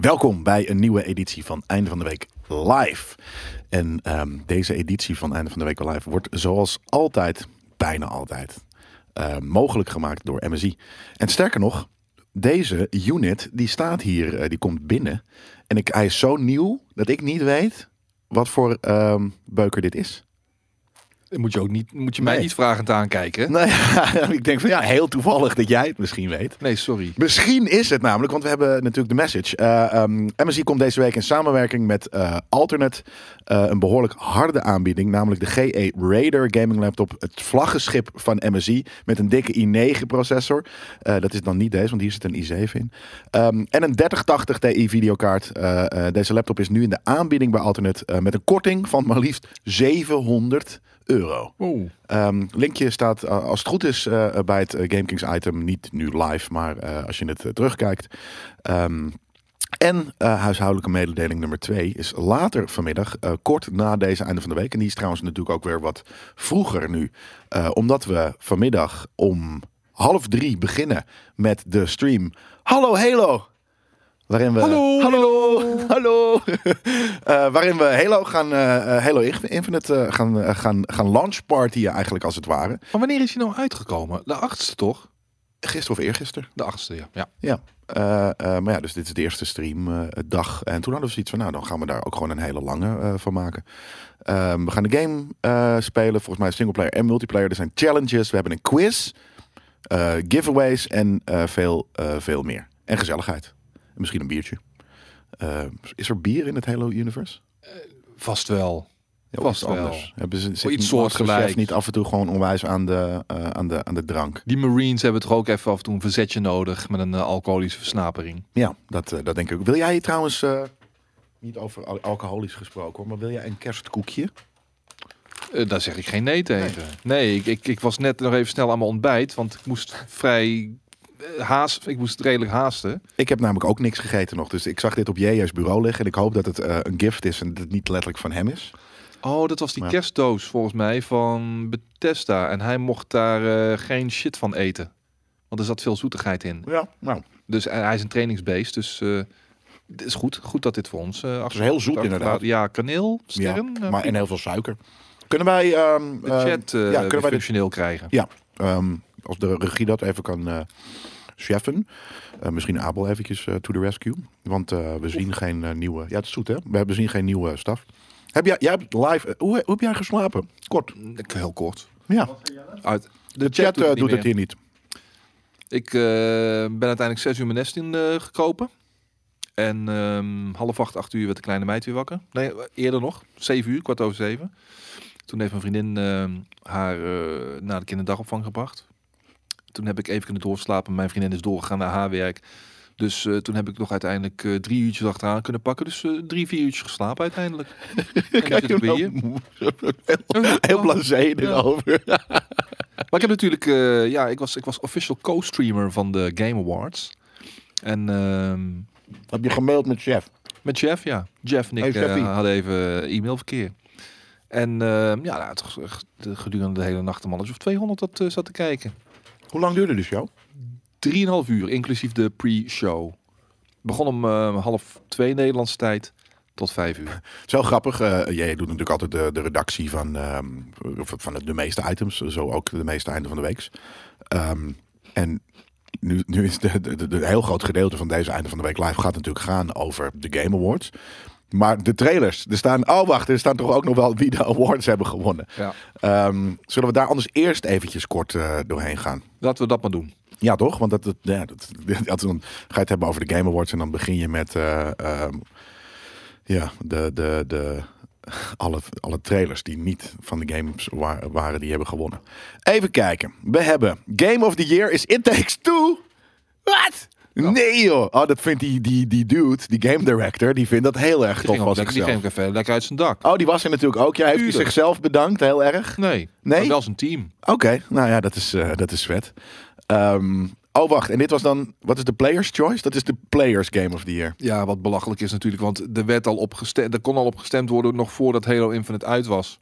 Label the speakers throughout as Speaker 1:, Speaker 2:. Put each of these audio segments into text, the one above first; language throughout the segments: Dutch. Speaker 1: Welkom bij een nieuwe editie van Einde van de Week Live. En ehm, deze editie van Einde van de Week Live wordt zoals altijd, bijna altijd, eh, mogelijk gemaakt door MSI. En sterker nog, deze unit die staat hier, eh, die komt binnen. En ik, hij is zo nieuw dat ik niet weet wat voor ehm, beuker dit is.
Speaker 2: Dan Moet je, ook niet, moet je mij
Speaker 1: Nee.
Speaker 2: niet vragend aankijken. hè?
Speaker 1: Nou ja, ik denk van ja, heel toevallig dat jij het misschien weet.
Speaker 2: Nee, sorry.
Speaker 1: Misschien is het namelijk, want we hebben natuurlijk de message. Eh ehm, MSI komt deze week in samenwerking met eh, Alternate eh, een behoorlijk harde aanbieding. Namelijk de GE Raider gaming laptop. Het vlaggenschip van MSI met een dikke i9 processor. Eh, dat is dan niet deze, want hier zit een i7 in. Ehm, en een 3080 Ti videokaart. Eh, eh, deze laptop is nu in de aanbieding bij Alternate eh, met een korting van maar liefst 700 euro.
Speaker 2: Oeh.
Speaker 1: Ehm, linkje staat, eh, als het goed is, eh, bij het eh, GameKings item. Niet nu live, maar eh, als je het eh, terugkijkt. Ehm, en eh, huishoudelijke mededeling nummer twee is later vanmiddag, eh, kort na deze einde van de week. En die is trouwens natuurlijk ook weer wat vroeger nu. eh, omdat we vanmiddag om half drie beginnen met de stream Hallo Halo. Waarin we,
Speaker 2: Eh, Hallo.
Speaker 1: hallo, hallo. Eh, waarin we Halo, gaan, eh, eh, Halo Infinite eh, gaan, eh, gaan, gaan launchpartyen eigenlijk als het ware.
Speaker 2: Maar wanneer is hij nou uitgekomen? De achtste toch?
Speaker 1: Gisteren of eergisteren.
Speaker 2: De achtste, ja. ja.
Speaker 1: Ja. Eh, eh, maar ja, dus dit is de eerste streamdag. en toen hadden we zoiets van, nou, dan gaan we daar ook gewoon een hele lange eh, van maken. Ehm, we gaan de game eh, spelen, volgens mij singleplayer en multiplayer. Er zijn challenges, we hebben een quiz, eh, giveaways en eh, veel, eh, veel meer. En gezelligheid. En misschien een biertje. Eh, is er bier in het Halo Universe?
Speaker 2: Vast wel.
Speaker 1: Ja,
Speaker 2: Vast
Speaker 1: of iets
Speaker 2: wel.
Speaker 1: Hebben ze zit
Speaker 2: iets
Speaker 1: Master
Speaker 2: soortgelijks.
Speaker 1: Chef niet af en toe gewoon onwijs aan de, eh, aan de, aan de drank?
Speaker 2: Die Marines hebben toch ook even af en toe een verzetje nodig met een eh, alcoholische versnapering.
Speaker 1: Ja, dat, eh, dat denk ik ook. Wil jij trouwens, eh, niet over al- alcoholisch gesproken hoor, maar wil jij een kerstkoekje?
Speaker 2: Eh, daar zeg ik geen nee tegen. Nee, ik, ik, ik was net nog even snel aan mijn ontbijt, want ik moest vrij eh, haast, ik moest redelijk haasten.
Speaker 1: Ik heb namelijk ook niks gegeten nog, dus ik zag dit op JJ's bureau liggen en ik hoop dat het eh, een gift is en dat het niet letterlijk van hem is.
Speaker 2: Oh, dat was die
Speaker 1: Maar-
Speaker 2: kerstdoos volgens mij van Bethesda en hij mocht daar eh, geen shit van eten. Want er zat veel zoetigheid in.
Speaker 1: Ja, nou,
Speaker 2: Dus hij hij is een trainingsbeest. Dus eh, het is goed. Goed dat dit voor ons. eh
Speaker 1: is heel zoet inderdaad.
Speaker 2: Ja, kaneel,
Speaker 1: ja,
Speaker 2: sterren. eh,
Speaker 1: maar en heel veel suiker. Kunnen wij, ehm,
Speaker 2: de
Speaker 1: ehm,
Speaker 2: chat eh,
Speaker 1: ja, kunnen
Speaker 2: weer
Speaker 1: wij de
Speaker 2: functioneel krijgen.
Speaker 1: Ja, ehm, als de regie dat even kan eh cheffen. Eh, misschien Abel eventjes eh, to the rescue. Want eh, we zien geen eh, nieuwe... Ja, het is zoet hè? We hebben- zien geen nieuwe eh, staf. Heb jij, jij hebt live... eh, hoe, hoe heb jij geslapen? Kort.
Speaker 2: Ik- Heel kort.
Speaker 1: Ja,
Speaker 2: Uit. De,
Speaker 1: de chat, eh, doet,
Speaker 2: niet
Speaker 1: het
Speaker 2: meer.
Speaker 1: hier niet.
Speaker 2: Ik eh, ben uiteindelijk zes uur mijn nest in eh, gekropen. En ehm, half acht, acht uur werd de kleine meid weer wakker. Nee, eerder nog. Zeven uur, kwart over zeven. Toen heeft mijn vriendin ehm, haar eh, naar de kinderdagopvang gebracht. Toen heb ik even kunnen doorslapen. Mijn vriendin is doorgegaan naar haar werk. Dus eh, toen heb ik nog uiteindelijk eh, drie uurtjes achteraan kunnen pakken. Dus eh, drie, vier uurtjes geslapen uiteindelijk. En nu zit ik weer hier.
Speaker 1: heel, heel blasé over.
Speaker 2: Maar ik heb natuurlijk, eh, ja, ik was, ik was official co-streamer van de Game Awards. En ehm,
Speaker 1: Heb je gemaild met chef?
Speaker 2: Met Jeff, ja. Jeff en ik
Speaker 1: Hey,
Speaker 2: eh,
Speaker 1: Jeffy.
Speaker 2: hadden even eh, e-mailverkeer. En ehm, ja, nou, het was echt de- gedurende de hele nacht een mannetje of 200 dat eh, zat te kijken.
Speaker 1: Hoe lang duurde de show?
Speaker 2: 3,5 uur, inclusief de pre-show. Begon om eh, half twee Nederlandse tijd tot vijf uur.
Speaker 1: Zo grappig. eh, jij doet natuurlijk altijd de, de redactie van, ehm, of van de meeste items. Zo ook de meeste einde van de weeks. Ehm, en nu, nu is de, de, de, de heel groot gedeelte van deze einde van de week live gaat natuurlijk gaan over de Game Awards. Maar de trailers, er staan, oh wacht, er staan toch ook nog wel wie de awards hebben gewonnen.
Speaker 2: Ja.
Speaker 1: Ehm, zullen we daar anders eerst eventjes kort eh, doorheen gaan?
Speaker 2: Laten we dat maar doen.
Speaker 1: Ja, toch? Want dat, dat, ja, dat, dat- dan ga je het hebben over de Game Awards en dan begin je met eh, ehm, ja, de, de, de, alle, alle trailers die niet van de games wa- waren die hebben gewonnen. Even kijken. We hebben Game of the Year is It Takes Two. Wat? Nee joh. Oh, dat vindt die, die, die dude, die game director, die vindt dat heel erg
Speaker 2: Die
Speaker 1: tof
Speaker 2: ging,
Speaker 1: van
Speaker 2: ook lekker, die
Speaker 1: zichzelf.
Speaker 2: ging ook even lekker uit zijn dak.
Speaker 1: Oh, die was er natuurlijk ook. Ja, heeft u
Speaker 2: Tuurlijk.
Speaker 1: zichzelf bedankt, heel erg.
Speaker 2: Nee,
Speaker 1: Nee?
Speaker 2: maar wel zijn team.
Speaker 1: Oké, nou ja, dat is, eh, dat is vet. Ehm, oh, wacht. En dit was dan... Wat is de Players' Choice? Dat is de Players' Game of the Year.
Speaker 2: Ja, wat belachelijk is natuurlijk, want er werd al op gestemd, er kon al op gestemd worden nog voordat Halo Infinite uit was.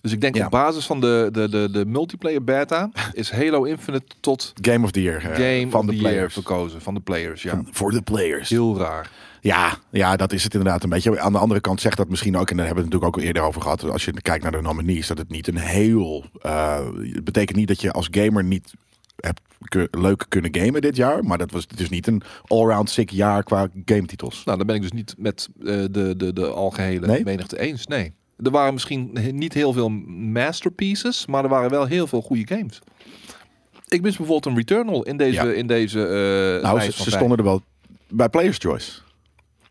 Speaker 2: Dus ik denk
Speaker 1: Ja.
Speaker 2: op basis van de, de, de, de multiplayer beta is Halo Infinite tot
Speaker 1: Game of the Year. eh,
Speaker 2: Game
Speaker 1: van
Speaker 2: of
Speaker 1: de
Speaker 2: the Year
Speaker 1: players.
Speaker 2: verkozen. Van de players, ja.
Speaker 1: Van- Voor de players.
Speaker 2: Heel raar.
Speaker 1: Ja, ja, dat is het inderdaad een beetje. Aan de andere kant zegt dat misschien ook, en daar hebben we het natuurlijk ook al eerder over gehad. Als je kijkt naar de nominees, dat het niet een heel. eh, het betekent niet dat je als gamer niet hebt ku- leuk kunnen gamen dit jaar. Maar dat was dus niet een allround sick jaar qua gametitels.
Speaker 2: Nou, daar ben ik dus niet met eh, de, de, de algehele
Speaker 1: Nee?
Speaker 2: menigte eens. Nee. Er waren misschien he- niet heel veel masterpieces, maar er waren wel heel veel goede games. Ik mis bijvoorbeeld een Returnal in deze.
Speaker 1: Ja.
Speaker 2: In deze eh,
Speaker 1: Nou,
Speaker 2: lijst
Speaker 1: ze,
Speaker 2: van
Speaker 1: ze
Speaker 2: vijf.
Speaker 1: stonden er wel bij Players Choice.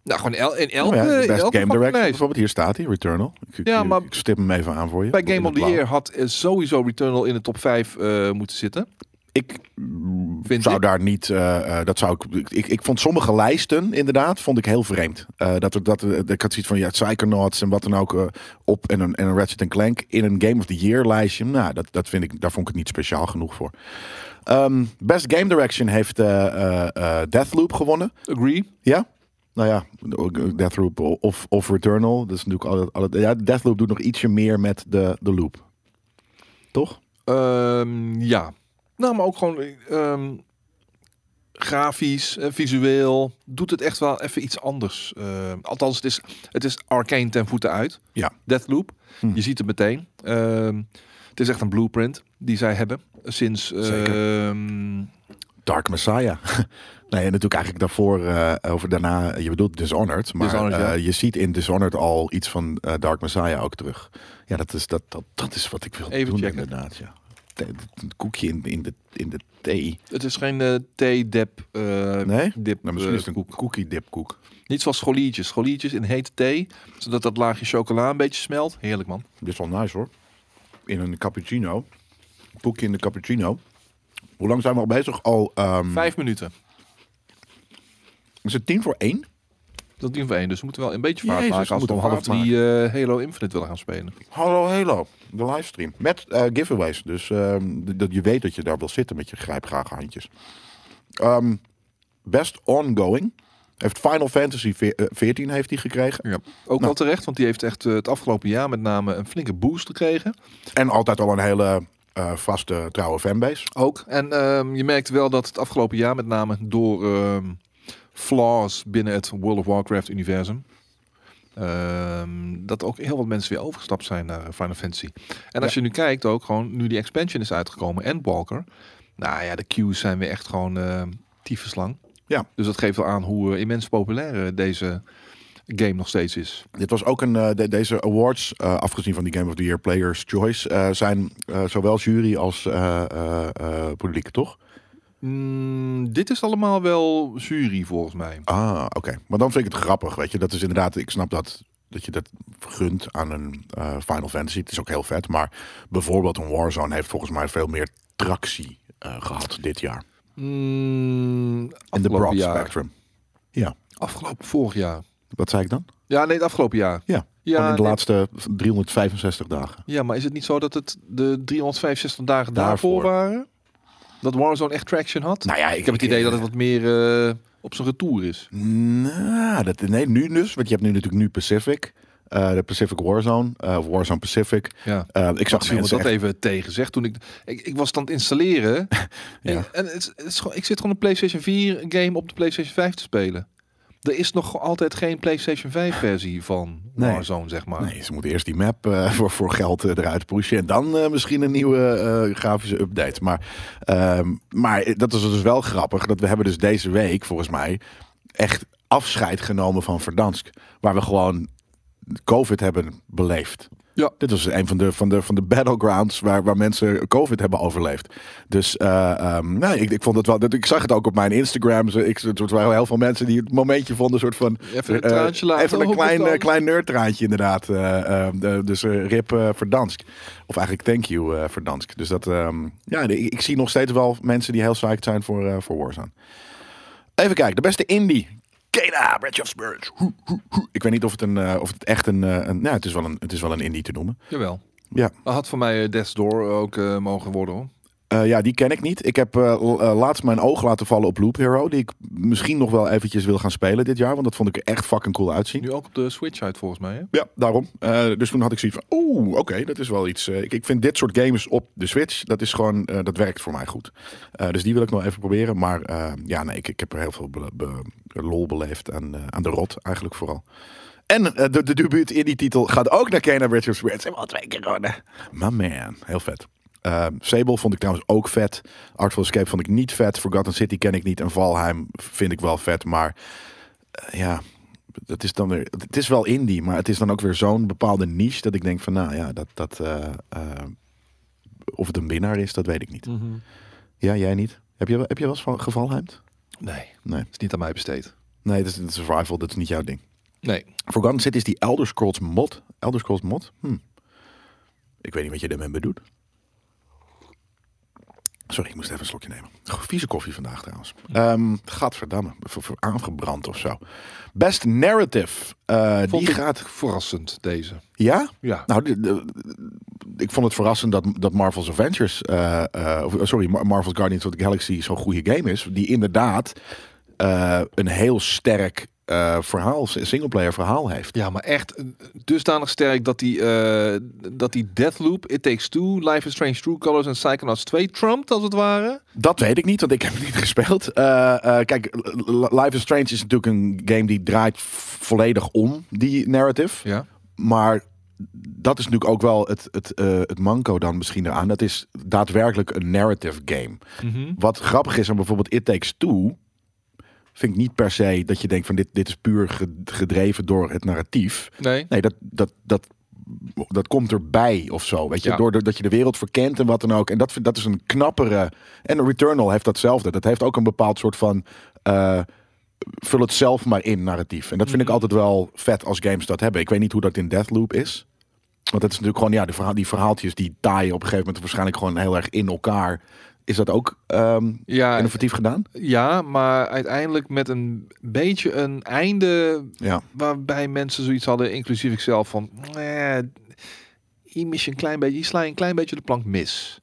Speaker 2: Nou, gewoon el- in
Speaker 1: Nou
Speaker 2: elke.
Speaker 1: ja, de
Speaker 2: in
Speaker 1: best
Speaker 2: elke
Speaker 1: Game
Speaker 2: fucking
Speaker 1: Director
Speaker 2: lijst.
Speaker 1: bijvoorbeeld. Hier staat hij, Returnal. Ik, ik-
Speaker 2: Ja,
Speaker 1: ik-
Speaker 2: maar-
Speaker 1: ik stip hem even aan voor je.
Speaker 2: Bij
Speaker 1: In
Speaker 2: Game
Speaker 1: het
Speaker 2: of the
Speaker 1: blauw.
Speaker 2: Year had eh, sowieso Returnal in de top 5 eh, moeten zitten.
Speaker 1: Ik mm,
Speaker 2: Vind
Speaker 1: zou
Speaker 2: ik.
Speaker 1: daar niet. eh, eh, dat zou ik, ik- ik. Ik vond sommige lijsten inderdaad vond ik heel vreemd. Eh, dat er, dat er- ik had zoiets van ja, Psychonauts en wat dan ook eh, op en een, en een Ratchet Clank in een Game of the Year lijstje. Nou, dat, dat vind ik. Daar vond ik het niet speciaal genoeg voor. Ehm, Best Game Direction heeft eh eh, eh, Deathloop gewonnen.
Speaker 2: Agree.
Speaker 1: Ja. Nou ja, Deathloop of, of Returnal. Dat is natuurlijk altijd, altijd. Ja, Deathloop doet nog ietsje meer met de, de loop. Toch?
Speaker 2: Ehm, ja. Nou, maar ook gewoon ehm, grafisch, eh, visueel. Doet het echt wel even iets anders. Eh, althans, het is, het is arcane ten voeten uit.
Speaker 1: Ja.
Speaker 2: Deathloop.
Speaker 1: Hm.
Speaker 2: Je ziet het meteen. Ehm, het is echt een blueprint die zij hebben. eh, Sinds... ehm,
Speaker 1: Dark Messiah. nee, en natuurlijk eigenlijk daarvoor, eh, over daarna, je bedoelt Dishonored. Maar
Speaker 2: Dishonored, ja.
Speaker 1: eh, je ziet in Dishonored al iets van eh, Dark Messiah ook terug. Ja, dat is, dat, dat, dat is wat ik wil
Speaker 2: Even
Speaker 1: doen
Speaker 2: checken.
Speaker 1: inderdaad. Ja. Thee- Een koekje in, in, de, in de thee. Nou,
Speaker 2: het is geen eh thee-dip. eh,
Speaker 1: Nee?
Speaker 2: dip,
Speaker 1: Nou, misschien
Speaker 2: eh,
Speaker 1: is het een cookie dipkoek.
Speaker 2: Niet zoals scholiertjes. Scholiertjes in hete thee. Zodat dat laagje chocola een beetje smelt. Heerlijk, man.
Speaker 1: Dit is wel nice hoor. In een cappuccino. Koekje in de cappuccino. Hoe lang zijn we al bezig? Al, ehm,
Speaker 2: Vijf minuten.
Speaker 1: Is het tien voor één?
Speaker 2: Dat doen we één. Dus we moeten wel een beetje vaart
Speaker 1: Jezus, we
Speaker 2: maken als we
Speaker 1: moeten
Speaker 2: om half
Speaker 1: vaart
Speaker 2: drie eh, Halo Infinite willen gaan spelen.
Speaker 1: Hallo Halo, de livestream. Met eh, giveaways. Dus ehm, d- dat je weet dat je daar wil zitten met je grijpgrage handjes. Ehm, best ongoing. Heeft Final Fantasy veer- eh, 14 heeft hij gekregen.
Speaker 2: Ja. Ook wel
Speaker 1: Nou.
Speaker 2: terecht, want die heeft echt eh, het afgelopen jaar met name een flinke boost gekregen.
Speaker 1: En altijd al een hele eh, vaste, trouwe fanbase.
Speaker 2: Ook. En ehm, je merkte wel dat het afgelopen jaar met name door ehm, flaws binnen het World of Warcraft universum. ehm, dat ook heel wat mensen weer overgestapt zijn naar eh, Final Fantasy. En als je nu kijkt ook gewoon, nu die expansion is uitgekomen en Walker. Nou ja, de queues zijn weer echt gewoon uh, tyfuslang.
Speaker 1: Ja.
Speaker 2: Dus dat geeft wel aan hoe eh, immens populair eh, deze game nog steeds is.
Speaker 1: Dit was ook een. eh, de- deze awards, eh, afgezien van die Game of the Year Players Choice, eh, zijn eh, zowel jury als eh, eh, eh, publiek, toch?
Speaker 2: Mm, dit is allemaal wel jury volgens mij.
Speaker 1: Ah, oké. Maar dan vind ik het grappig, weet je. Dat is inderdaad, ik snap dat, dat je dat gunt aan een eh, Final Fantasy. Het is ook heel vet. Maar bijvoorbeeld een Warzone heeft volgens mij veel meer tractie eh, gehad dit jaar.
Speaker 2: Mm,
Speaker 1: In de
Speaker 2: afgelopen
Speaker 1: broad
Speaker 2: jaar.
Speaker 1: spectrum.
Speaker 2: Afgelopen vorig jaar.
Speaker 1: Wat zei ik dan?
Speaker 2: Ja, nee, het afgelopen jaar.
Speaker 1: Ja,
Speaker 2: ja,
Speaker 1: Gewoon in de
Speaker 2: nee.
Speaker 1: laatste 365 dagen.
Speaker 2: ja, maar is het niet zo dat het de 365 dagen
Speaker 1: Daarvoor.
Speaker 2: daarvoor, waren? Dat Warzone echt traction had?
Speaker 1: Nou ja,
Speaker 2: ik heb het idee dat het wat meer eh, op zijn retour is.
Speaker 1: Nou, dat, nee, nu dus. Want je hebt nu natuurlijk nu Pacific. eh, de Pacific Warzone. eh, of Warzone Pacific.
Speaker 2: Ja.
Speaker 1: Eh, ik zag
Speaker 2: Ik viel me
Speaker 1: mensen
Speaker 2: dat even tegen zeg. Toen ik, ik, ik was het aan het installeren.
Speaker 1: Ja.
Speaker 2: En het, is- het is gewoon, ik zit gewoon een PlayStation 4 game op de PlayStation 5 te spelen. Er is nog altijd geen PlayStation 5 versie van
Speaker 1: Nee.
Speaker 2: Warzone, zeg maar.
Speaker 1: Nee, ze moeten eerst die map eh, voor, voor geld eh, eruit pushen. En dan eh, misschien een nieuwe eh, grafische update. Maar, ehm, maar dat is dus wel grappig. Dat we hebben dus deze week, volgens mij, echt afscheid genomen van Verdansk. Waar we gewoon COVID hebben beleefd.
Speaker 2: Ja.
Speaker 1: Dit was een van de, van de, van de battlegrounds waar, waar mensen COVID hebben overleefd. Dus eh, ehm, nee, ik, ik vond het wel. dat- Ik zag het ook op mijn Instagram. Zo, Ik, het waren heel veel mensen die het momentje vonden, een soort van.
Speaker 2: Even een
Speaker 1: Eh,
Speaker 2: traantje laten.
Speaker 1: Even een
Speaker 2: Oh,
Speaker 1: klein,
Speaker 2: bedankt.
Speaker 1: eh, klein nerdtraantje inderdaad. eh, eh, de- dus eh, Rip eh, Verdansk. Of eigenlijk thank you eh Verdansk. Dus dat, ehm, ja, de- ik, ik zie nog steeds wel mensen die heel psyched zijn voor, eh, voor Warzone. Even kijken, de beste indie. Kena, Bridge of Spirits. Hoe, hoe, hoe. Ik weet niet of het, een, eh, of het echt een, eh, een... Nou, het is, wel een, het is wel een indie te noemen.
Speaker 2: Jawel.
Speaker 1: Ja.
Speaker 2: Dat had voor mij eh, Death's Door ook eh, mogen worden hoor.
Speaker 1: Eh, ja, die ken ik niet. Ik heb eh, l- eh, laatst mijn oog laten vallen op Loop Hero. Die ik misschien nog wel eventjes wil gaan spelen dit jaar. Want dat vond ik er echt fucking cool uitzien.
Speaker 2: Nu ook op de Switch uit volgens mij. Hè?
Speaker 1: Ja, daarom. Eh, dus toen had ik zoiets van, oeh, oké, dat is wel iets. eh, ik, ik vind dit soort games op de Switch, dat is gewoon, eh, dat werkt voor mij goed. Eh, dus die wil ik nog even proberen. Maar eh, ja, nee, ik, ik heb er heel veel be- be- lol beleefd aan, eh, aan de rot eigenlijk vooral. En eh, de, de debuut in die titel gaat ook naar Kena Bridge of Spirits. Hebben we al twee keer gewonnen. My man, heel vet. Eh, Sable vond ik trouwens ook vet. Artful Escape vond ik niet vet. Forgotten City ken ik niet. En Valheim vind ik wel vet. Maar eh, ja, dat is dan weer, het is wel indie, maar het is dan ook weer zo'n bepaalde niche dat ik denk van, nou ja, dat, dat eh, eh, of het een winnaar is, dat weet ik niet.
Speaker 2: Mhm.
Speaker 1: Ja, jij niet? Heb je, wel- heb je wel eens van gevalheimd?
Speaker 2: Nee,
Speaker 1: Nee.
Speaker 2: is niet aan mij besteed.
Speaker 1: Nee, dat is een survival, dat is niet jouw ding.
Speaker 2: Nee.
Speaker 1: Forgotten City is die Elder Scrolls mod. Elder Scrolls mod? Hm. Ik weet niet wat je daarmee bedoelt. Sorry, ik moest even een slokje nemen. Goh, Vieze koffie vandaag trouwens. Ehm gadverdamme, voor, voor aangebrand of zo. Best Narrative. eh,
Speaker 2: Vond
Speaker 1: die
Speaker 2: ik-
Speaker 1: gaat...
Speaker 2: Verrassend deze.
Speaker 1: Ja?
Speaker 2: Ja.
Speaker 1: Nou, de- de- ik vond het verrassend dat, dat Marvel's Avengers, eh, eh, of, sorry, Mar- Marvel's Guardians of the Galaxy zo'n goede game is. Die inderdaad eh, een heel sterk eh verhaal, singleplayer verhaal heeft.
Speaker 2: Ja, maar echt eh, dusdanig sterk dat die, eh, dat die Deathloop, It Takes Two, Life is Strange, True Colors en Psychonauts 2 trumpt als het ware.
Speaker 1: Dat weet ik niet, want ik heb het niet gespeeld. Eh, eh, kijk, L- L- Life is Strange is natuurlijk een game die draait v- volledig om die narrative.
Speaker 2: Ja.
Speaker 1: Maar dat is natuurlijk ook wel het, het, eh, het manco dan misschien eraan. Dat is daadwerkelijk een narrative game. Wat grappig is aan bijvoorbeeld It Takes Two... vind ik niet per se dat je denkt van dit, dit is puur ge- gedreven door het narratief.
Speaker 2: Nee.
Speaker 1: Nee, dat, dat, dat, dat komt erbij of zo. Weet je,
Speaker 2: Ja.
Speaker 1: doordat dat je de wereld verkent en wat dan ook. En dat, vind- dat is een knappere... En Returnal heeft datzelfde. Dat heeft ook een bepaald soort van... eh, vul het zelf maar in narratief. En dat vind ik altijd wel vet als games dat hebben. Ik weet niet hoe dat in Deathloop is. Want dat is natuurlijk gewoon, ja, de verhaal, die verhaaltjes die taaien op een gegeven moment waarschijnlijk gewoon heel erg in elkaar. Is dat ook ehm,
Speaker 2: Ja,
Speaker 1: innovatief gedaan?
Speaker 2: ja, maar uiteindelijk met een beetje een einde
Speaker 1: Ja.
Speaker 2: waarbij mensen zoiets hadden, inclusief ikzelf, van eh, hier mis je een klein beetje, hier sla je een klein beetje de plank mis.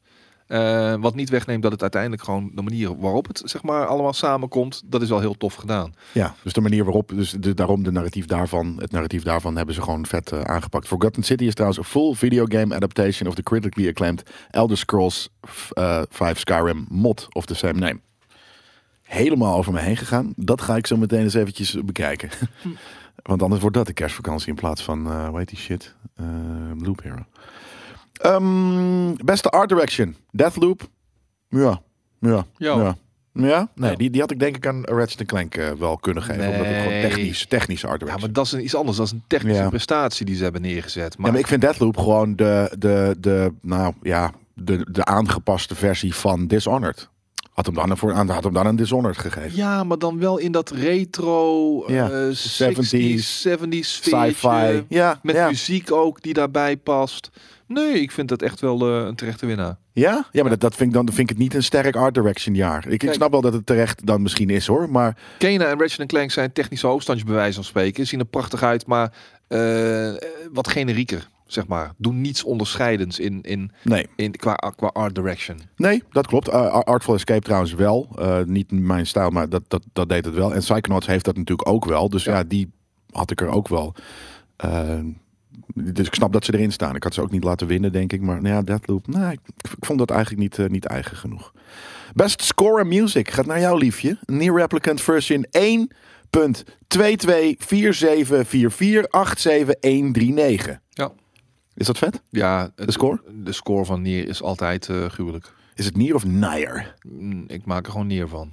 Speaker 2: Eh, wat niet wegneemt dat het uiteindelijk gewoon de manier waarop het zeg maar allemaal samenkomt, dat is wel heel tof gedaan.
Speaker 1: ja. Dus de manier waarop, dus de, daarom de narratief daarvan, het narratief daarvan hebben ze gewoon vet eh, aangepakt. Forgotten City is trouwens een full videogame adaptation of the critically acclaimed Elder Scrolls eh, 5 Skyrim mod of the same name. Helemaal over me heen gegaan. Dat ga ik zo meteen eens eventjes bekijken. Want anders wordt dat de kerstvakantie in plaats van, eh hoe heet die shit? Eh, Loop Hero. Ehm, beste art direction. Deathloop. Ja. Ja.
Speaker 2: Ja.
Speaker 1: Ja. Ja? Nee,
Speaker 2: Ja.
Speaker 1: Die, die had ik denk ik aan Ratchet Clank eh, wel kunnen geven. Omdat het gewoon
Speaker 2: Nee.
Speaker 1: technisch, technische art
Speaker 2: Ja,
Speaker 1: direction.
Speaker 2: maar dat is een- iets anders. Dat is een technische
Speaker 1: Ja.
Speaker 2: prestatie die ze hebben neergezet.
Speaker 1: Ja, maar ik vind Deathloop gewoon de, de, de nou ja, de, de aangepaste versie van Dishonored. Had hem dan een, voor, had hem dan een Dishonored gegeven.
Speaker 2: Ja, maar dan wel in dat retro
Speaker 1: Ja,
Speaker 2: ja,
Speaker 1: 70s,
Speaker 2: 70s, 70s
Speaker 1: Sci-fi.
Speaker 2: sfeertje.
Speaker 1: Ja,
Speaker 2: eh, Met
Speaker 1: ja.
Speaker 2: muziek ook die daarbij past. Nee, ik vind dat echt wel eh, een terechte winnaar.
Speaker 1: Ja? Ja, maar dat, dat vind ik dan vind ik het niet een sterk art direction jaar. Ik, ik
Speaker 2: Kijk.
Speaker 1: snap wel dat het terecht dan misschien is hoor, maar
Speaker 2: Kena en Ratchet Clank zijn technische hoofdstandjes bij wijze van spreken. Zien er prachtig uit, maar eh, wat generieker, zeg maar. Doen niets onderscheidends in, in,
Speaker 1: nee.
Speaker 2: in, qua, qua art direction.
Speaker 1: Nee, dat klopt. Eh, Ar- Artful Escape trouwens wel. Eh, niet mijn stijl, maar dat, dat, dat deed het wel. En Psychonauts heeft dat natuurlijk ook wel. Dus ja,
Speaker 2: Ja.
Speaker 1: die had ik er ook wel. Eh, dus ik snap dat ze erin staan. Ik had ze ook niet laten winnen, denk ik. Maar nou ja, Deathloop. Nou, ik, ik vond dat eigenlijk niet, eh, niet eigen genoeg. Best Score and Music gaat naar jou, liefje. Near Replicant Version 1.22474487139.
Speaker 2: Ja.
Speaker 1: Is dat vet?
Speaker 2: Ja, het-
Speaker 1: De score?
Speaker 2: De score van Nier is altijd eh, gruwelijk.
Speaker 1: Is het Nier of Nier?
Speaker 2: Mm, Ik maak er gewoon Nier van.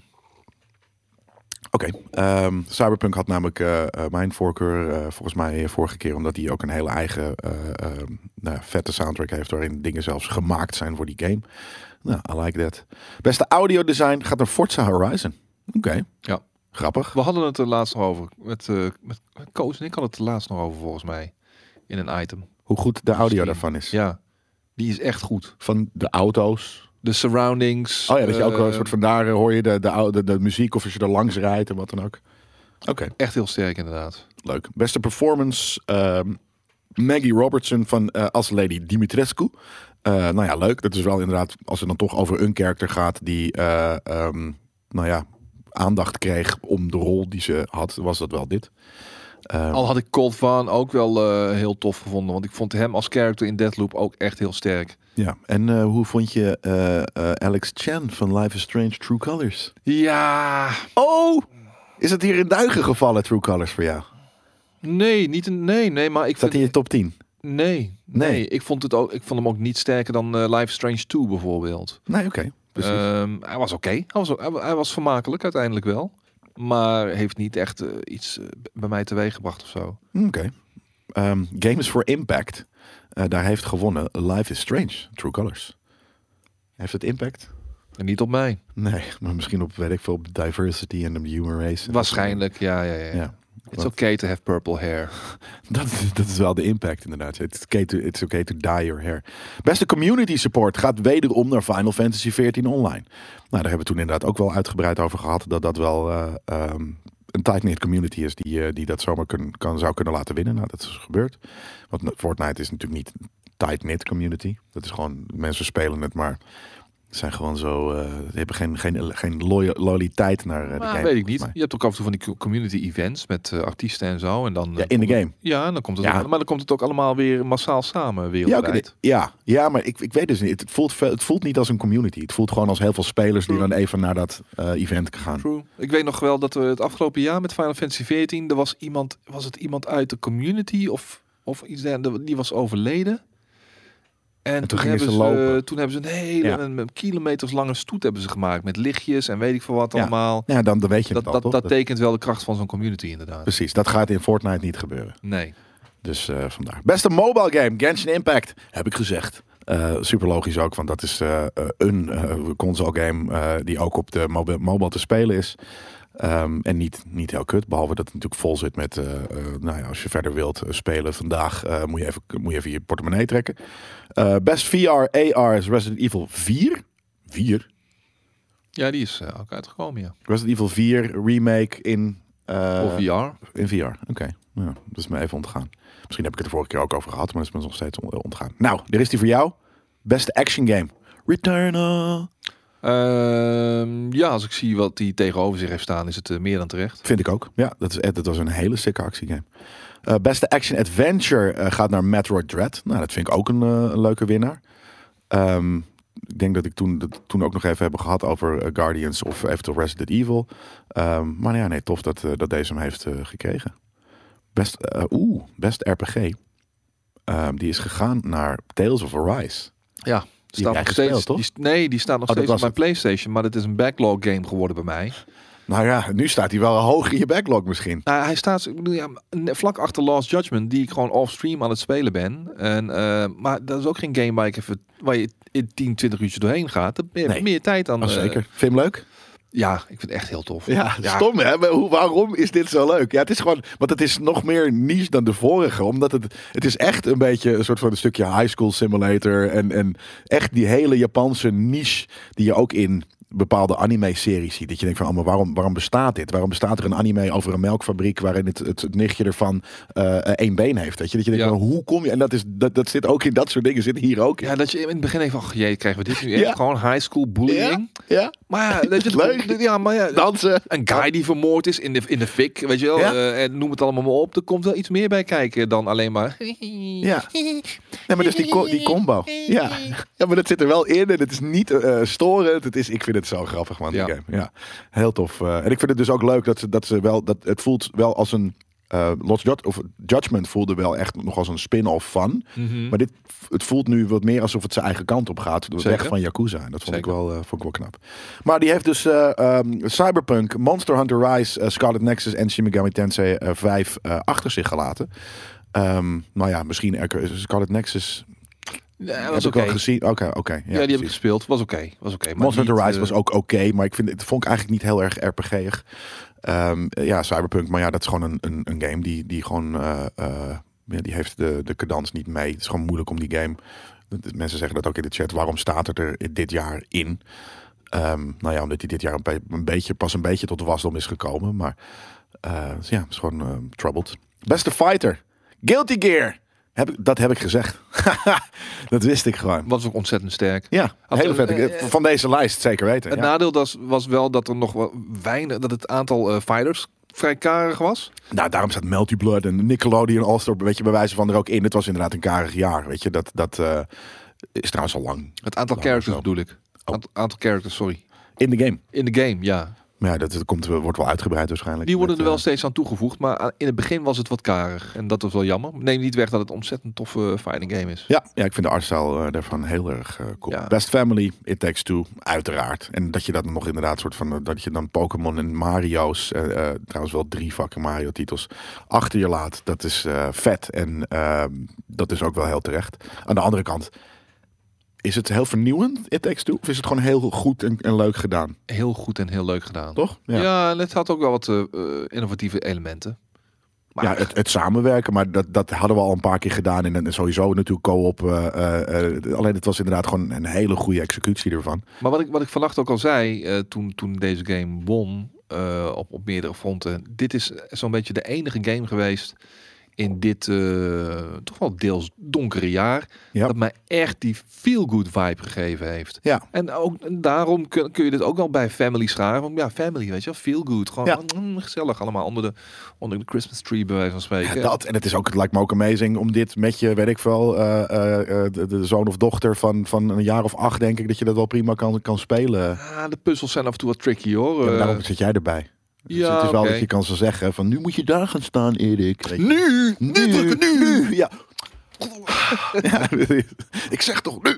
Speaker 1: Oké, ehm, Cyberpunk had namelijk eh, eh, mijn voorkeur eh, volgens mij vorige keer, omdat hij ook een hele eigen eh, ehm, nou ja, vette soundtrack heeft, waarin dingen zelfs gemaakt zijn voor die game. Nou, I like that. Beste audiodesign gaat naar Forza Horizon. Oké,
Speaker 2: Ja.
Speaker 1: grappig.
Speaker 2: We hadden het er laatst nog over. Met, eh, met met Koos en ik hadden het er laatst nog over, volgens mij. In een item.
Speaker 1: Hoe goed de audio
Speaker 2: Misschien.
Speaker 1: daarvan is.
Speaker 2: Ja, die is echt goed.
Speaker 1: Van de auto's.
Speaker 2: De surroundings.
Speaker 1: Oh ja, dat je ook wel een
Speaker 2: eh,
Speaker 1: soort van daar eh, hoor je de, de, ou- de, de muziek of als je er langs rijdt en wat dan ook. Oké,
Speaker 2: Echt heel sterk, inderdaad.
Speaker 1: leuk. Beste performance ehm, Maggie Robertson van, eh, als Lady Dimitrescu. Eh, nou ja, leuk. Dat is wel inderdaad, als het dan toch over een karakter gaat die, eh, ehm, nou ja, aandacht kreeg om de rol die ze had, was dat wel dit. Ehm,
Speaker 2: Al had ik Colt Van ook wel eh, heel tof gevonden. Want ik vond hem als character in Deadloop ook echt heel sterk.
Speaker 1: Ja, en eh, hoe vond je eh, eh, Alex Chan van Life is Strange True Colors?
Speaker 2: Ja,
Speaker 1: Oh! Is het hier in duigen gevallen, True Colors, voor jou?
Speaker 2: nee, niet een nee, nee, maar ik
Speaker 1: Staat
Speaker 2: vind
Speaker 1: hij in je top 10?
Speaker 2: nee, nee,
Speaker 1: Nee.
Speaker 2: ik vond het ook, ik vond hem ook niet sterker dan eh, Life is Strange 2 bijvoorbeeld.
Speaker 1: Nee, oké. Precies.
Speaker 2: Ehm, hij was oké, hij was, hij, wa- hij was vermakelijk uiteindelijk wel, maar heeft niet echt eh, iets eh, b- bij mij teweeggebracht of zo.
Speaker 1: Hmm, Oké. Ehm, Games for Impact. Eh, daar heeft gewonnen Life is Strange, True Colors. Heeft het impact?
Speaker 2: En niet op mij.
Speaker 1: Nee, maar misschien op, weet ik veel, op diversity en de human race.
Speaker 2: Waarschijnlijk, ja, ja, ja.
Speaker 1: Ja.
Speaker 2: It's okay to have purple hair.
Speaker 1: Dat, is- dat is wel de impact inderdaad. It's okay, to, it's okay to dye your hair. Beste community support gaat wederom naar Final Fantasy XIV online. Nou, daar hebben we toen inderdaad ook wel uitgebreid over gehad. Dat dat wel eh, ehm, een tight-knit community is die, eh, die dat zomaar kun, kan, zou kunnen laten winnen. Nou, dat is gebeurd. Want Fortnite is natuurlijk niet een tight-knit community. Dat is gewoon, mensen spelen het maar... Zijn gewoon zo, eh die hebben geen, geen, geen loya- loyaliteit naar eh, de
Speaker 2: Maar
Speaker 1: game.
Speaker 2: weet ik
Speaker 1: volgens
Speaker 2: niet.
Speaker 1: mij.
Speaker 2: Je hebt ook af en toe van die co- community events met eh, artiesten en zo. En dan, eh,
Speaker 1: Ja, in de
Speaker 2: komt-
Speaker 1: game.
Speaker 2: Ja, en dan komt het
Speaker 1: Ja.
Speaker 2: ook- maar dan komt het ook allemaal weer massaal samen
Speaker 1: Ja, oké,
Speaker 2: wereldwijd.
Speaker 1: dit- ja, ja, maar ik, ik weet dus niet. Het voelt, ve- het voelt niet als een community. Het voelt gewoon als heel veel spelers die dan even naar dat eh, event gaan.
Speaker 2: True. Ik weet nog wel dat we het afgelopen jaar met Final Fantasy 14, er was iemand, was het iemand uit de community of, of iets dergelijks, die was overleden. En, toen,
Speaker 1: gingen
Speaker 2: hebben
Speaker 1: ze
Speaker 2: ze,
Speaker 1: lopen.
Speaker 2: toen hebben ze een hele
Speaker 1: Ja.
Speaker 2: een, een kilometers lange stoet hebben ze gemaakt met lichtjes en weet ik veel wat
Speaker 1: Ja.
Speaker 2: allemaal.
Speaker 1: Nou Ja, dan, dan weet je
Speaker 2: Dat,
Speaker 1: het al,
Speaker 2: dat,
Speaker 1: toch?
Speaker 2: dat, tekent wel de kracht van zo'n community inderdaad.
Speaker 1: Precies, dat gaat in Fortnite niet gebeuren.
Speaker 2: Nee.
Speaker 1: Dus eh, vandaar. Beste mobile game, Genshin Impact, heb ik gezegd. Eh, super logisch ook, want dat is eh, eh, een eh, console game eh, die ook op de mobi- mobile te spelen is. Ehm, en niet, niet heel kut, behalve dat het natuurlijk vol zit met, eh, eh, nou ja, als je verder wilt eh, spelen vandaag, eh, moet, je even, moet je even je portemonnee trekken. Eh, best VR, AR is Resident Evil 4. 4?
Speaker 2: Ja, die is eh, ook uitgekomen, ja.
Speaker 1: Resident Evil 4 remake in... eh,
Speaker 2: Of VR.
Speaker 1: in VR, oké. Ja, dat is me even ontgaan. Misschien heb ik het de vorige keer ook over gehad, maar dat is me nog steeds on- ontgaan. Nou, er is die voor jou. Beste action game. Returnal.
Speaker 2: Ehm, ja, als ik zie wat die tegenover zich heeft staan, is het eh, meer dan terecht.
Speaker 1: Vind ik ook. Ja, dat, is, dat was een hele sikke actiegame. Eh, beste action adventure eh, gaat naar Metroid Dread. Nou, dat vind ik ook een, eh, een leuke winnaar. Ehm, ik denk dat ik toen, dat toen ook nog even hebben gehad over eh, Guardians of eventueel Resident Evil. Ehm, maar ja, nee, tof dat, eh, dat deze hem heeft eh, gekregen. Best, eh, oeh, best RPG. Ehm, die is gegaan naar Tales of Arise.
Speaker 2: Ja,
Speaker 1: Die heb jij
Speaker 2: nog
Speaker 1: gespeeld,
Speaker 2: steeds,
Speaker 1: toch?
Speaker 2: die s- nee, die staat nog
Speaker 1: Oh, dat
Speaker 2: steeds
Speaker 1: was
Speaker 2: op mijn
Speaker 1: het.
Speaker 2: PlayStation, maar het is een backlog game geworden bij mij.
Speaker 1: Nou ja, nu staat hij wel hoog in je backlog misschien.
Speaker 2: Nou, hij staat ik bedoel, ja, n- vlak achter Last Judgment, die ik gewoon off-stream aan het spelen ben. En, eh, maar dat is ook geen game waar, ik even, waar je in 10, 20 uurtjes doorheen gaat. Dan ben je
Speaker 1: Nee.
Speaker 2: meer tijd dan...
Speaker 1: Oh,
Speaker 2: eh,
Speaker 1: zeker. Vind je hem leuk?
Speaker 2: ja, ik vind het echt heel tof.
Speaker 1: Ja, stom hè? Maar hoe, waarom is dit zo leuk? Ja, het is gewoon, want het is nog meer niche dan de vorige. Omdat het, het is echt een beetje een soort van een stukje high school simulator. En, en echt die hele Japanse niche die je ook in bepaalde anime-series ziet. Dat je denkt van, oh, maar waarom, waarom bestaat dit? Waarom bestaat er een anime over een melkfabriek waarin het, het, het nichtje ervan eh, één been heeft? Dat je, dat je denkt,
Speaker 2: Ja.
Speaker 1: van, hoe kom je? En dat, is, dat, dat zit ook in dat soort dingen, zit hier ook in.
Speaker 2: Ja, dat je in het begin denkt van, ach jee, krijgen we dit nu echt?
Speaker 1: Ja.
Speaker 2: Gewoon high school bullying.
Speaker 1: ja?
Speaker 2: Maar ja, dat je,
Speaker 1: Leuk.
Speaker 2: Ja, maar ja,
Speaker 1: Dansen.
Speaker 2: een guy die vermoord is in de, in de fik, weet je wel.
Speaker 1: Ja.
Speaker 2: eh, en noem het allemaal maar op. Er komt wel iets meer bij kijken dan alleen maar...
Speaker 1: Ja. Nee, maar dus die, co- die combo. Ja. ja, maar dat zit er wel in en het is niet eh, storend. Het is, ik vind het zo grappig, man. die
Speaker 2: Ja.
Speaker 1: game. ja. Heel tof. eh, en ik vind het dus ook leuk dat ze, dat ze wel, dat het voelt wel als een. eh Lost Jud- of Judgment voelde wel echt nog als een spin-off van. Maar dit, het voelt nu wat meer alsof het zijn eigen kant op gaat. De weg
Speaker 2: Mhm. Zeker.
Speaker 1: van Yakuza. En dat vond ik,
Speaker 2: Zeker.
Speaker 1: wel, eh, vond ik wel knap. Maar die heeft dus eh, ehm, Cyberpunk, Monster Hunter Rise, eh, Scarlet Nexus en Shin Megami Tensei eh, 5 eh, achter zich gelaten. Ehm nou ja, misschien er- Scarlet Nexus
Speaker 2: Ja,
Speaker 1: dat
Speaker 2: dat was
Speaker 1: heb
Speaker 2: oké.
Speaker 1: ik wel gezien. Oké, oké.
Speaker 2: ja, die heb ik gespeeld. Was oké. Was oké. maar
Speaker 1: Monster
Speaker 2: niet,
Speaker 1: Hunter Rise
Speaker 2: eh,
Speaker 1: was ook oké, maar ik vind, het vond ik eigenlijk niet heel erg RPG'ig. Ehm, ja, Cyberpunk, maar ja, dat is gewoon een, een, een game die, die gewoon... eh, eh, ja, die heeft de, de cadans niet mee. Het is gewoon moeilijk om die game... dat- dat- Mensen zeggen dat ook in de chat. Waarom staat het er dit jaar in? Ehm, nou ja, omdat hij dit jaar een, be- een beetje, pas een beetje tot wasdom is gekomen. Maar eh, dus ja, het is gewoon ehm, troubled. Beste fighter. Guilty Gear. Heb ik, dat heb ik gezegd. dat wist ik gewoon.
Speaker 2: Was ook ontzettend sterk.
Speaker 1: Ja, een hele vette
Speaker 2: eh, Nou,
Speaker 1: game. van deze lijst zeker weten.
Speaker 2: Het
Speaker 1: Ja.
Speaker 2: nadeel das- was wel dat er nog wel weinig, dat het aantal eh, fighters vrij karig was.
Speaker 1: Nou, daarom staat Melty Blood en Nickelodeon All-Star, weet je, bij wijze van er ook in. Het was inderdaad een karig jaar, weet je. Dat, dat eh, is trouwens al lang
Speaker 2: Het aantal
Speaker 1: Nou,
Speaker 2: characters
Speaker 1: zo. Oh.
Speaker 2: bedoel ik. Aant- aantal characters, sorry.
Speaker 1: in de game.
Speaker 2: In de game, ja.
Speaker 1: Maar ja, dat, dat komt, wordt wel uitgebreid waarschijnlijk.
Speaker 2: Die worden
Speaker 1: Met,
Speaker 2: er wel
Speaker 1: eh,
Speaker 2: steeds aan toegevoegd, maar aan- in het begin was het wat karig. En dat was wel jammer. Neem niet weg dat het een ontzettend toffe eh, fighting game is.
Speaker 1: ja, ja, ik vind de artstyle eh, daarvan heel erg eh, cool.
Speaker 2: Ja.
Speaker 1: Best Family, It Takes Two, uiteraard. En dat je dat nog inderdaad soort van, eh, dat je dan Pokémon en Mario's, eh, eh, trouwens wel drie fucking Mario titels, achter je laat. Dat is eh, vet en ehm, dat is ook wel heel terecht. Aan de andere kant, is het heel vernieuwend, It Takes Two? Of is het gewoon heel goed en, en leuk gedaan,
Speaker 2: Heel goed en heel leuk gedaan.
Speaker 1: toch?
Speaker 2: Ja, en het had ook wel wat eh, eh, innovatieve elementen. Maar
Speaker 1: Ja, het, het samenwerken, maar dat, dat hadden we al een paar keer gedaan. En dan sowieso natuurlijk co-op. eh, eh, eh, alleen het was inderdaad gewoon een hele goede executie ervan.
Speaker 2: Maar wat ik, wat ik vannacht ook al zei, eh, toen, toen deze game won eh, op, op meerdere fronten. Dit is zo'n beetje de enige game geweest in dit eh, toch wel deels donkere jaar.
Speaker 1: Ja.
Speaker 2: Dat mij echt die feel-good vibe gegeven heeft.
Speaker 1: Ja.
Speaker 2: En ook en daarom kun, kun je dit ook wel bij family scharen. Want ja, family, weet je wel, feel-good. Gewoon mm, gezellig allemaal onder de, onder de Christmas tree bij wijze van
Speaker 1: Ja,
Speaker 2: spreken.
Speaker 1: dat, en het is ook, het lijkt me ook amazing om dit met je, weet ik veel, eh, eh, eh, de, de zoon of dochter van, van een jaar of acht, denk ik, dat je dat wel prima kan, kan spelen.
Speaker 2: Ah, de puzzels zijn af en toe wat tricky
Speaker 1: Ja,
Speaker 2: hoor.
Speaker 1: maar
Speaker 2: Eh,
Speaker 1: daarom zit jij erbij. Dus
Speaker 2: ja,
Speaker 1: het is wel
Speaker 2: oké.
Speaker 1: dat je kan zo zeggen van, nu moet je daar gaan staan, Erik. Weet je.
Speaker 2: Nu!
Speaker 1: Nu, nu, ja. ja. Ik zeg toch nu.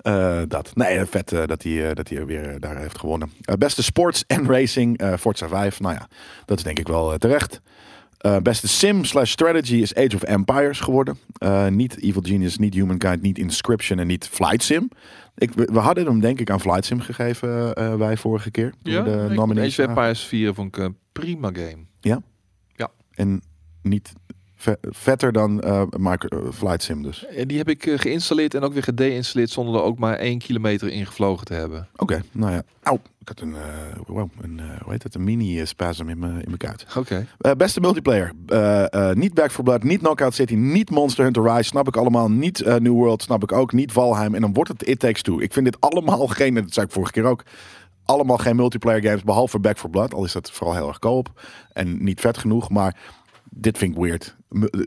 Speaker 1: Eh, dat. Nee, eh, vet eh, dat hij eh, dat hij weer eh, daar heeft gewonnen. Eh, beste sports en racing, eh, Forza 5. Nou ja, dat is denk ik wel eh, terecht. Eh, beste sim slash strategy is Age of Empires geworden. Eh, niet Evil Genius, niet Humankind, niet Inscription en niet Flight Sim. Ik, we we hadden hem denk ik aan Flight Sim gegeven eh, eh, wij vorige keer. toen
Speaker 2: Ja,
Speaker 1: we de
Speaker 2: de
Speaker 1: nominees
Speaker 2: Age of
Speaker 1: zagen.
Speaker 2: Empires 4 vond ik een prima game.
Speaker 1: En niet ve- vetter dan eh Micro- eh, Flight Sim dus.
Speaker 2: En die heb ik eh, geïnstalleerd en ook weer gedeinstalleerd zonder er ook maar één kilometer in gevlogen te hebben.
Speaker 1: Oké, nou ja. Au, ik had een, eh, wow, een eh, hoe heet het, een mini-spasm in mijn in mijn kuit.
Speaker 2: Oké.
Speaker 1: Eh, beste multiplayer. Eh, eh, niet Back for Blood, niet Knockout City, niet Monster Hunter Rise. Snap ik allemaal. Niet eh, New World, snap ik ook. Niet Valheim. En dan wordt het It Takes Two. Ik vind dit allemaal geen, en dat zei ik vorige keer ook, allemaal geen multiplayer games. Behalve Back for Blood. Al is dat vooral heel erg koop. En niet vet genoeg. Maar dit vind ik weird. M- eh,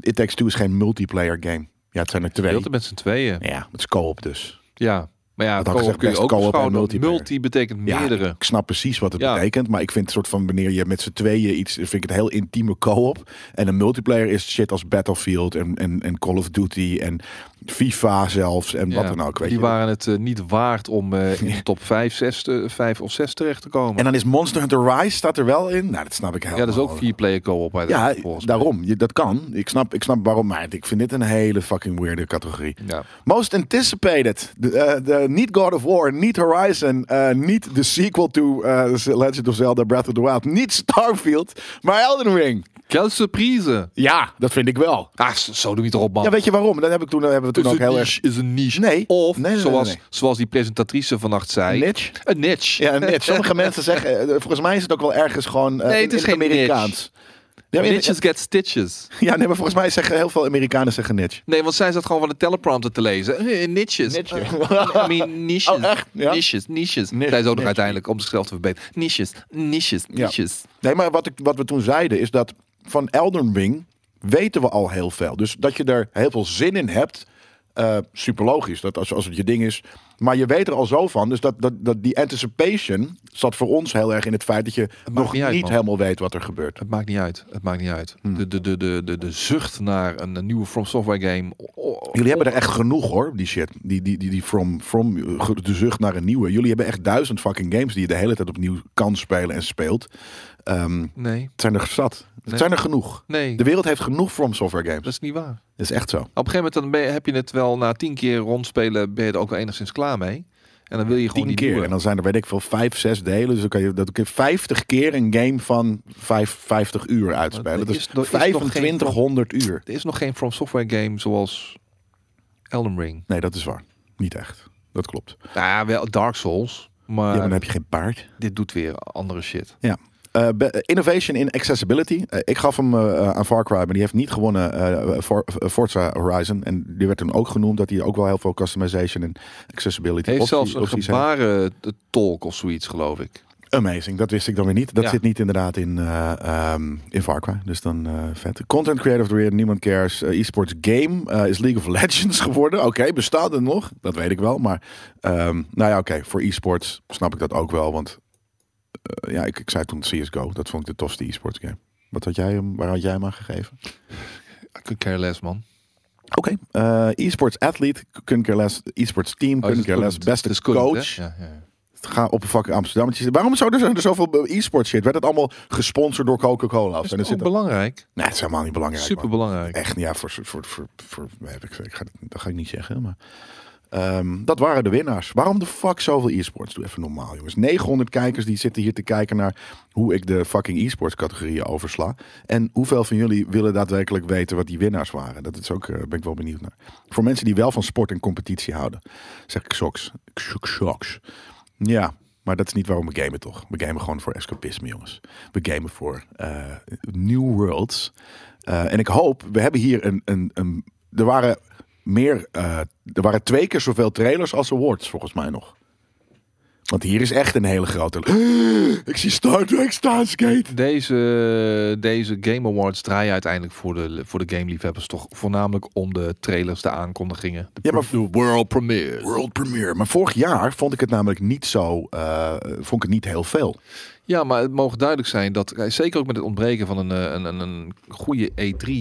Speaker 1: It Takes Two is geen multiplayer game. Ja, het zijn er twee.
Speaker 2: Speelt het met z'n tweeën.
Speaker 1: Ja, het is co-op dus.
Speaker 2: Ja. Maar ja,
Speaker 1: Dat had
Speaker 2: co
Speaker 1: gezegd,
Speaker 2: kun je
Speaker 1: best
Speaker 2: ook
Speaker 1: co-op en
Speaker 2: beschouwen.
Speaker 1: multiplayer.
Speaker 2: Multi betekent
Speaker 1: Ja,
Speaker 2: meerdere.
Speaker 1: Ik snap precies wat het
Speaker 2: Ja.
Speaker 1: betekent. Maar ik vind het soort van wanneer je met z'n tweeën iets. Vind ik het heel intieme co-op. En een multiplayer is shit als Battlefield en, en, en Call of Duty en FIFA zelfs. En wat
Speaker 2: Ja.
Speaker 1: dan ook. Weet
Speaker 2: die
Speaker 1: je.
Speaker 2: waren het eh, niet waard om eh, in de top 5, 6, 5 of 6 terecht te komen.
Speaker 1: En dan is Monster Hunter Rise staat er wel in. Nou, dat snap ik
Speaker 2: ja,
Speaker 1: helemaal.
Speaker 2: dat is ook vier player co-op.
Speaker 1: Ja,
Speaker 2: uiteraard, volgens mij.
Speaker 1: daarom. Je, dat kan. Ik snap, ik snap waarom. Maar ik vind dit een hele fucking weirde categorie.
Speaker 2: Ja.
Speaker 1: Most anticipated. De, eh, de- niet God of War, niet Horizon, eh, niet de sequel to eh, Legend of Zelda Breath of the Wild, niet Starfield, maar Elden Ring.
Speaker 2: Quelle surprise.
Speaker 1: Ja, dat vind ik wel.
Speaker 2: Ah, zo zo doe je het erop, man.
Speaker 1: Ja, weet je waarom? Dat heb ik toen, dat hebben we toen
Speaker 2: Is
Speaker 1: ook
Speaker 2: een
Speaker 1: heel erg...
Speaker 2: niche Dus is een niche.
Speaker 1: Nee.
Speaker 2: Of,
Speaker 1: Nee, nee, nee,
Speaker 2: zoals,
Speaker 1: nee.
Speaker 2: zoals die presentatrice vannacht zei...
Speaker 1: Een niche?
Speaker 2: Een niche.
Speaker 1: Ja, een niche. Sommige mensen zeggen... eh, Volgens mij is het ook wel ergens gewoon... eh,
Speaker 2: Nee, het
Speaker 1: in-
Speaker 2: is
Speaker 1: in het
Speaker 2: geen
Speaker 1: Amerikaans. Ja, maar in-
Speaker 2: Niches get stitches.
Speaker 1: ja, nee, maar volgens mij zeggen heel veel Amerikanen zeggen niche.
Speaker 2: Nee, want zij zat gewoon van de teleprompter te lezen. Eh, eh, Niches. Eh, I mean, niches.
Speaker 1: Oh, echt? Ja?
Speaker 2: Niches, niches.
Speaker 1: Niche,
Speaker 2: zij zo nog
Speaker 1: niche.
Speaker 2: uiteindelijk om zichzelf te verbeteren. Niches, niches,
Speaker 1: Ja.
Speaker 2: niches.
Speaker 1: Nee, maar wat, ik, wat we toen zeiden is dat van Elden Ring weten we al heel veel. Dus dat je er heel veel zin in hebt, eh super logisch. Dat als, als het je ding is. Maar je weet er al zo van. Dus dat, dat, dat die anticipation zat voor ons heel erg in het feit dat je nog
Speaker 2: niet
Speaker 1: niet,
Speaker 2: uit, man.
Speaker 1: helemaal weet wat er gebeurt.
Speaker 2: Het maakt niet uit. Het maakt niet uit.
Speaker 1: Hmm.
Speaker 2: De, de, de, de, de, de zucht naar een, een nieuwe From Software game. Oh, oh,
Speaker 1: Jullie hebben er echt genoeg hoor, die shit. Die, die, die, die from, from eh, ge- de zucht naar een nieuwe. Jullie hebben echt duizend fucking games die je de hele tijd opnieuw kan spelen en speelt. Ehm,
Speaker 2: Nee,
Speaker 1: het zijn er zat. Het
Speaker 2: Nee.
Speaker 1: zijn er genoeg.
Speaker 2: nee.
Speaker 1: De wereld heeft genoeg From Software games.
Speaker 2: Dat is niet waar.
Speaker 1: Dat is echt zo.
Speaker 2: Op een gegeven moment dan ben je- heb je het wel na tien keer rondspelen... ben je er ook wel enigszins klaar mee. En dan wil je gewoon
Speaker 1: tien
Speaker 2: die
Speaker 1: keer.
Speaker 2: nieuwe.
Speaker 1: En dan zijn er, weet ik veel, vijf, zes delen. Dus dan kan je, dat kun je vijftig keer een game van vijf, vijftig uur
Speaker 2: er
Speaker 1: uitspelen. Dus
Speaker 2: is- er is nog geen-
Speaker 1: 2500 uur.
Speaker 2: Er is nog geen From Software game zoals Elden Ring.
Speaker 1: Nee, dat is waar. Niet echt. Dat klopt.
Speaker 2: Nou, ja, wel Dark Souls.
Speaker 1: Ja,
Speaker 2: Maar
Speaker 1: maar dan heb je geen paard.
Speaker 2: dit doet weer andere shit.
Speaker 1: Eh, be- innovation in accessibility. Eh, ik gaf hem eh, aan Far Cry, maar die heeft niet gewonnen eh, For- Forza Horizon. En die werd toen ook genoemd dat hij ook wel heel veel customization en accessibility
Speaker 2: Heeft
Speaker 1: optie-
Speaker 2: zelfs een
Speaker 1: opties heeft.
Speaker 2: gebaren eh, tolk of zoiets, geloof ik.
Speaker 1: Amazing, dat wist ik dan weer niet. Dat
Speaker 2: Ja.
Speaker 1: zit niet inderdaad in, eh ehm, in Far Cry, dus dan eh, vet. Content Creator of the Year, niemand cares. Eh, esports Game eh, is League of Legends geworden. Oké, bestaat het nog? Dat weet ik wel, maar ehm, nou ja, oké, voor esports snap ik dat ook wel, want eh, ja, ik, ik zei toen CSGO, dat vond ik de tofste esports game. Wat had jij hem, waar had jij hem aan gegeven?
Speaker 2: I could care less, man.
Speaker 1: Oké, eh, esports athlete, couldn't care less. Esports team,
Speaker 2: Oh, is
Speaker 1: couldn't
Speaker 2: het
Speaker 1: care less.
Speaker 2: couldn't?
Speaker 1: Beste
Speaker 2: Het is couldn't,
Speaker 1: coach.
Speaker 2: hè? Ja, ja, ja.
Speaker 1: Ga op een fucking Amsterdam. Waarom zou er, er zoveel e-sport shit? Werd het allemaal gesponsord door Coca-Cola? Of
Speaker 2: Is
Speaker 1: zo?
Speaker 2: het
Speaker 1: Er
Speaker 2: ook
Speaker 1: zit een-
Speaker 2: belangrijk.
Speaker 1: Nee, het is helemaal niet belangrijk. man.
Speaker 2: Super belangrijk.
Speaker 1: Echt, ja, voor, voor, voor, voor, voor- nee, ik, ik ga, dat ga ik niet zeggen, maar... ehm, dat waren de winnaars. Waarom de fuck zoveel e-sports? Doe even normaal, jongens. 900 kijkers die zitten hier te kijken naar hoe ik de fucking e-sports categorieën oversla. En hoeveel van jullie willen daadwerkelijk weten wat die winnaars waren? Dat is ook, eh, ben ik wel benieuwd naar. Voor mensen die wel van sport en competitie houden, zeg ik shocks. Shocks. Ja, maar dat is niet waarom we gamen, toch? We gamen gewoon voor escapisme, jongens. We gamen voor eh, New Worlds. Eh, en ik hoop, we hebben hier een. een, een er waren meer. eh, er waren twee keer zoveel trailers als awards, volgens mij nog. Want hier is echt een hele grote. Ik zie Star Trek Starskate.
Speaker 2: Deze, deze Game Awards draaien uiteindelijk voor de, voor de gameliefhebbers toch voornamelijk om de trailers, de aankondigingen. De,
Speaker 1: Ja, maar-
Speaker 2: pre- de world premiere.
Speaker 1: World premiere. Maar vorig jaar vond ik het namelijk niet zo. eh, vond ik het niet heel veel.
Speaker 2: Ja, maar het mogen duidelijk zijn dat, eh, zeker ook met het ontbreken van een, eh, een, een, een goede E3,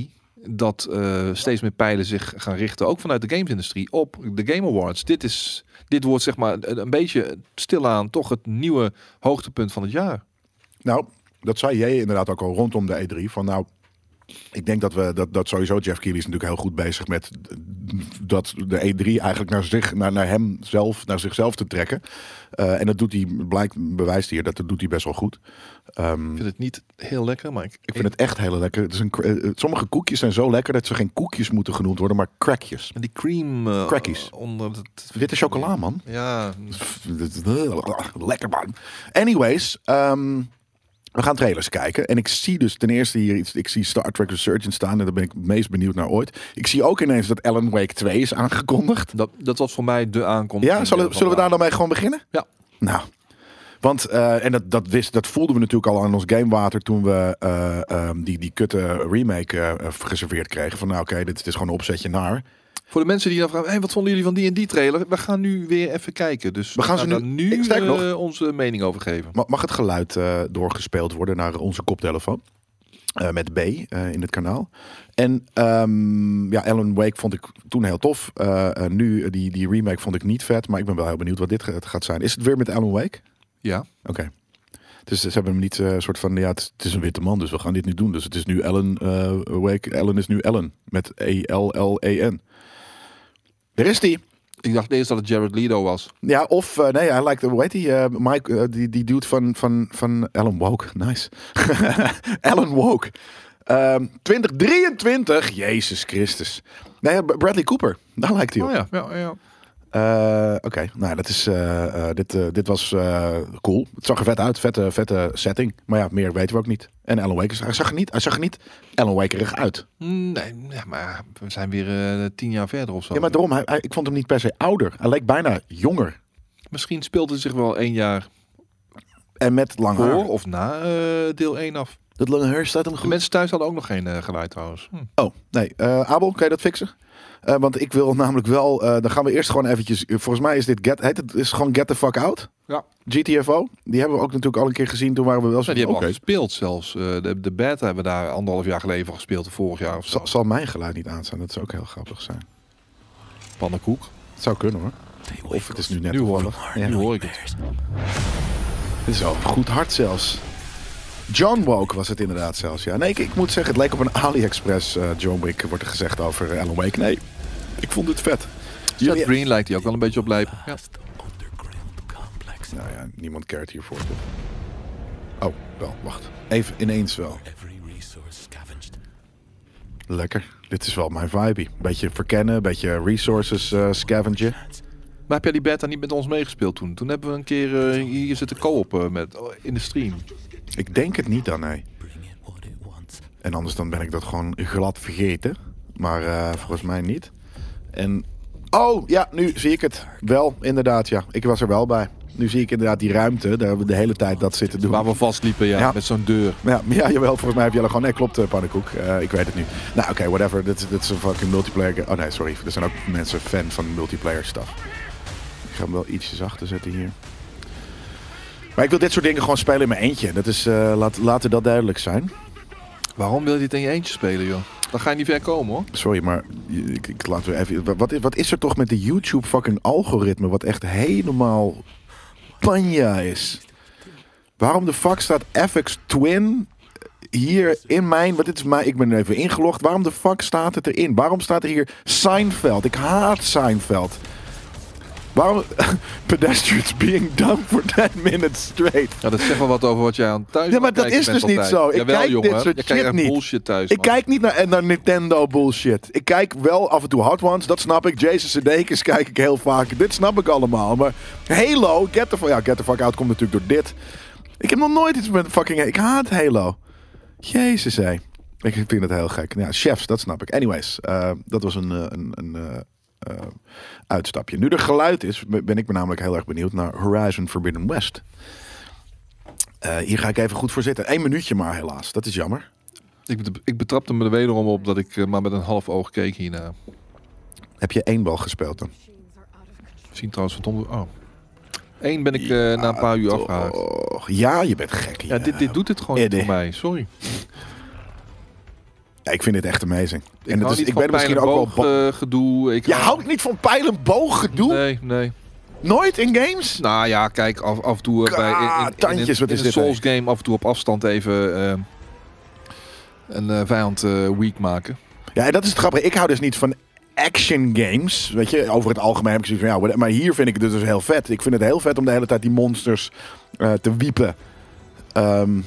Speaker 2: dat eh, steeds meer pijlen zich gaan richten, ook vanuit de gamesindustrie, op de Game Awards. Dit, is, dit wordt zeg maar een, een beetje stilaan toch het nieuwe hoogtepunt van het jaar.
Speaker 1: Nou, dat zei jij inderdaad ook al rondom de E3. Van nou, ik denk dat we dat, dat sowieso Jeff Keighley is natuurlijk heel goed bezig met d- dat de E3 eigenlijk naar zich, naar, naar hem zelf, naar zichzelf te trekken. Eh, en dat doet hij, blijkt bewijst hier dat dat doet hij best wel goed. Ehm,
Speaker 2: Ik vind het niet heel lekker, maar ik,
Speaker 1: ik vind het echt heel lekker. Het is een, cr- eh, eh, sommige koekjes zijn zo lekker dat ze geen koekjes moeten genoemd worden, maar crackjes.
Speaker 2: die cream eh,
Speaker 1: Crackies.
Speaker 2: onder het,
Speaker 1: Witte chocola, man.
Speaker 2: ja,
Speaker 1: Lekker man. Anyways, ehm, we gaan trailers kijken. En ik zie dus ten eerste hier iets. Ik zie Star Trek Resurgence staan. En daar ben ik het meest benieuwd naar ooit. Ik zie ook ineens dat Alan Wake 2 is aangekondigd.
Speaker 2: dat, dat was voor mij de aankondiging.
Speaker 1: Ja, zullen,
Speaker 2: van
Speaker 1: zullen we daar
Speaker 2: de
Speaker 1: dan mee gewoon beginnen?
Speaker 2: Ja.
Speaker 1: Nou. Want, eh, en dat, dat, wist, dat voelden we natuurlijk al aan ons gamewater toen we eh, ehm, die, die kutte remake eh, geserveerd kregen. Van nou oké, dit, dit is gewoon een opzetje naar.
Speaker 2: Voor de mensen die dan vragen, hey, wat vonden jullie van die en die trailer? We gaan nu weer even kijken. Dus
Speaker 1: We gaan ze
Speaker 2: daar
Speaker 1: nu-
Speaker 2: nu
Speaker 1: Ik- sterker nog-
Speaker 2: eh, onze mening over geven.
Speaker 1: Ma- Mag het geluid eh, doorgespeeld worden naar onze koptelefoon? Eh, met B eh, in het kanaal. En ehm, ja, Alan Wake vond ik toen heel tof. Eh, eh, nu, eh, die, die remake vond ik niet vet. Maar ik ben wel heel benieuwd wat dit gaat- gaat zijn. Is het weer met Alan Wake?
Speaker 2: Ja,
Speaker 1: Oké. Dus ze hebben hem niet eh, soort van... Ja, het, is- het is een witte man, dus we gaan dit nu doen. Dus het is nu Alan eh, Wake. Alan is nu Ellen. Met E E-L-L-E-N. Daar is die.
Speaker 2: ik dacht eerst dat het Jared Leto was.
Speaker 1: Ja, of eh, nee, hij lijkt, hoe heet die, eh, Mike, eh, die, die dude van, van, van Alan Woke. Nice. Alan Woke. Ehm, 2023, Jezus Christus. Nee, B- Bradley Cooper, daar lijkt hij op.
Speaker 2: Oh ja, ja, ja.
Speaker 1: Eh, Oké, nou dat is, eh, eh, dit, eh, dit was eh, cool. Het zag er vet uit, vette, vette setting. Maar ja, meer weten we ook niet. En Alan Wake, is- hij zag er niet, hij zag er niet Alan Wakerig uit.
Speaker 2: Nee, ja, maar we zijn weer eh, tien jaar verder of zo.
Speaker 1: Ja, maar daarom, hij, hij- ik vond hem niet per se ouder. Hij leek bijna jonger.
Speaker 2: Misschien speelt het zich wel één jaar
Speaker 1: En met lang haar.
Speaker 2: voor of na eh, deel 1 af.
Speaker 1: Dat lange haar staat hem goed.
Speaker 2: De mensen thuis hadden ook nog geen eh, geluid trouwens. Hm.
Speaker 1: Oh, nee. Eh, Abel, kan je dat fixen? Eh, want ik wil namelijk wel... eh, dan gaan we eerst gewoon eventjes... Volgens mij is dit get, heet het, is gewoon Get the Fuck Out.
Speaker 2: Ja.
Speaker 1: GTFO. Die hebben we ook natuurlijk al een keer gezien. Toen waren we wel
Speaker 2: Ja,
Speaker 1: zo
Speaker 2: die hebben we
Speaker 1: oké,
Speaker 2: al gespeeld zelfs. Eh, de, de beta hebben we daar anderhalf jaar geleden van gespeeld. Of vorig jaar of zo.
Speaker 1: oh, zal, zal mijn geluid niet aan zijn? Dat zou ook heel grappig zijn.
Speaker 2: Pannenkoek.
Speaker 1: Het zou kunnen hoor. Of het is nu net
Speaker 2: Nu hoor,
Speaker 1: toevallig.
Speaker 2: ik-
Speaker 1: Ja.
Speaker 2: nu hoor ik het.
Speaker 1: Dit is al goed hard zelfs. John Woke was het inderdaad zelfs. Ja. Nee, ik, ik moet zeggen, het leek op een AliExpress eh, John Wick wordt er gezegd over eh, Alan Wake. Nee, ik vond dit vet.
Speaker 2: Seth
Speaker 1: Jullie-
Speaker 2: Green lijkt hij ook wel een beetje op lijpen. Ja.
Speaker 3: underground complex.
Speaker 1: Nou ja, niemand cared hiervoor. Toch? Oh, wel, wacht. Even ineens wel.
Speaker 3: Every resource scavenged.
Speaker 1: Lekker. Dit is wel mijn vibe. Beetje verkennen, beetje resources eh scavengen.
Speaker 3: Chance.
Speaker 2: Maar heb jij die beta niet met ons meegespeeld toen? Toen hebben we een keer eh, hier zitten co-op eh, met, oh, in de stream.
Speaker 1: Ik denk het niet dan, nee.
Speaker 3: Bring it what it wants.
Speaker 1: En anders dan ben ik dat gewoon glad vergeten. Maar eh, volgens mij niet. En. Oh, ja, nu zie ik het. Wel, inderdaad, ja. Ik was er wel bij. Nu zie ik inderdaad die ruimte. Daar hebben we de hele tijd dat zitten doen.
Speaker 2: Waar we vastliepen, ja,
Speaker 1: Ja.
Speaker 2: met zo'n deur.
Speaker 1: Ja, ja, jawel, volgens mij heb jullie gewoon... Nee, klopt, eh, Pannenkoek. Eh, ik weet het nu. Nou, oké, whatever. Dit is- dit is een fucking multiplayer... ge- Oh nee, sorry. Er zijn ook mensen fan van multiplayer stuff. Ik ga hem wel ietsje zachter zetten hier. Maar ik wil dit soort dingen gewoon spelen in mijn eentje. Dat is, eh, laat, laten dat duidelijk zijn.
Speaker 2: Waarom wil je dit in je eentje spelen, joh? Dan ga je niet ver komen, hoor.
Speaker 1: Sorry, maar ik, ik laat weer even... wa- Wat, is- wat is er toch met de YouTube fucking algoritme... wat echt helemaal panja is? Waarom de fuck staat FX Twin hier in mijn... Wat dit is mijn ik ben er even ingelogd. Waarom de fuck staat het erin? Waarom staat er hier Seinfeld? Ik haat Seinfeld. Waarom... Pedestrians being dumb for 10 minutes straight.
Speaker 2: Ja, dat zegt wel wat over wat jij aan thuis
Speaker 1: Ja, maar
Speaker 2: aan het
Speaker 1: dat
Speaker 2: kijken
Speaker 1: is
Speaker 2: bent
Speaker 1: dus niet
Speaker 2: altijd.
Speaker 1: zo. Ik
Speaker 2: Jawel,
Speaker 1: kijk dit
Speaker 2: jongen.
Speaker 1: soort
Speaker 2: je kijkt
Speaker 1: shit
Speaker 2: echt
Speaker 1: niet.
Speaker 2: bullshit thuis,
Speaker 1: Ik
Speaker 2: man.
Speaker 1: kijk niet naar, naar Nintendo bullshit. Ik kijk wel af en toe Hot Ones, dat snap ik. Jason Sudeikis kijk ik heel vaak. Dit snap ik allemaal. Maar Halo, Get the, fu- ja, get the fuck out komt natuurlijk door dit. Ik heb nog nooit iets met fucking... Ik haat Halo. Jezus, hé. Ik vind het heel gek. Ja, chefs, dat snap ik. Anyways, eh, dat was een, eh, een, een eh, eh, uitstapje. Nu er geluid is, ben ben ik me namelijk heel erg benieuwd naar Horizon Forbidden West. Eh, hier ga ik even goed voor zitten. Eén minuutje maar, helaas. Dat is jammer.
Speaker 2: Ik, bet- ik betrapte me er wederom op dat ik eh, maar met een half oog keek hierna.
Speaker 1: Heb je één bal gespeeld dan?
Speaker 4: Machines are out of control.
Speaker 2: Zien trouwens van Tom... Oh. Eén ben ik eh, na een paar uur afgehaakt.
Speaker 1: Ah, Och, ja, je bent gek.
Speaker 2: Ja, dit, dit doet het gewoon niet
Speaker 1: Eddie.
Speaker 2: voor mij. Sorry.
Speaker 1: Ja, ik vind dit echt amazing.
Speaker 2: Ik hou niet van pijl en boog,
Speaker 1: ba-
Speaker 2: eh, gedoe. Ik
Speaker 1: Je houdt niet van pijl en boog gedoe?
Speaker 2: Nee, nee.
Speaker 1: Nooit in games?
Speaker 2: Nou ja, kijk, af, af en toe eh, bij in, in, in,
Speaker 1: tandjes, wat
Speaker 2: in
Speaker 1: is
Speaker 2: een
Speaker 1: dit,
Speaker 2: Souls game af en toe op afstand even eh, een eh, vijand eh, weak maken.
Speaker 1: Ja, en dat is het grappige. Ik hou dus niet van action games. Weet je, over het algemeen heb ik zoiets van ja, whatever. maar hier vind ik het dus heel vet. Ik vind het heel vet om de hele tijd die monsters eh, te wiepen. Ehm,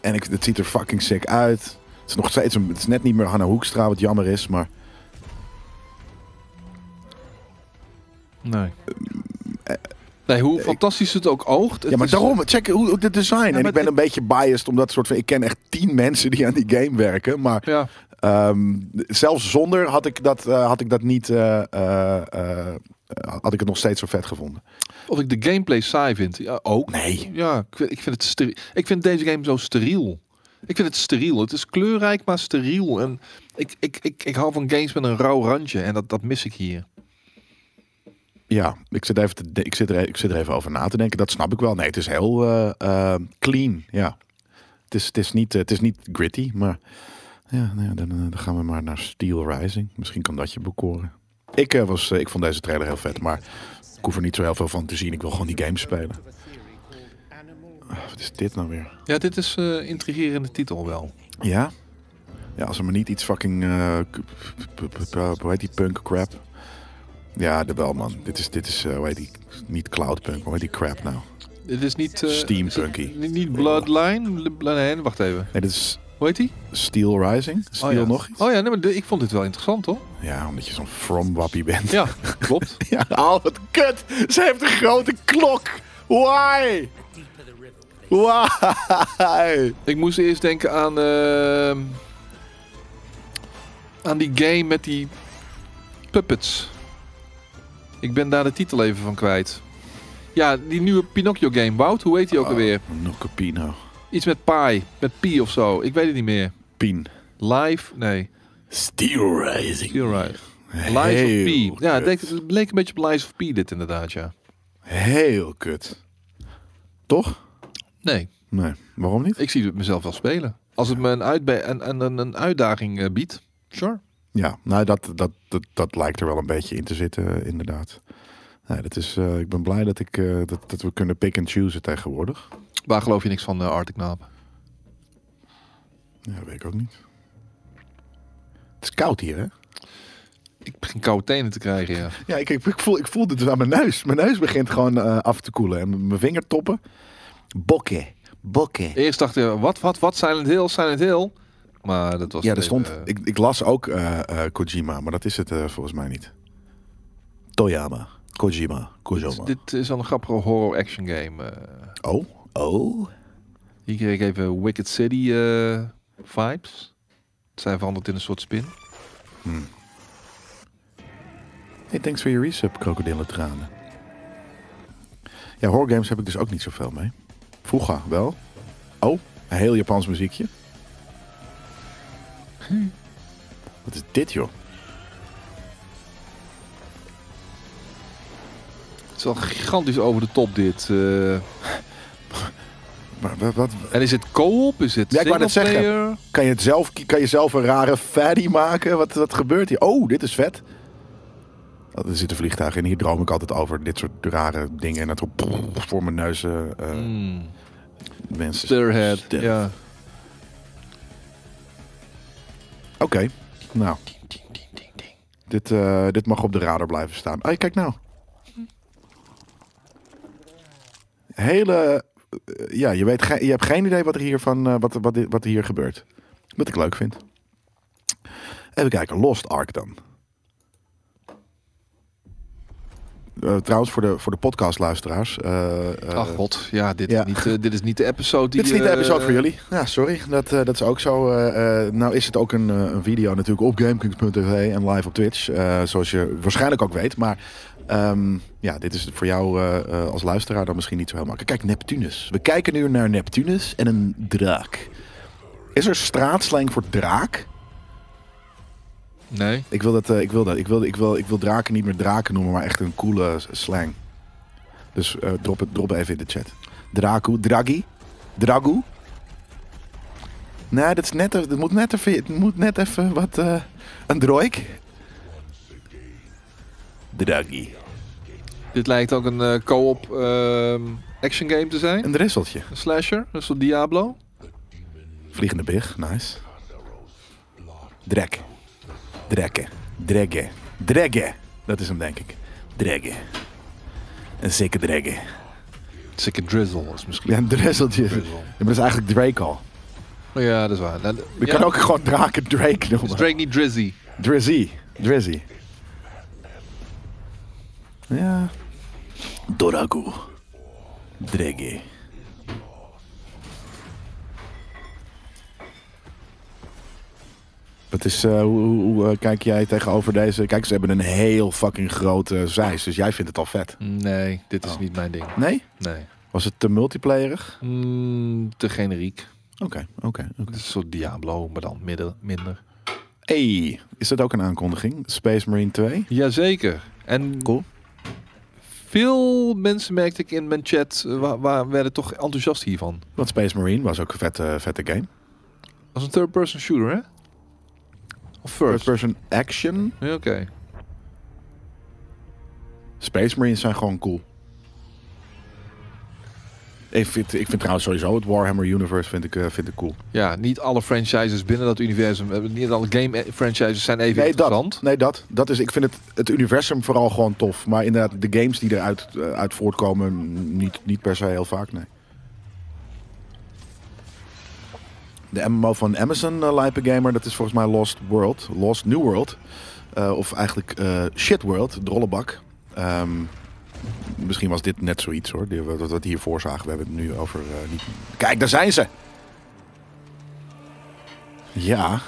Speaker 1: en ik, het ziet er fucking sick uit. Het is nog steeds een, het is net niet meer Hanna Hoekstra, wat jammer is, maar
Speaker 2: Nee. Eh, Nee, hoe fantastisch het ook oogt. het
Speaker 1: ja, maar
Speaker 2: is-
Speaker 1: daarom, check hoe, hoe de design. en
Speaker 2: maar
Speaker 1: ik ben
Speaker 2: het-
Speaker 1: een beetje biased omdat soort van. Ik ken echt tien mensen die aan die game werken. Maar
Speaker 2: Ja,
Speaker 1: ehm, zelfs zonder had ik dat, eh, had ik dat niet. eh, eh, eh, had ik het nog steeds zo vet gevonden.
Speaker 2: of ik de gameplay saai vind. Ja, ook.
Speaker 1: Nee.
Speaker 2: Ja, ik vind, ik vind het steri- Ik vind deze game zo steriel. Ik vind het steriel. Het is kleurrijk, maar steriel. En ik, ik, ik, ik hou van games met een rauw randje. En dat, dat mis ik hier.
Speaker 1: Ja, ik zit, even te de- ik, zit er, e-, ik zit er even over na te denken. Dat snap ik wel. Nee, het is heel eh, eh, clean. Ja. Het is, het, is niet, eh, het is niet gritty, maar. Ja, nou ja, dan, eh, dan gaan we maar naar Steel Rising. Misschien kan dat je bekoren. Ik, eh, was, eh, ik vond deze trailer heel vet, maar ik hoef er niet zo heel veel van te zien. Ik wil gewoon die game spelen. Ah, wat is dit nou weer?
Speaker 2: Ja, dit is eh intrigerende titel wel.
Speaker 1: Ja? Ja, als er maar niet iets fucking... eh, k- p- p- p- hoe heet die punk crap? Ja, de wel man. Dit is, dit is eh, hoe heet die... Niet cloudpunk, maar hoe heet die crap nou?
Speaker 2: Dit is niet... eh,
Speaker 1: Steampunky.
Speaker 2: is het Niet, niet Bloodline. Bl- Nee, wacht even.
Speaker 1: Nee, dit is
Speaker 2: Hoe heet die?
Speaker 1: Steel Rising. Steel
Speaker 2: ja.
Speaker 1: nog iets?
Speaker 2: Oh ja, nee, maar de- ik vond dit wel interessant hoor.
Speaker 1: Ja, omdat je zo'n from wappie bent.
Speaker 2: Ja, klopt.
Speaker 1: Ja, al het kut! Ze heeft een grote klok! Why? Why?
Speaker 2: Ik moest eerst denken aan... ehm, aan die game met die puppets. Ik ben daar de titel even van kwijt. Ja, die nieuwe Pinocchio game. Wout, hoe heet die ook alweer?
Speaker 1: Nokopino.
Speaker 2: Iets met Pi. Met Pi of zo. Ik weet het niet meer.
Speaker 1: Pien.
Speaker 2: Live? Nee.
Speaker 1: Steel Rising.
Speaker 2: You're right. Lies
Speaker 1: Heel
Speaker 2: of P. Ja, het leek,
Speaker 1: kut.
Speaker 2: het leek een beetje op Lies of P dit inderdaad, ja.
Speaker 1: Heel kut. Toch?
Speaker 2: Nee,
Speaker 1: Nee, waarom niet?
Speaker 2: ik zie het mezelf wel spelen. Als het me een, uitbe- een, een- een, een uitdaging eh, biedt, sure.
Speaker 1: Ja, nou dat, dat, dat, dat lijkt er wel een beetje in te zitten, eh, inderdaad. Nee, dat is, eh, ik ben blij dat, ik, eh, dat, dat we kunnen pick and choosen tegenwoordig.
Speaker 2: Waar geloof je niks van, eh, Arctic Knaap?
Speaker 1: Ja, weet ik ook niet. Het is koud hier, hè?
Speaker 2: Ik begin koude tenen te krijgen, ja.
Speaker 1: Ja, ik, ik, ik voel, ik voel dit aan mijn neus. Mijn neus begint gewoon eh, af te koelen. En m- mijn vingertoppen. Bokken. Bokken.
Speaker 2: Eerst dacht je, wat, wat, wat, Silent Hill, Silent Hill. Maar dat was...
Speaker 1: Ja,
Speaker 2: even,
Speaker 1: er stond...
Speaker 2: eh,
Speaker 1: Ik, ik las ook eh, eh, Kojima, maar dat is het eh, volgens mij niet. Toyama. Kojima. Kojima.
Speaker 2: Dit is al een grappige horror-action game. eh.
Speaker 1: Oh, oh.
Speaker 2: hier kreeg ik even Wicked City eh, vibes. Het zijn veranderd in een soort spin.
Speaker 1: Hm. Hey, thanks for your resub, krokodillentranen. Ja, horror games heb ik dus ook niet zoveel mee. Vroeger wel. Oh, een heel Japans muziekje. Hm. Wat is dit, joh?
Speaker 2: Het is wel gigantisch over de top dit. eh.
Speaker 1: Maar, wat, wat-
Speaker 2: en is het co-op? Is het
Speaker 1: Ja, ik wou net zeggen.
Speaker 2: singleplayer?
Speaker 1: kan, je het zelf, kan je zelf een rare fatty maken? Wat, wat gebeurt hier? Oh, dit is vet. Oh, er zitten vliegtuigen in. Hier droom ik altijd over dit soort rare dingen. En dat er voor mijn neus eh, eh,
Speaker 2: Hmm.
Speaker 1: mensen...
Speaker 2: Spearhead.
Speaker 1: sterven.
Speaker 2: Ja.
Speaker 1: Oké, nou. Dit, eh, dit mag op de radar blijven staan. Ah, kijk nou. Hele... eh, ja, je, weet ge- je hebt geen idee wat er hier, van, eh, wat, wat, wat hier gebeurt. Wat ik leuk vind. Even kijken, Lost Ark dan. Eh, trouwens, voor de, voor de podcastluisteraars. eh, eh,
Speaker 2: Ach god, ja, dit,
Speaker 1: ja.
Speaker 2: Is niet, eh, dit is niet de episode die...
Speaker 1: dit is niet de
Speaker 2: eh,
Speaker 1: episode voor jullie. Ja, sorry. Dat, eh, dat is ook zo. Eh, eh, nou is het ook een, eh, een video natuurlijk op GameKings.tv en live op Twitch. eh, zoals je waarschijnlijk ook weet. Maar ehm, ja, dit is voor jou eh, eh, als luisteraar dan misschien niet zo heel makkelijk. Kijk, Neptunus. We kijken nu naar Neptunus en een draak. Is er straatslang voor draak?
Speaker 2: Nee.
Speaker 1: Ik wil dat, eh, ik wil dat. Ik wil, ik wil, ik wil draken niet meer draken noemen, maar echt een coole s- slang. Dus eh, drop, het, drop even in de chat. Draku, Draghi, Dragu. Nee, dat is net, even- dat moet net even, het moet net even wat, eh, een droik. Draghi.
Speaker 2: Dit lijkt ook een eh, co-op ehm, action game te zijn.
Speaker 1: Een drisseltje.
Speaker 2: Een slasher, een soort Diablo.
Speaker 1: Vliegende big, nice. Drek. Drekken. Dreggen. Dreggen. Dat is hem denk ik. Dreggen. Een zeker dreggen.
Speaker 2: Sick and Drizzle is misschien.
Speaker 1: Ja, een dresseltje. Ja,
Speaker 2: Drizzle.
Speaker 1: maar dat is eigenlijk Drake al.
Speaker 2: Ja, dat is waar. Nou,
Speaker 1: Je
Speaker 2: ja,
Speaker 1: kan ook gewoon draken Drake
Speaker 2: Is
Speaker 1: noemen.
Speaker 2: Drake niet Drizzy?
Speaker 1: Drizzy. Drizzy. Ja. Doragu. Drege. Wat is, eh, hoe, hoe- hoe, eh, kijk jij tegenover deze? Kijk, ze hebben een heel fucking grote zijs, dus jij vindt het al vet.
Speaker 2: Nee, dit is
Speaker 1: Oh.
Speaker 2: niet mijn ding.
Speaker 1: Nee?
Speaker 2: Nee.
Speaker 1: Was het te multiplayerig?
Speaker 2: Mm, te generiek.
Speaker 1: Oké, oké, oké.
Speaker 2: Het is een soort Diablo, maar dan midden, minder.
Speaker 1: Hey, is dat ook een aankondiging? Space Marine 2?
Speaker 2: Jazeker. En
Speaker 1: Cool.
Speaker 2: veel mensen merkte ik in mijn chat, eh, wa- waar werden toch enthousiast hiervan.
Speaker 1: Want Space Marine was ook een vette, vette game.
Speaker 2: Als een third-person shooter, hè? Of
Speaker 1: First
Speaker 2: first?
Speaker 1: person action.
Speaker 2: Ja, Oké.
Speaker 1: Space Marines zijn gewoon cool. Ik vind, ik vind trouwens sowieso het Warhammer Universe vind ik, eh, vind ik cool.
Speaker 2: Ja, niet alle franchises binnen dat universum, eh, niet alle game eh, franchises zijn even interessant.
Speaker 1: dat, nee dat, dat is. Ik vind het, het universum vooral gewoon tof. Maar inderdaad, de games die eruit eh, uit voortkomen, niet, niet per se heel vaak, nee. De MMO van Amazon, eh, Lijpe Gamer, dat is volgens mij Lost World. Lost New World. Eh, of eigenlijk eh Shit World, Drollebak. Ehm, misschien was dit net zoiets hoor, die, wat, wat we hiervoor zagen. We hebben het nu over... eh, niet... Kijk, daar zijn ze! Ja...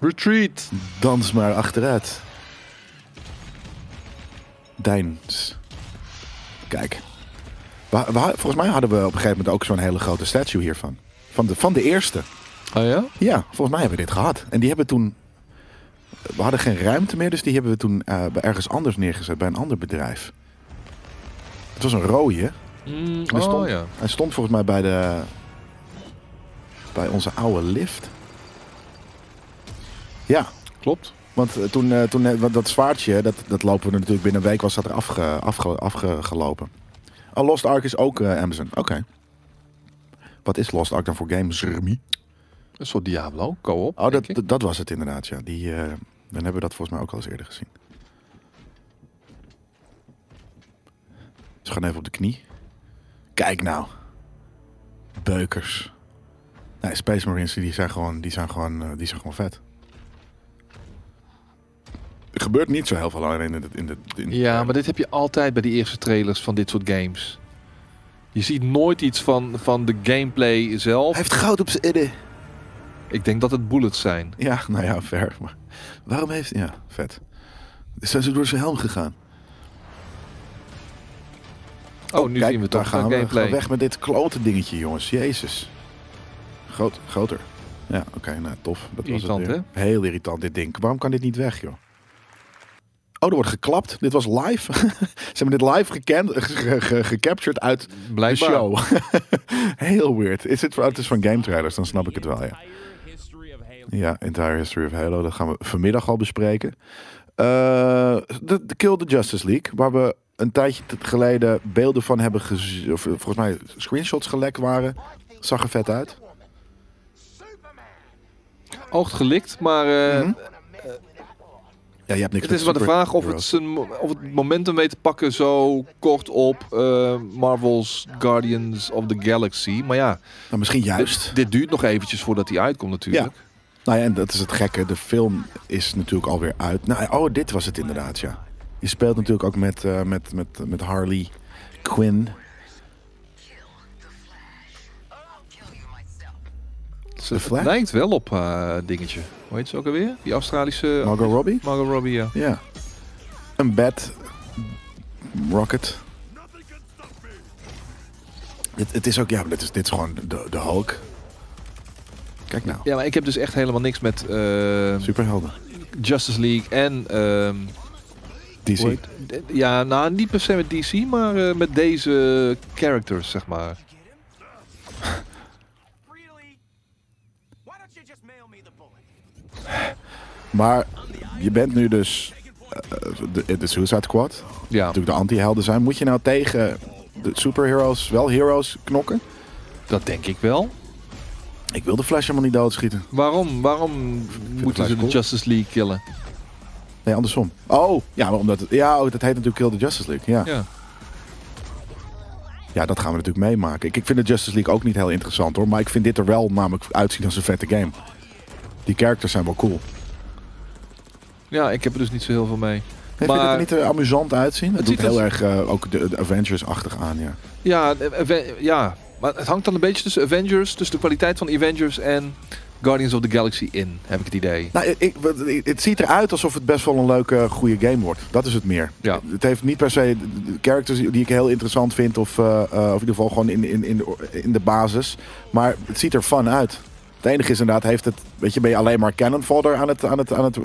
Speaker 2: Retreat!
Speaker 1: Dans maar achteruit. Deins. Kijk. We, we- volgens mij hadden we op een gegeven moment ook zo'n hele grote statue hiervan. Van de, van de eerste.
Speaker 2: Oh ja?
Speaker 1: Ja, volgens mij hebben we dit gehad. En die hebben toen... We hadden geen ruimte meer, dus die hebben we toen eh, bij ergens anders neergezet. Bij een ander bedrijf. Het was een rode.
Speaker 2: Mm,
Speaker 1: Hij stond-
Speaker 2: oh ja.
Speaker 1: Hij stond volgens mij bij de... Bij onze oude lift. Ja,
Speaker 2: Klopt.
Speaker 1: want eh, toen, eh, toen eh, want dat zwaardje, dat, dat lopen we natuurlijk binnen een week, was dat er afge, afge, afgelopen. Oh, Lost Ark is ook eh, Amazon. Oké. Wat is Lost Ark dan voor game? Zermi?
Speaker 2: Een soort Diablo, co-op.
Speaker 1: Oh, dat,
Speaker 2: denk ik.
Speaker 1: dat- dat was het inderdaad, ja. Die, eh, dan hebben we dat volgens mij ook al eens eerder gezien. Ze gaan even op de knie. Kijk nou. Beukers. Nee, Space Marines die zijn gewoon, die zijn gewoon, eh, die zijn gewoon vet. gebeurt niet zo heel veel alleen in de... In de, in de-
Speaker 2: Ja, maar dit heb je altijd bij die eerste trailers van dit soort games. Je ziet nooit iets van, van de gameplay zelf.
Speaker 1: Hij heeft goud op zijn idee.
Speaker 2: Ik denk dat het bullets zijn.
Speaker 1: Ja, nou ja, ver. Maar waarom heeft... Ja, vet. Zijn ze door zijn helm gegaan?
Speaker 2: Oh, nu
Speaker 1: Kijk,
Speaker 2: zien we
Speaker 1: daar
Speaker 2: toch
Speaker 1: gaan
Speaker 2: de
Speaker 1: we.
Speaker 2: gameplay.
Speaker 1: Gaan weg met dit klote dingetje, jongens. Jezus. Groot, groter. Ja, oké, nou tof. Dat
Speaker 2: Irritant,
Speaker 1: was het weer. Heel irritant, dit ding. Waarom kan dit niet weg, joh? Oh, er wordt geklapt. Dit was live. Ze hebben dit live gecand- ge- ge- gecaptured uit de
Speaker 2: Blijkbaar.
Speaker 1: show. Heel weird. Is het, het is van game trailers, dan snap ik het wel, ja. Ja, Entire History of Halo. Dat gaan we vanmiddag al bespreken. Eh, de, de Kill the Justice League, waar we een tijdje t- geleden beelden van hebben gezien. Of eh, volgens mij screenshots gelekt waren. Zag er vet uit.
Speaker 2: Oogt gelikt, maar eh,
Speaker 1: Mhm. Ja, je hebt niks
Speaker 2: het is maar de vraag of het, zijn, mo- of het momentum weet te pakken zo kort op eh, Marvel's Guardians of the Galaxy. Maar ja,
Speaker 1: Nou, misschien juist.
Speaker 2: dit, dit duurt nog eventjes voordat die uitkomt natuurlijk.
Speaker 1: Nou ja, en dat is het gekke. De film is natuurlijk alweer uit. Nou, ja, oh, dit was het inderdaad, ja. Je speelt natuurlijk ook met, eh, met, met, met Harley Quinn.
Speaker 2: Ze-
Speaker 1: De Flash?
Speaker 2: Dus Het lijkt wel op eh dingetje. Hoe heet ze ook alweer? Die Australische...
Speaker 1: Margot Robbie?
Speaker 2: Margot Robbie, ja.
Speaker 1: Ja. Een bed. Rocket. Het, het is ook, ja, dit is, dit is gewoon de, de Hulk. Kijk nou.
Speaker 2: Ja, maar ik heb dus echt helemaal niks met eh,
Speaker 1: Superhelden.
Speaker 2: Justice League en... ehm,
Speaker 1: DC.
Speaker 2: hoe heet- d- ja, nou, niet per se met DC, maar eh, met deze characters, zeg maar.
Speaker 4: Really? Why don't you just mail me the bullet?
Speaker 1: Maar je bent nu dus eh, de, de Suicide Squad.
Speaker 2: Ja,
Speaker 1: Natuurlijk de anti-helden zijn. Moet je nou tegen de superheroes wel heroes knokken?
Speaker 2: dat denk ik wel.
Speaker 1: Ik wil de Flash helemaal niet doodschieten.
Speaker 2: Waarom, waarom moeten
Speaker 1: Flash
Speaker 2: ze de
Speaker 1: cool.
Speaker 2: Justice League killen?
Speaker 1: Nee, andersom. Oh, ja, maar omdat het, ja, oh, dat heet natuurlijk Kill the Justice League. Ja.
Speaker 2: Ja.
Speaker 1: Ja, dat gaan we natuurlijk meemaken. Ik, ik vind de Justice League ook niet heel interessant hoor. Maar ik vind dit er wel namelijk uitzien als een vette game. Die characters zijn wel cool.
Speaker 2: ja, ik heb er dus niet zo heel veel mee.
Speaker 1: Hey, vind je het er
Speaker 2: maar
Speaker 1: niet eh, amusant uitzien? Het,
Speaker 2: Het
Speaker 1: doet
Speaker 2: ziet
Speaker 1: heel
Speaker 2: er-
Speaker 1: erg eh, ook de, de Avengers-achtig aan, ja.
Speaker 2: ja, eh, Ave- ja, maar het hangt dan een beetje tussen Avengers, tussen de kwaliteit van de Avengers en Guardians of the Galaxy in, heb ik het idee.
Speaker 1: Nou, ik, wat- ik- het ziet eruit alsof het best wel een leuke, goede game wordt. Dat is het meer.
Speaker 2: Ja.
Speaker 1: Het heeft niet per se de- de characters die ik heel interessant vind. Of, eh, eh, of in ieder geval gewoon in, in, in, de, in de basis. Maar het ziet er fun uit. Het enige is inderdaad, heeft het, weet je, ben je alleen maar cannon fodder aan het, aan, het, aan het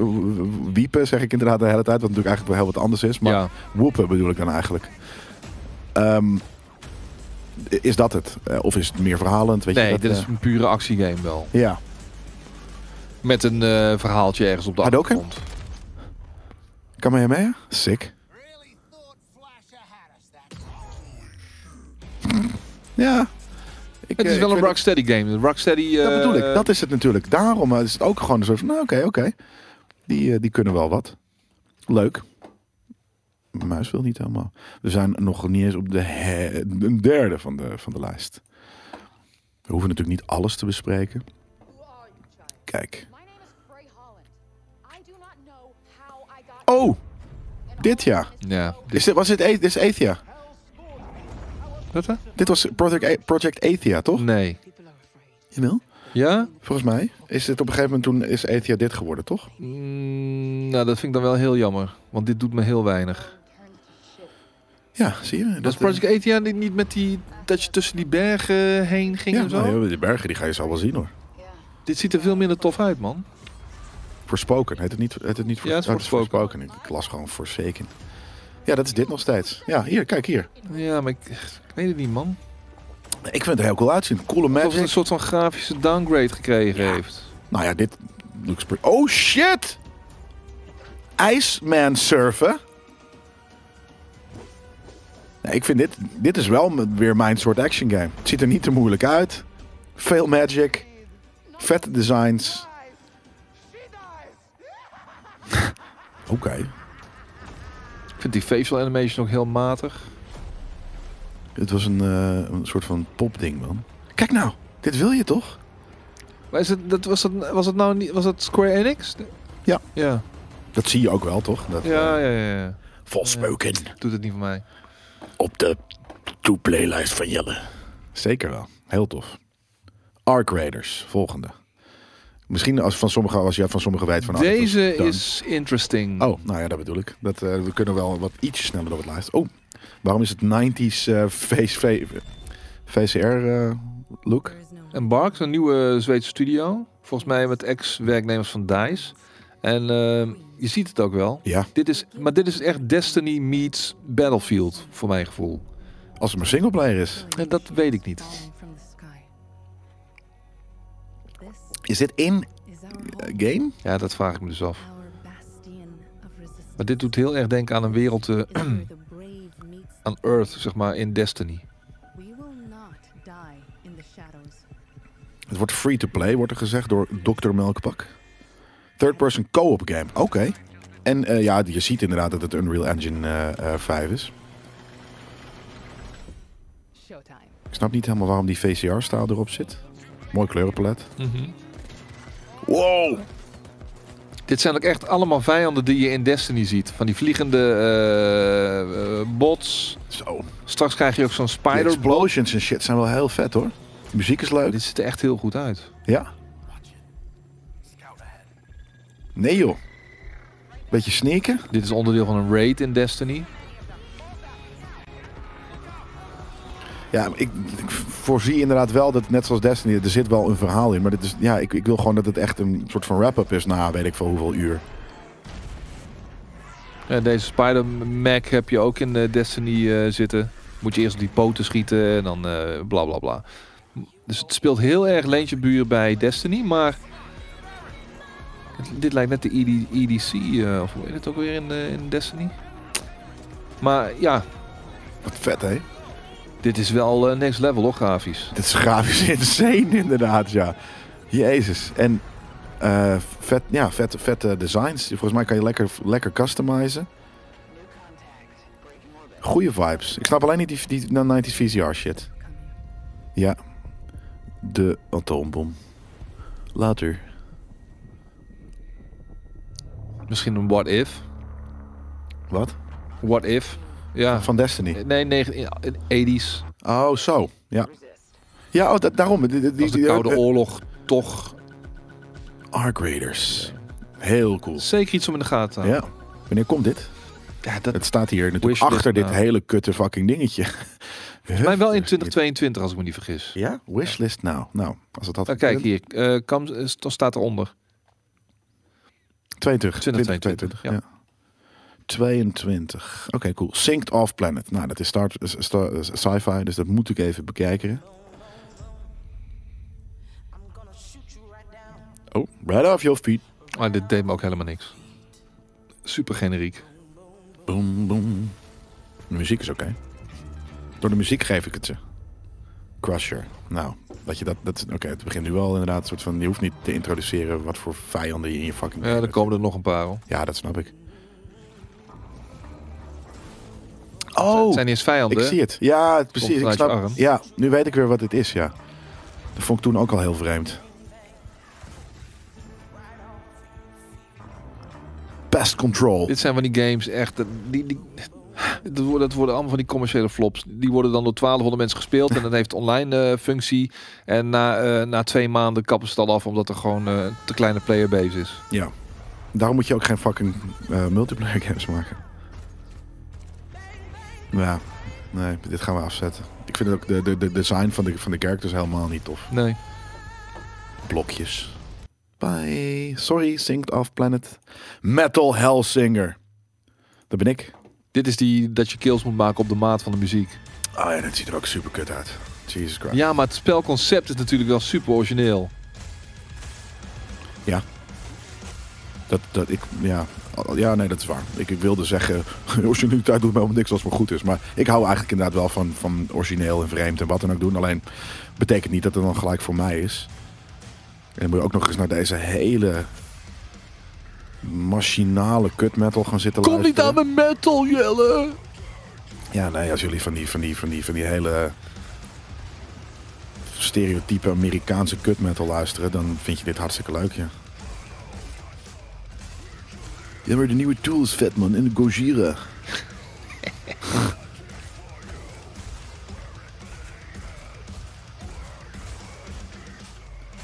Speaker 1: wiepen, zeg ik inderdaad de hele tijd. Wat natuurlijk eigenlijk wel heel wat anders is. Maar
Speaker 2: Ja.
Speaker 1: woepen bedoel ik dan eigenlijk. Ehm, is dat het? Eh, Of is het meer verhalend? Weet je,
Speaker 2: Nee,
Speaker 1: dat,
Speaker 2: dit is
Speaker 1: eh,
Speaker 2: een pure actiegame wel.
Speaker 1: Ja,
Speaker 2: Met een eh, verhaaltje ergens op de
Speaker 1: Hadoken?
Speaker 2: achtergrond.
Speaker 1: kan me mee? Sick.
Speaker 4: Really thought Flasher had us that time.
Speaker 1: Ja. Ik,
Speaker 2: Het
Speaker 1: eh,
Speaker 2: is
Speaker 1: ik
Speaker 2: wel
Speaker 1: vind
Speaker 2: een Rocksteady game. Een Rocksteady...
Speaker 1: Dat
Speaker 2: eh,
Speaker 1: bedoel ik, dat is het natuurlijk. Daarom eh, is het ook gewoon een soort van, nou oké, oké. Die, eh, die kunnen wel wat. Leuk. Mijn muis wil niet helemaal. We zijn nog niet eens op de he- een derde van de, van de lijst. We hoeven natuurlijk niet alles te bespreken.
Speaker 5: Who are you, child?
Speaker 1: Kijk.
Speaker 5: My name is Bray Holland. I do not know how I
Speaker 1: Oh,
Speaker 5: got
Speaker 1: dit ja.
Speaker 2: Ja.
Speaker 1: Is dit, was dit, A- dit is Athea?
Speaker 2: Wat, hè?
Speaker 1: Dit was Project, A- Project Athea, toch?
Speaker 2: Nee.
Speaker 1: Jawel.
Speaker 2: Ja?
Speaker 1: Volgens mij is dit op een gegeven moment toen is Athea dit geworden, toch?
Speaker 2: Mm, nou, dat vind ik dan wel heel jammer. Want dit doet me heel weinig.
Speaker 1: Ja, zie je? eh,
Speaker 2: Dat is Project Athia niet niet met die... Dat je tussen die bergen heen ging
Speaker 1: Ja,
Speaker 2: en zo?
Speaker 1: nou, ja, die bergen die ga je zo wel zien hoor.
Speaker 2: Dit ziet er veel minder tof uit, man.
Speaker 1: Voorspoken. Heet het niet, heet het niet voor,
Speaker 2: Ja, het is
Speaker 1: oh, het
Speaker 2: Forspoken.
Speaker 1: Forspoken. Ik las gewoon Forsaken. Ja, dat is dit nog steeds. Ja, hier, kijk hier.
Speaker 2: Ja, maar ik, ik weet het niet, man.
Speaker 1: Ik vind het er heel cool uitzien. Coole
Speaker 2: Alsof het een
Speaker 1: magic.
Speaker 2: soort van grafische downgrade gekregen heeft.
Speaker 1: Nou ja, dit looks pretty... Oh, shit! Iceman surfen? Nee, ik vind dit... Dit is wel m- weer mijn soort action game. Het ziet er niet te moeilijk uit. Veel magic. Vette designs. Oké.
Speaker 2: Ik vind die facial animation ook heel matig.
Speaker 1: Het was een, eh, een soort van popding, man. Kijk nou, dit wil je toch?
Speaker 2: Maar is het, dat, was, dat, was, dat nou niet, was dat Square Enix?
Speaker 1: Ja.
Speaker 2: Ja.
Speaker 1: Dat zie je ook wel, toch? Dat,
Speaker 2: Ja, ja, ja, ja.
Speaker 6: Vol spoken
Speaker 2: Doet het niet voor mij.
Speaker 6: op de to-playlijst van Jelle.
Speaker 1: Zeker wel. Heel tof. Arc Raiders, volgende. Misschien als, van sommige, als je van sommige weet van... ah, dat was
Speaker 2: Deze
Speaker 1: done.
Speaker 2: is interesting.
Speaker 1: Oh, nou ja, dat bedoel ik. Dat, eh, we kunnen wel wat ietsje sneller door het lijst. Oh, waarom is het 90s eh, VC VCR eh, look?
Speaker 2: Embark, een nieuwe Zweedse studio. Volgens mij met ex-werknemers van DICE. En ehm, je ziet het ook wel.
Speaker 1: Ja,
Speaker 2: Dit is, maar dit is echt Destiny meets Battlefield, voor mijn gevoel.
Speaker 1: als het maar singleplayer is.
Speaker 2: En dat weet ik niet.
Speaker 5: Falling from the sky. This
Speaker 1: Is dit in
Speaker 5: is our
Speaker 1: eh,
Speaker 5: home,
Speaker 1: game?
Speaker 2: Ja, dat vraag ik me dus af.
Speaker 5: our bastion of resistance.
Speaker 2: Maar dit doet heel erg denken aan een wereld, eh,
Speaker 5: Is where the brave meets.
Speaker 2: aan Earth, zeg maar, in Destiny.
Speaker 5: We will not die in the shadows.
Speaker 1: Het wordt free to play, wordt er gezegd door Dr. Melkpak. Third person co-op game, oké. En eh, ja, je ziet inderdaad dat het Unreal Engine eh, eh, 5 is.
Speaker 5: Showtime.
Speaker 1: Ik snap niet helemaal waarom die VCR-stijl erop zit. Mooi kleurenpalet. Wow!
Speaker 2: Dit zijn ook echt allemaal vijanden die je in Destiny ziet. Van die vliegende eh, eh, bots.
Speaker 1: Zo.
Speaker 2: Straks krijg je ook zo'n
Speaker 1: Die
Speaker 2: spider.
Speaker 1: explosions en shit zijn wel heel vet hoor. De muziek is leuk.
Speaker 2: Dit ziet er echt heel goed uit.
Speaker 1: Ja. Nee joh. Beetje sneaken.
Speaker 2: Dit is onderdeel van een raid in Destiny.
Speaker 1: Ja, ik, ik voorzie inderdaad wel dat, net zoals Destiny, er zit wel een verhaal in. Maar dit is, ja, ik, ik wil gewoon dat het echt een soort van wrap-up is na weet ik veel hoeveel uur.
Speaker 2: Eh, deze Spider-Mac heb je ook in eh, Destiny eh, zitten. Moet je eerst op die poten schieten en dan eh, bla bla bla. Dus het speelt heel erg leentje buur bij Destiny, maar... het- dit lijkt net de E ED EDC, eh, of hoe heet het ook weer in, eh, in Destiny? Maar ja,
Speaker 1: Wat vet hè?
Speaker 2: dit is wel eh, next level hoor, grafisch.
Speaker 1: Dit is grafisch insane inderdaad, ja. Jezus. En eh, vet, ja, vet, vette designs. Volgens mij kan je lekker, lekker customizen. Goeie vibes. Ik snap alleen niet die, die 90s VCR shit. Ja. De atoombom. Later.
Speaker 2: Misschien een what if.
Speaker 1: Wat?
Speaker 2: What if. Ja,
Speaker 1: Van Destiny.
Speaker 2: nee, negen- E in- in 80s.
Speaker 1: Oh, zo. Ja. Ja, oh, da- daarom. Die, die,
Speaker 2: was de
Speaker 1: die-
Speaker 2: Koude
Speaker 1: eh,
Speaker 2: Oorlog toch
Speaker 1: Arc Raiders. Heel cool.
Speaker 2: zeker iets om in de gaten te houden.
Speaker 1: Ja. Wanneer komt dit?
Speaker 2: Ja, dat
Speaker 1: Het staat hier natuurlijk
Speaker 2: Wishlist
Speaker 1: achter dit
Speaker 2: nou.
Speaker 1: hele kutte fucking dingetje.
Speaker 2: Volgens mij wel in 2022, als ik me niet vergis.
Speaker 1: Ja? Wishlist nou. Nou, als het had...
Speaker 2: Ah, kijk hier, eh Kam, eh, st- staat eronder.
Speaker 1: 22.
Speaker 2: 2022,
Speaker 1: 2022. Ja. 22. Oké, cool. Synced Off Planet. Nou, dat is Star, Star- sci-fi, dus dat moet ik even bekijken. Oh, right off your feet.
Speaker 2: Maar dit deed me ook helemaal niks. Super generiek.
Speaker 1: Boom, boom. De muziek is oké. Door de muziek geef ik het ze. Crusher. Nou, dat je dat... dat oké, het begint nu wel inderdaad een soort van... Je hoeft niet te introduceren wat voor vijanden je in je fucking...
Speaker 2: Ja, er komen er nog een paar. Hoor.
Speaker 1: Ja, dat snap ik.
Speaker 2: Het
Speaker 1: Oh,
Speaker 2: zijn niet eens vijanden.
Speaker 1: ik zie het. Ja, precies. Ik
Speaker 2: vanuit je
Speaker 1: snap.
Speaker 2: arm.
Speaker 1: Ja, nu weet ik weer wat het is, ja. Dat vond ik toen ook al heel vreemd. Pest control.
Speaker 2: Dit zijn van die games echt. eh, Die, die, dat, worden, dat worden allemaal van die commerciële flops. Die worden dan door 1200 mensen gespeeld. En dat heeft online eh, functie. En na, eh, na twee maanden kappen ze het al af. Omdat er gewoon eh, een te kleine playerbase is.
Speaker 1: Ja. Daarom moet je ook geen fucking eh, multiplayer games maken. Ja, nee, dit gaan we afzetten. Ik vind het ook de, de, de design van de, van de characters helemaal niet tof.
Speaker 2: Nee.
Speaker 1: blokjes. Bye. Sorry, Synced Off Planet. Metal Hellsinger. Dat ben ik.
Speaker 2: Dit is die dat je kills moet maken op de maat van de muziek.
Speaker 1: Ah ja, dat ziet er ook super kut uit. Jesus Christ.
Speaker 2: Ja, maar het spelconcept is natuurlijk wel super origineel.
Speaker 1: Dat, dat ik, ja. Al- Ja, nee, dat is waar. Ik, ik wilde zeggen, originaliteit doet mij om niks als het maar goed is. Maar ik hou eigenlijk inderdaad wel van, van origineel en vreemd en wat dan ook doen. Alleen betekent niet dat het dan gelijk voor mij is. En dan moet je ook nog eens naar deze hele machinale kut metal gaan zitten
Speaker 2: Kom niet
Speaker 1: luisteren.
Speaker 2: aan mijn metal, Jelle!
Speaker 1: Ja, nee, als jullie van die, van die, van die, van die hele stereotype Amerikaanse kutmetal luisteren, dan vind je dit hartstikke leuk, ja. Ja, maar de nieuwe tools, vet man. In de Gojira.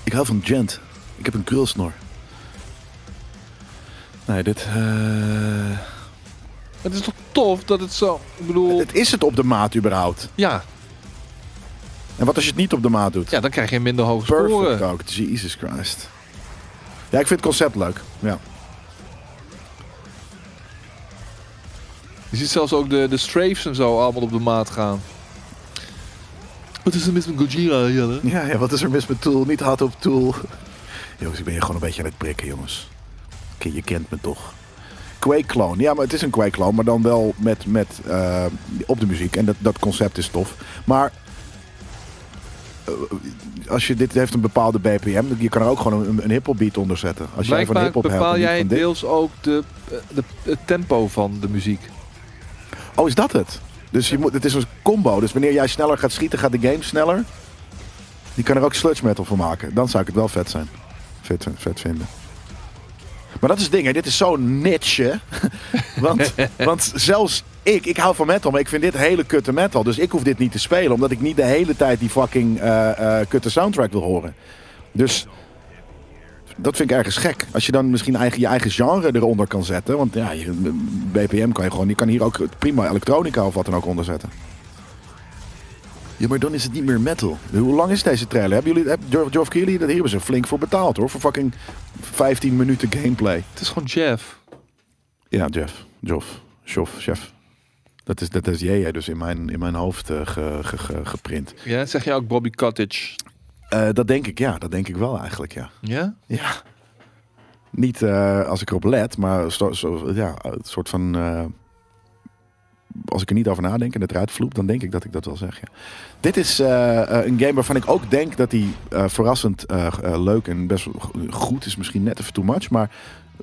Speaker 1: Ik hou van gent. Ik heb een krulsnor. Nee, dit... eh,
Speaker 2: Het is toch tof dat het zo... Ik bedoel...
Speaker 1: Het is het op de maat überhaupt.
Speaker 2: Ja,
Speaker 1: En wat als je het niet op de maat doet?
Speaker 2: ja, dan krijg je minder hoge
Speaker 1: Perfect
Speaker 2: scoren.
Speaker 1: ook. Jesus Christ. Ja, ik vind het concept leuk. Ja.
Speaker 2: Je ziet zelfs ook de, de strafes en zo allemaal op de maat gaan. Wat is er mis met Gojira, Jelle?
Speaker 1: Ja, ja, wat is er mis met Tool? Niet hard op Tool. Jongens, ik ben je gewoon een beetje aan het prikken, jongens. Oké, je kent me toch. Quake Clone. Ja, maar het is een Quake Clone, maar dan wel met, met, eh, op de muziek. En dat, dat concept is tof. Maar eh, als je dit heeft een bepaalde BPM, je kan er ook gewoon een, een hip-hop beat onder zetten. Als jij van
Speaker 2: Blijkbaar
Speaker 1: hip-hop houdt
Speaker 2: bepaal
Speaker 1: en niet
Speaker 2: jij
Speaker 1: van dit-
Speaker 2: deels ook de, eh, de, het tempo van de muziek.
Speaker 1: Oh, is dat het? Dus je moet, het is een combo. Dus wanneer jij sneller gaat schieten, gaat de game sneller. Je kan er ook sludge metal van maken. Dan zou ik het wel vet zijn. Vet, vet vinden. Maar dat is het ding, hè. dit is zo'n niche. hè. want, want zelfs ik, ik hou van metal, maar ik vind dit hele kutte metal. Dus ik hoef dit niet te spelen, omdat ik niet de hele tijd die fucking eh, eh, kutte soundtrack wil horen. Dus dat vind ik ergens gek. Als je dan misschien eigen, je eigen genre eronder kan zetten. Want ja, je, BPM kan je gewoon. Je kan hier ook prima elektronica of wat dan ook onder zetten. Ja, maar dan is het niet meer metal. Hoe lang is deze trailer? Hebben jullie, heb, Geoff Geoff Keighley, dat hier hebben ze flink voor betaald hoor. Voor fucking 15 minuten gameplay.
Speaker 2: Het is gewoon Jeff.
Speaker 1: Ja, Jeff. Joff. Joff. Chef. Dat is, dat is jij dus in mijn, in mijn hoofd eh, ge- ge- ge- geprint.
Speaker 2: Ja, zeg je ook Bobby Cottage.
Speaker 1: Eh, dat denk ik, ja. Dat denk ik wel eigenlijk, ja.
Speaker 2: Ja?
Speaker 1: Ja. Niet eh, als ik erop let, maar zo, zo- ja, het soort van. eh, als ik er niet over nadenk en het eruit vloept, dan denk ik dat ik dat wel zeg. Ja. Dit is eh, eh, een game waarvan ik ook denk dat die eh, verrassend eh, eh, leuk en best wel go- goed is. Misschien net even too much, maar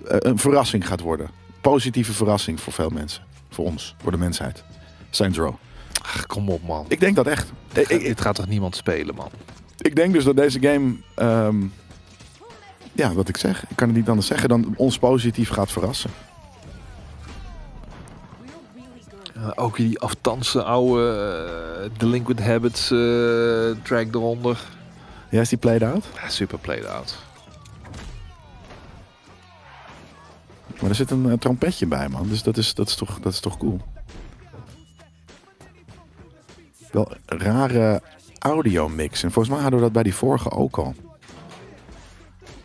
Speaker 1: eh, een verrassing gaat worden. Positieve verrassing voor veel mensen. Voor ons, voor de mensheid. Saints Row.
Speaker 2: Ach, kom op man.
Speaker 1: Ik denk dat echt. Ik, ik,
Speaker 2: dit gaat toch niemand spelen man?
Speaker 1: ik denk dus dat deze game. ehm, ja, wat ik zeg. Ik kan het niet anders zeggen dan ons positief gaat verrassen.
Speaker 5: We're really good.
Speaker 2: Eh, ook die aftansen oude eh, Delinquent Habits eh, track eronder.
Speaker 1: Ja, is die played out?
Speaker 2: Ja, super played out.
Speaker 1: Maar er zit een eh, trompetje bij, man. Dus dat is, dat is, toch, dat is toch cool. Wel een rare audiomix. En volgens mij hadden we dat bij die vorige ook al.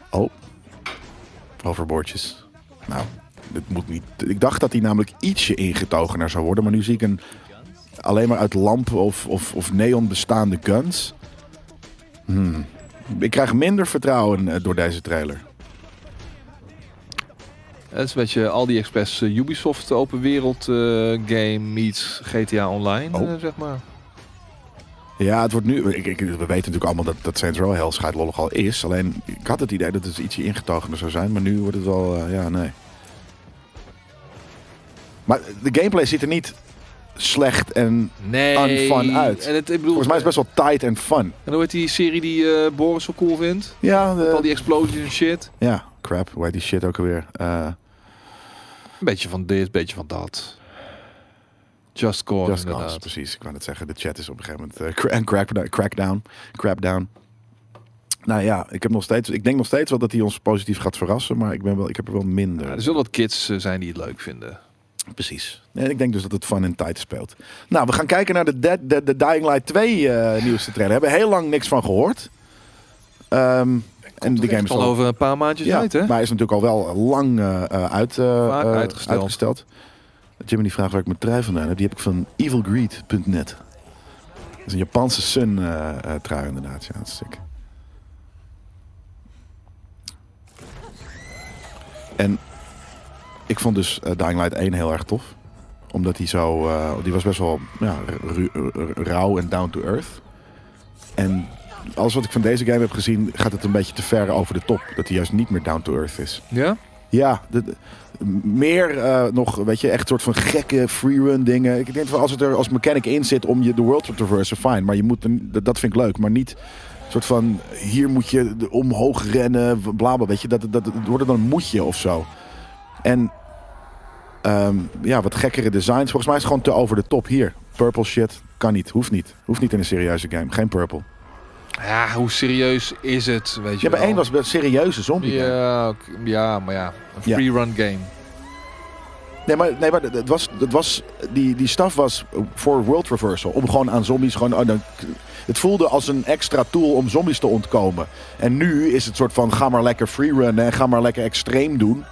Speaker 1: Oh. Overboordjes. Nou, dit moet niet. Ik dacht dat hij namelijk ietsje ingetogener zou worden. Maar nu zie ik een alleen maar uit lampen of, of, of neon bestaande guns. Hmm. Ik krijg minder vertrouwen eh, door deze trailer.
Speaker 2: Het is een beetje Aldi Express eh, Ubisoft open wereld eh, game meets GTA Online,
Speaker 1: Oh.
Speaker 2: eh, zeg maar.
Speaker 1: Ja, het wordt nu. Ik, ik- we weten natuurlijk allemaal dat, dat Saints Row heel scheidlollig al is. Alleen ik had het idee dat het ietsje ingetogener zou zijn. Maar nu wordt het wel. eh, ja, nee. Maar de gameplay ziet er niet slecht en.
Speaker 2: Nee.
Speaker 1: Unfun Ah, uit.
Speaker 2: En het, ik bedoel,
Speaker 1: Volgens mij is het best wel tight en fun.
Speaker 2: En hoe heet die serie die eh, Boris zo cool vindt?
Speaker 1: Ja, de-
Speaker 2: Al die explosions en shit.
Speaker 1: ja, crap. Hoe heet die shit ook alweer? Eh,
Speaker 2: Een beetje van dit, een beetje van dat. Just Cause,
Speaker 1: Just Cause,
Speaker 2: Oh, inderdaad.
Speaker 1: precies. Ik wou net zeggen, de chat is op een gegeven moment... eh, cra- en crack, crackdown, crackdown. Nou ja, ik, heb nog steeds, ik denk nog steeds wel dat hij ons positief gaat verrassen. Maar ik, ben wel, ik heb er wel minder.
Speaker 2: Ja, er zullen wat kids eh, zijn die het leuk vinden.
Speaker 1: Precies. En ik denk dus dat het fun en tijd speelt. Nou, we gaan kijken naar de, Dead, de, de Dying Light 2 eh, nieuwste trailer. We hebben heel lang niks van gehoord. Ehm, en de game is
Speaker 2: Het is al
Speaker 1: al-
Speaker 2: over een paar maandjes
Speaker 1: ja,
Speaker 2: uit, hè?
Speaker 1: Maar hij is natuurlijk al wel lang eh, eh, uit, eh,
Speaker 2: Vaak
Speaker 1: eh,
Speaker 2: uitgesteld.
Speaker 1: uitgesteld. Jimmy die vraagt waar ik mijn trui vandaan heb. Die heb ik van evilgreed.net. Dat is een Japanse Sun eh, eh, trui inderdaad. Ja, dat is sick. En ik vond dus eh, Dying Light 1 heel erg tof. Omdat die zo... eh, die was best wel ja, ru- ru- rauw en down to earth. En alles wat ik van deze game heb gezien, gaat het een beetje te ver over de top. Dat hij juist niet meer down to earth is.
Speaker 2: Ja?
Speaker 1: Ja, de- de- meer eh, nog, weet je, echt soort van gekke freerun dingen. Ik denk van als het er als mechanic in zit om je de world te traversen, fijn. Maar je moet, een- dat- dat vind ik leuk, maar niet soort van hier moet je de- omhoog rennen, bla bla, weet je. Dat, dat, dat wordt dan een moetje of zo. En ehm, ja, wat gekkere designs. Volgens mij is het gewoon te over de top hier. Purple shit kan niet, hoeft niet. Hoeft niet in een serieuze game. Geen purple.
Speaker 2: Ja, hoe serieus is het? Weet je
Speaker 1: Ja, bij
Speaker 2: wel?
Speaker 1: één was een serieuze zombie. game.
Speaker 2: Ja, oké, ja, maar ja. Een
Speaker 1: Ja.
Speaker 2: free-run game.
Speaker 1: Nee, maar, nee, maar het was, het was, die, die staf was voor world reversal. Om gewoon aan zombies gewoon... oh, dan- het voelde als een extra tool om zombies te ontkomen. En nu is het soort van ga maar lekker freerunnen en ga maar lekker extreem doen.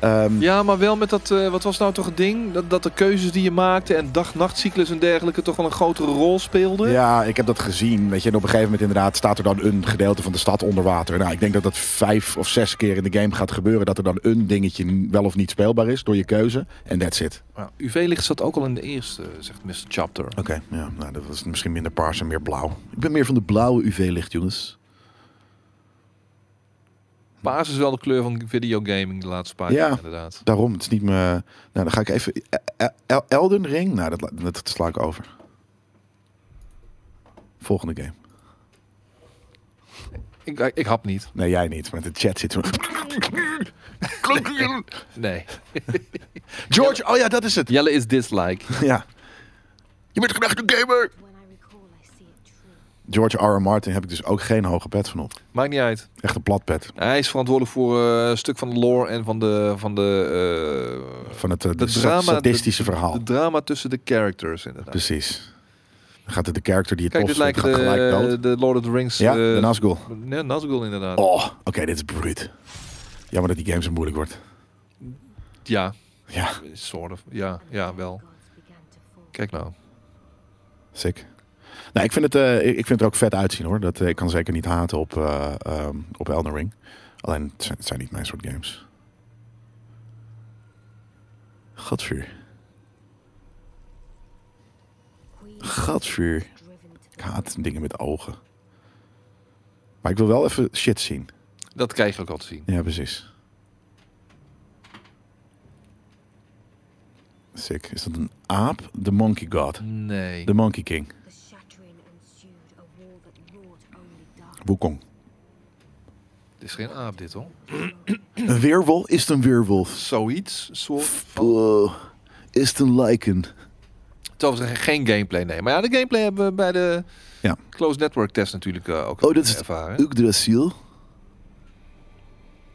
Speaker 1: Ehm,
Speaker 2: Ja, maar wel met dat, eh, wat was nou toch het ding? Dat, dat de keuzes die je maakte en dag-nachtcyclus en dergelijke toch wel een grotere rol speelden.
Speaker 1: Ja, ik heb dat gezien. Weet je, en op een gegeven moment inderdaad staat er dan een gedeelte van de stad onder water. Nou, ik denk dat dat vijf of zes keer in de game gaat gebeuren. Dat er dan een dingetje wel of niet speelbaar is door je keuze. En that's it.
Speaker 2: Nou, UV-licht zat ook al in de eerste, eh, zegt Mr. Chapter.
Speaker 1: Oké, ja, nou, dat was misschien minder paars en meer blauw. Ik ben meer van de blauwe UV-licht, jongens.
Speaker 2: Paars is wel de kleur van videogaming de laatste paar
Speaker 1: Ja.
Speaker 2: jaar inderdaad.
Speaker 1: Daarom, het is niet meer... Nou, dan ga ik even... El- El- Elden Ring? Nou, dat, la- dat sla ik over. Volgende game.
Speaker 2: Ik, eh, ik hap niet.
Speaker 1: Nee, jij niet, want de chat zit zo...
Speaker 2: Nee.
Speaker 1: George, oh ja, dat is het.
Speaker 2: Jelle is dislike.
Speaker 1: Ja. Je bent graag een gamer!
Speaker 5: When I recall, I see it true.
Speaker 1: George R. R. Martin heb ik dus ook geen hoge pet van op.
Speaker 2: Maakt niet uit.
Speaker 1: Echt een plat pet.
Speaker 2: Hij is verantwoordelijk voor eh, een stuk van de lore en van de, van de, eh,
Speaker 1: Van het eh,
Speaker 2: de
Speaker 1: de sa- sadistische verhaal. Dus
Speaker 2: De drama tussen de characters inderdaad.
Speaker 1: Precies. Dan gaat het de character die het
Speaker 2: Kijk,
Speaker 1: Kijk,
Speaker 2: dit
Speaker 1: gaat
Speaker 2: lijkt
Speaker 1: gelijk
Speaker 2: de,
Speaker 1: dood.
Speaker 2: de Lord of the Rings.
Speaker 1: Ja,
Speaker 2: eh,
Speaker 1: de Nazgul.
Speaker 2: Nee, Nazgul inderdaad.
Speaker 1: Oh, oké, dit is bruut. Jammer dat die game zo moeilijk wordt.
Speaker 2: Ja,
Speaker 1: Ja,
Speaker 2: soort of. Ja, ja, wel.
Speaker 5: Gods began to fall.
Speaker 2: Kijk nou.
Speaker 1: sick. Nou, ik vind het, eh, ik ik vind het er ook vet uitzien hoor. Dat, eh, ik kan zeker niet haten op, eh, ehm, op Elden Ring. Alleen, het zijn, het zijn niet mijn soort games. Godvuur.
Speaker 5: Queen
Speaker 1: Godvuur.
Speaker 5: driven to
Speaker 1: Ik haat dingen met ogen. Maar ik wil wel even shit zien.
Speaker 2: Dat krijg je ook al te zien.
Speaker 1: Ja, precies. Sick. Is dat een aap? De Monkey God.
Speaker 2: Nee.
Speaker 1: De Monkey King.
Speaker 5: the shattering ensued, a war that wrought only dark.
Speaker 1: Wukong.
Speaker 2: Het is geen aap dit hoor.
Speaker 1: Een weerwolf is het een weerwolf.
Speaker 2: Zoiets. Soort van.
Speaker 1: Oh, is het een lichen?
Speaker 2: Terwijl we zeggen geen gameplay nee. Maar ja, de gameplay hebben we bij de
Speaker 1: Ja.
Speaker 2: Closed Network test natuurlijk eh, ook
Speaker 1: Oh, dat is het-
Speaker 2: ervaren.
Speaker 1: Yggdrasil.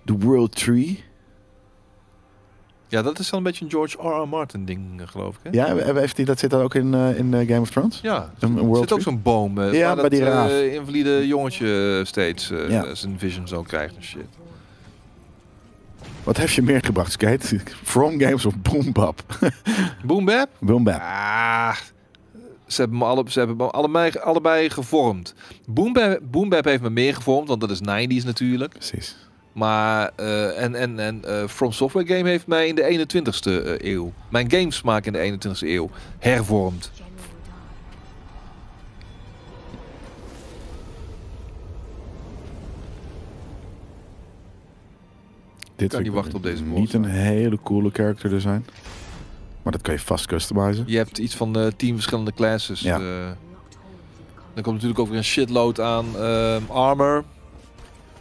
Speaker 1: The World Tree.
Speaker 2: Ja, dat is dan een beetje een George R. R. Martin ding eh, geloof ik. Hè?
Speaker 1: Ja, he- heeft die, dat zit dan ook in, eh, in eh, Game of Thrones?
Speaker 2: Ja,
Speaker 1: Een- een
Speaker 2: er
Speaker 1: world
Speaker 2: zit ook
Speaker 1: tree?
Speaker 2: zo'n boom eh,
Speaker 1: Ja,
Speaker 2: waar
Speaker 1: bij
Speaker 2: dat
Speaker 1: die
Speaker 2: eh,
Speaker 1: raaf.
Speaker 2: invalide jongetje eh, steeds eh,
Speaker 1: Ja.
Speaker 2: zijn visions ook krijgt en shit.
Speaker 1: Wat heb je meer gebracht, Skate? From Games of Boom Bap?
Speaker 2: Boom bap.
Speaker 1: Boom Bap.
Speaker 2: Ah, ze hebben me, alle, ze hebben me allebei, allebei gevormd. Boom Bap, Boom Bap heeft me meer gevormd, want dat is 90s natuurlijk.
Speaker 1: Precies.
Speaker 2: Maar, eh, en, en, en eh, From Software Game heeft mij in de 21ste eh, eeuw, mijn gamesmaak in de 21ste eeuw, hervormd.
Speaker 5: General died.
Speaker 1: Dit
Speaker 2: kan
Speaker 1: vind
Speaker 2: niet wachten op deze boss.
Speaker 1: Niet een hele coole character design. Maar dat kan je vast customizen.
Speaker 2: Je hebt iets van eh tien verschillende classes.
Speaker 1: Ja.
Speaker 2: eh.
Speaker 5: Locked horns in
Speaker 2: dan komt natuurlijk ook weer een shitload aan ehm, armor.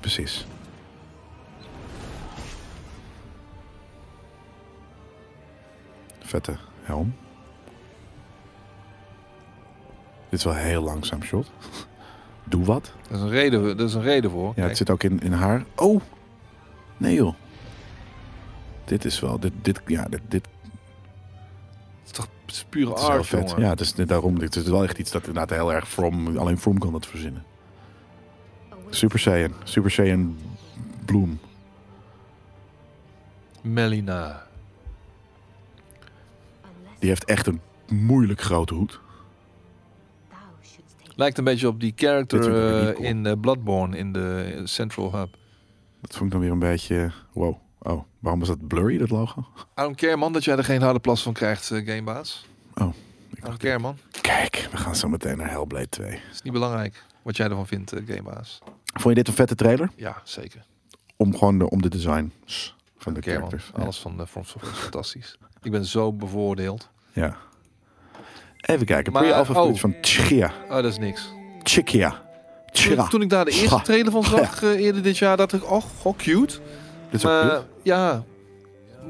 Speaker 1: Precies. Vette helm. Dit is wel een heel langzaam shot. Doe wat.
Speaker 2: Dat is een reden, dat is een reden voor.
Speaker 1: Ja,
Speaker 2: Kijk.
Speaker 1: het zit ook in, in haar. Oh! Nee joh. Dit is wel... Dit, dit, ja, dit, dit
Speaker 2: Het is toch pure
Speaker 1: Het is heel
Speaker 2: art,
Speaker 1: vet.
Speaker 2: jongen.
Speaker 1: Ja, het is net daarom. Dit is wel echt iets dat inderdaad heel erg From... Alleen From kan dat verzinnen.
Speaker 5: combat.
Speaker 1: Super Saiyan. Super Saiyan Bloem.
Speaker 2: Melina.
Speaker 5: Unless
Speaker 1: Die heeft echt een moeilijk grote hoed.
Speaker 5: thou shouldst take
Speaker 2: Lijkt een beetje op die
Speaker 1: Dit
Speaker 2: character
Speaker 1: vind ik ook weer niet
Speaker 2: eh,
Speaker 1: cool.
Speaker 2: in eh, Bloodborne in de eh, Central Hub.
Speaker 1: Dat vond ik dan weer een beetje... Wow. Oh, waarom is dat blurry, dat logo?
Speaker 2: I don't care man dat jij er geen harde plas van krijgt, eh, gamebaas.
Speaker 1: Oh,
Speaker 2: I don't care man.
Speaker 1: Kijk, we gaan zo meteen naar Hellblade 2.
Speaker 2: Het is niet belangrijk wat jij ervan vindt, eh, gamebaas.
Speaker 1: Vond je dit een vette trailer?
Speaker 2: Ja, zeker.
Speaker 1: Om gewoon de, om de designs van de
Speaker 2: Oké man.
Speaker 1: characters. Ja.
Speaker 2: Alles van de From Software is fantastisch. Ik ben zo bevoordeeld.
Speaker 1: Ja. Even kijken.
Speaker 2: Maar,
Speaker 1: Pre-alpha
Speaker 2: oh.
Speaker 1: footage van Chikia.
Speaker 2: Oh, dat is niks.
Speaker 1: Chikia. Chira.
Speaker 2: Toen, toen ik daar de eerste
Speaker 1: Scha.
Speaker 2: trailer van zag eh, eerder dit jaar, dacht ik, oh, goh, cute.
Speaker 1: Dit is ook
Speaker 2: Maar
Speaker 1: cute.
Speaker 2: ja,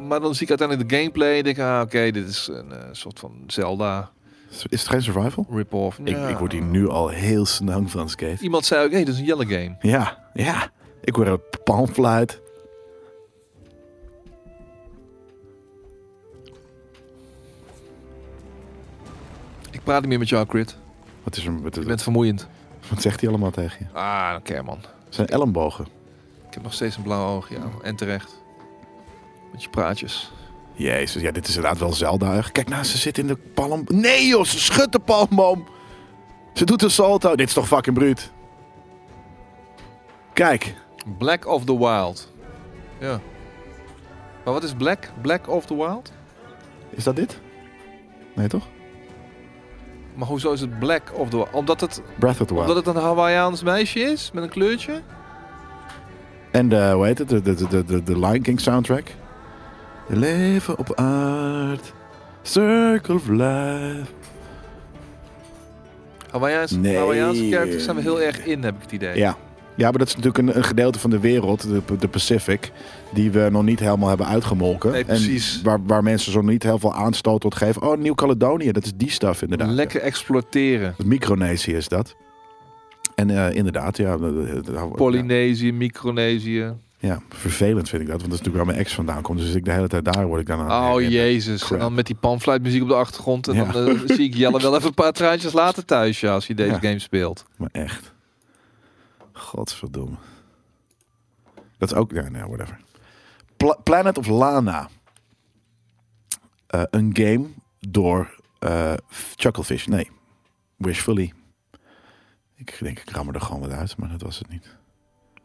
Speaker 2: maar dan zie ik uiteindelijk de gameplay en denk ik, ah, oké, dit is een eh, soort van Zelda
Speaker 1: Is het geen survival?
Speaker 2: rip-off. Ja.
Speaker 1: Ik, ik word hier nu al heel snel van, Skate.
Speaker 2: Iemand zei ook, hé, dit is een Jelle game.
Speaker 1: Ja, ja. Ik hoor een panfluit.
Speaker 2: Ik praat niet meer met jou, Crit.
Speaker 1: Wat, is er, wat,
Speaker 2: Je bent vermoeiend.
Speaker 1: wat zegt hij allemaal tegen je?
Speaker 2: Ah, oké man.
Speaker 1: Zijn ellebogen.
Speaker 2: Ik heb nog steeds een blauw oog, ja. En terecht. Met je praatjes.
Speaker 1: Jezus, ja, dit is inderdaad wel zelda Kijk nou, ze zit in de palm... Nee joh, ze schudt de palmboom. Ze doet een salto. Dit is toch fucking bruut. Kijk.
Speaker 2: Black of the Wild. Ja. Maar wat is Black? Black of the Wild?
Speaker 1: Is dat dit? Nee toch?
Speaker 2: Maar hoezo is het Black of the Wild? Omdat het,
Speaker 1: Breath of the Wild.
Speaker 2: omdat het een Hawaiiaans meisje is? Met een kleurtje?
Speaker 1: En de, hoe heet het? De, de, de, de, de Lion King soundtrack. Leven op aard. Circle of life.
Speaker 2: Hawaiiaans,
Speaker 1: Nee.
Speaker 2: Hawaiiaanse characters zijn we heel erg in, heb ik het idee.
Speaker 1: Ja. Ja, maar dat is natuurlijk een, een gedeelte van de wereld, de, de Pacific, die we nog niet helemaal hebben uitgemolken.
Speaker 2: Nee, precies.
Speaker 1: En waar, waar mensen zo niet heel veel aanstoot tot geven. Oh, Nieuw-Caledonië, dat is die stuff inderdaad.
Speaker 2: Lekker exploiteren.
Speaker 1: Het Micronesië is dat. En eh, inderdaad, ja. de- de- de-
Speaker 2: Polynesië, Micronesië.
Speaker 1: Ja, vervelend vind ik dat, want dat is natuurlijk waar mijn ex vandaan komt. Dus als ik de hele tijd daar word ik dan aan.
Speaker 2: Oh jezus.
Speaker 1: crap.
Speaker 2: En dan met die panfluitmuziek op de achtergrond. En
Speaker 1: Ja.
Speaker 2: dan eh, zie ik Jelle wel even een paar traantjes later thuis ja, als hij deze
Speaker 1: Ja.
Speaker 2: game speelt.
Speaker 1: Maar echt. Godverdomme. Dat is ook... Ja, nee, whatever. Pla- Planet of Lana. Eh, een game door eh, Chucklefish. Nee, Wishfully. Ik denk, ik ram er gewoon wat uit, maar dat was het niet.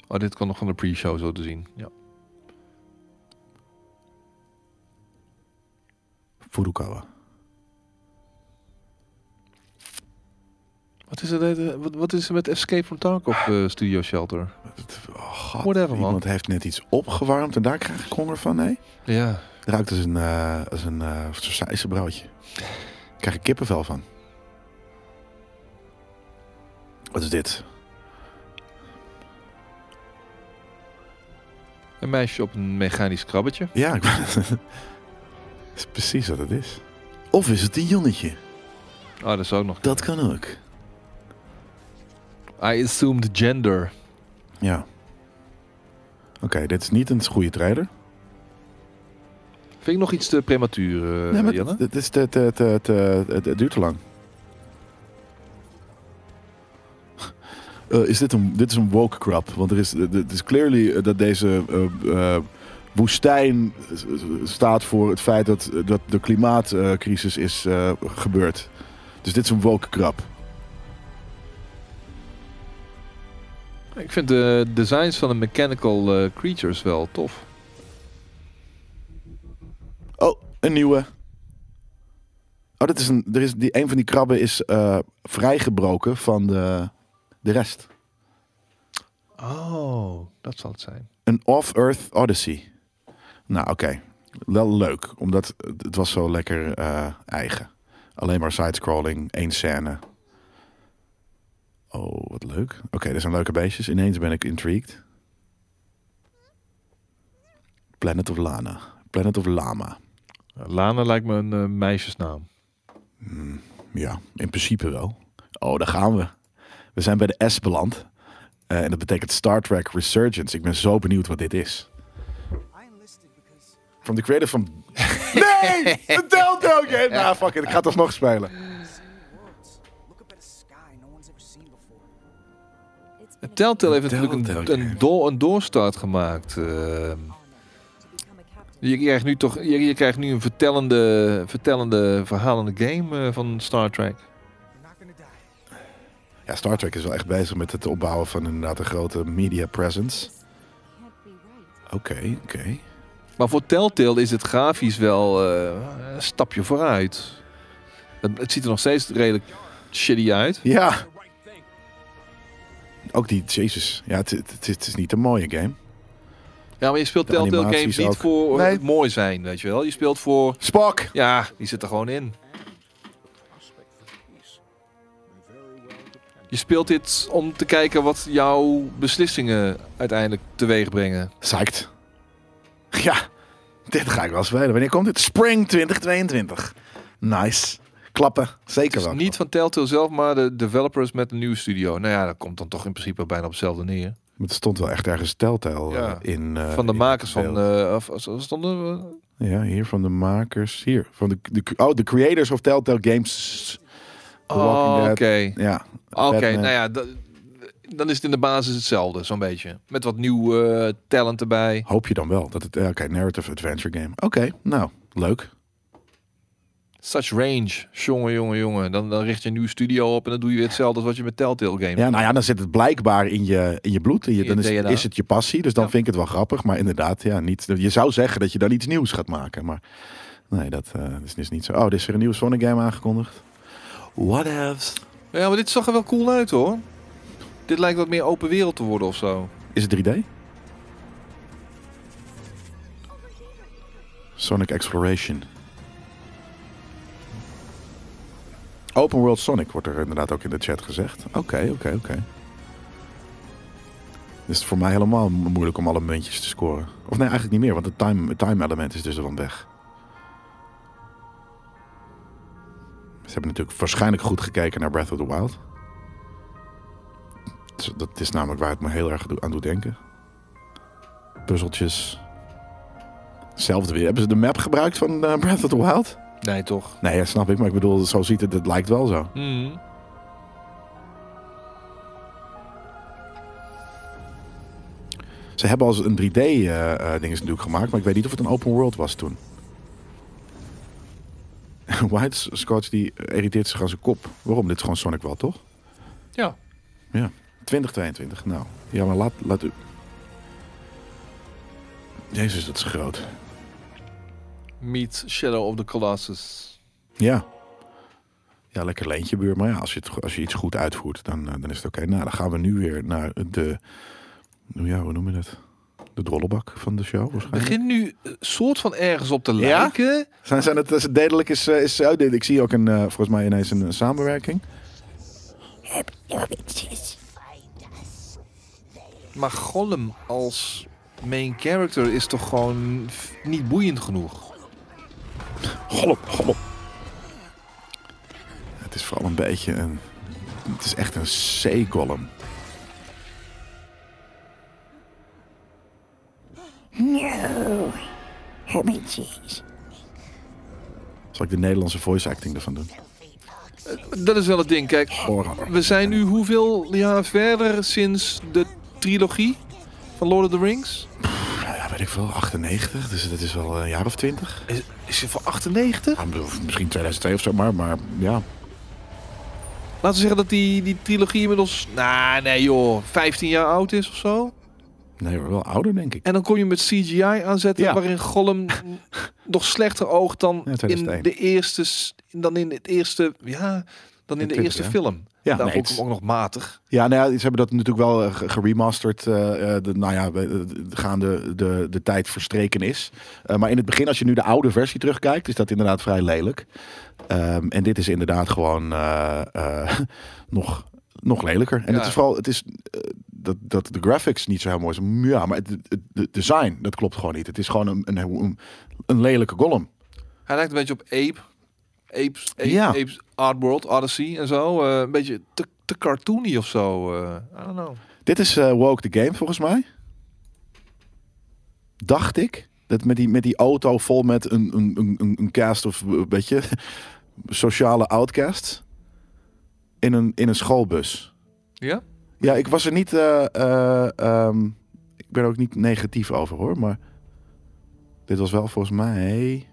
Speaker 2: Oh, dit kan nog van de pre-show zo te zien. Ja.
Speaker 1: Furukawa.
Speaker 2: Wat is er, eh, wat, wat is er met Escape from Tarkov eh, Studio Shelter?
Speaker 1: Oh, God,
Speaker 2: Whatever, man.
Speaker 1: Iemand heeft net iets opgewarmd en daar krijg ik honger van, nee?
Speaker 2: Ja.
Speaker 1: Het ruikt als een, eh als een eh sausijzenbroodje. Daar krijg ik kippenvel van. Wat is dit?
Speaker 2: Een meisje op een mechanisch krabbetje.
Speaker 1: Ja, ik dat is precies wat het is. Of is het een jonnetje?
Speaker 2: Ah, dat is ook nog.
Speaker 1: Dat kan ook.
Speaker 2: I assumed gender.
Speaker 1: Ja. Oké, dit is niet een goede trailer.
Speaker 2: Vind ik nog iets te prematuur, eh,
Speaker 1: nee, maar
Speaker 2: Jelle?
Speaker 1: het- het, is te, te, te, te- het- het duurt te lang. Eh, is dit, een, dit is een woke crap. Want er is, het is clearly eh, dat deze eh, eh, woestijn eh, staat voor het feit dat, dat de klimaatcrisis is eh, gebeurd. Dus dit is een woke crap.
Speaker 2: Ik vind de designs van de mechanical eh, creatures wel tof.
Speaker 1: Oh, een nieuwe. Oh, dat is een, er is die, een van die krabben is eh, vrijgebroken van de, de rest.
Speaker 2: Oh, dat zal het zijn.
Speaker 1: Een Off-Earth Odyssey. Nou, oké. Wel leuk, omdat het het was zo lekker eh, eigen. Alleen maar sidescrolling, één scène. Oh, wat leuk. Oké, er zijn leuke beestjes. Ineens ben ik intrigued. Planet of Lana. Planet of Lama.
Speaker 2: Lana lijkt me een eh, meisjesnaam.
Speaker 1: Ja, in principe wel. Oh, daar gaan we. We zijn bij de S beland. Eh, en dat betekent Star Trek Resurgence. Ik ben zo benieuwd wat dit is.
Speaker 4: I enlisted because
Speaker 1: From the creator van... Nee! Dat telt ook! hè? Nou, fuck it. Ik ga het alsnog spelen.
Speaker 4: seeing worlds. Look up at a sky no one's ever seen before.
Speaker 5: It's been
Speaker 2: En Telltale heeft
Speaker 1: Telltale
Speaker 2: natuurlijk een,
Speaker 1: Game.
Speaker 2: een, door, een doorstart gemaakt. eh.
Speaker 5: an honor to become a captain.
Speaker 2: je, krijgt nu toch, je, je krijgt nu een vertellende, vertellende verhalende game eh, van Star Trek.
Speaker 4: You're not gonna die.
Speaker 1: Ja, Star Trek is wel echt bezig met het opbouwen van inderdaad een grote media presence.
Speaker 5: This can't be right.
Speaker 1: Oké, oké.
Speaker 2: Maar voor Telltale is het grafisch wel eh, een stapje vooruit. Het, het ziet er nog steeds redelijk shitty uit.
Speaker 1: Ja. Ook die... Jezus. Ja, het, het, het- het is niet een mooie game.
Speaker 2: Ja, maar je speelt
Speaker 1: De
Speaker 2: Telltale
Speaker 1: animaties
Speaker 2: games niet
Speaker 1: ook.
Speaker 2: voor
Speaker 1: Nee.
Speaker 2: het mooi zijn, weet je wel. Je speelt voor...
Speaker 1: Spock!
Speaker 2: Ja, die zit er gewoon in. Je speelt dit om te kijken wat jouw beslissingen uiteindelijk teweeg brengen.
Speaker 1: Psyched. Ja. Dit ga ik wel spelen. Wanneer komt dit? Spring 2022. Nice. Klappen. Zeker
Speaker 2: Het
Speaker 1: wel.
Speaker 2: is niet van Telltale zelf, maar de developers met een nieuwe studio. Nou ja, dat komt dan toch in principe bijna op hetzelfde neer.
Speaker 1: Maar het stond wel echt ergens Telltale eh,
Speaker 2: Ja.
Speaker 1: in. eh,
Speaker 2: van de
Speaker 1: in
Speaker 2: makers van...
Speaker 1: beeld.
Speaker 2: eh of, of- stonden we-
Speaker 1: ja, hier van de makers. Hier. Van de, de, oh, de creators of Telltale Games. The Walking
Speaker 2: Oh, oké.
Speaker 1: Dead. Ja.
Speaker 2: Oké,
Speaker 1: Batman.
Speaker 2: nou ja, da- dan is het in de basis hetzelfde, zo'n beetje. Met wat nieuw eh, talent erbij.
Speaker 1: Hoop je dan wel dat het. eh, Oké, narrative adventure game. Oké, nou, leuk.
Speaker 2: Such range. Jongen, jongen, jongen. Dan, dan richt je een nieuwe studio op en dan doe je weer hetzelfde als wat je met Telltale Games.
Speaker 1: Ja, nou ja, dan zit het blijkbaar in je, in je bloed. In je,
Speaker 2: In
Speaker 1: dan
Speaker 2: je
Speaker 1: is,
Speaker 2: DNA.
Speaker 1: is het je passie. Dus dan
Speaker 2: Ja.
Speaker 1: vind ik het wel grappig. Maar inderdaad, ja, niet, je zou zeggen dat je dan iets nieuws gaat maken. Maar nee, dat eh, is dus niet zo. Oh, er is weer een nieuwe Sonic game aangekondigd. What else?
Speaker 2: Ja. maar dit zag er wel cool uit, hoor. Dit lijkt wat meer open wereld te worden of zo.
Speaker 1: Is het 3D? Sonic Exploration. Open World Sonic wordt er inderdaad ook in de chat gezegd. Oké, oké, oké. Dus voor mij helemaal mo- moeilijk om alle muntjes te scoren. Of nee, eigenlijk niet meer, want het time, het time element is dus er van weg. Ze hebben natuurlijk waarschijnlijk goed gekeken naar Breath of the Wild. Dus Dat is namelijk waar het me heel erg doe- aan doet denken. Puzzeltjes. Hetzelfde weer. Hebben ze de map gebruikt van eh, Breath of the Wild?
Speaker 2: Nee, toch?
Speaker 1: Nee, ja, snap ik. Maar ik bedoel, zo ziet het. Het lijkt wel zo.
Speaker 2: Hmm.
Speaker 1: Ze hebben al een eh, 3D-ding natuurlijk gemaakt. Maar ik weet niet of het een open world was toen. White Scotch die irriteert zich aan zijn kop. Waarom? Dit is gewoon Sonic wel, toch?
Speaker 2: Ja.
Speaker 1: Ja. 2022. Nou, ja, maar laat, laat u. Jezus, dat is groot.
Speaker 2: Meet Shadow of the Colossus.
Speaker 1: Ja. Ja, lekker leentje buur. Maar ja, als je, het, als je iets goed uitvoert, dan, eh, dan is het oké. Nou, dan gaan we nu weer naar de... Nou ja, hoe noem je dat? De drollebak van de show waarschijnlijk.
Speaker 2: Begint nu eh, soort van ergens op te
Speaker 1: Ja?
Speaker 2: lijken.
Speaker 1: Zijn, zijn het, is het dedelijk is, eh, is oh, dit- Ik zie ook een, eh, volgens mij ineens een, eh, samenwerking.
Speaker 2: Maar Gollum als main character is toch gewoon f- niet boeiend genoeg.
Speaker 1: Gollop, gollop. Het is vooral een beetje een... Het is echt een C-golem. Zal ik de Nederlandse voice acting ervan doen?
Speaker 2: Dat is wel het ding. Kijk, we zijn nu hoeveel jaar verder sinds de trilogie van Lord of the Rings?
Speaker 1: Nou ja, weet ik veel, 98, dus dat is wel een jaar of 20.
Speaker 2: Is, is het van 98?
Speaker 1: Ah, of Misschien 2002 of zo, maar, maar ja.
Speaker 2: Laten we zeggen dat die, die trilogie inmiddels, nou nee joh, 15 jaar oud is of zo.
Speaker 1: Nee, hoor, wel ouder denk ik.
Speaker 2: En dan kon je met CGI aanzetten
Speaker 1: Ja.
Speaker 2: waarin Gollum nog slechter oogt dan
Speaker 1: Ja,
Speaker 2: in
Speaker 1: 2001.
Speaker 2: de eerste, s- dan in het eerste, ja, dan in,
Speaker 1: In
Speaker 2: de
Speaker 1: 20,
Speaker 2: eerste
Speaker 1: hè?
Speaker 2: film.
Speaker 1: Ja,
Speaker 2: Daar
Speaker 1: nee,
Speaker 2: vond ik
Speaker 1: het-
Speaker 2: hem ook nog matig.
Speaker 1: Ja, nou ja, ze hebben dat natuurlijk wel eh, ge- geremasterd. eh, eh, de, nou ja, we- eh, gaande de, de tijd verstreken is. Eh, maar in het begin, als je nu de oude versie terugkijkt, is dat inderdaad vrij lelijk. Ehm, en dit is inderdaad gewoon eh, eh, nog, nog lelijker. En
Speaker 2: Ja.
Speaker 1: het is vooral, het is eh, dat, dat de graphics niet zo heel mooi zijn. Ja, maar het, het, het design, dat klopt gewoon niet. Het is gewoon een, een, een, een lelijke golem.
Speaker 2: Hij lijkt een beetje op Ape. Apes, Ape,
Speaker 1: Ja.
Speaker 2: Apes Art World, Odyssey en zo. Eh, een beetje te, te cartoony of zo. eh, I don't know.
Speaker 1: Dit is eh, Woke the Game volgens mij. Dacht ik. Dat met die, met die auto vol met een, een, een- een, een cast of eh, weet je, sociale outcasts. In een, in een schoolbus.
Speaker 2: Ja?
Speaker 1: Ja, ik was er niet. eh, eh, ehm, ik ben er ook niet negatief over hoor. Maar dit was wel volgens mij.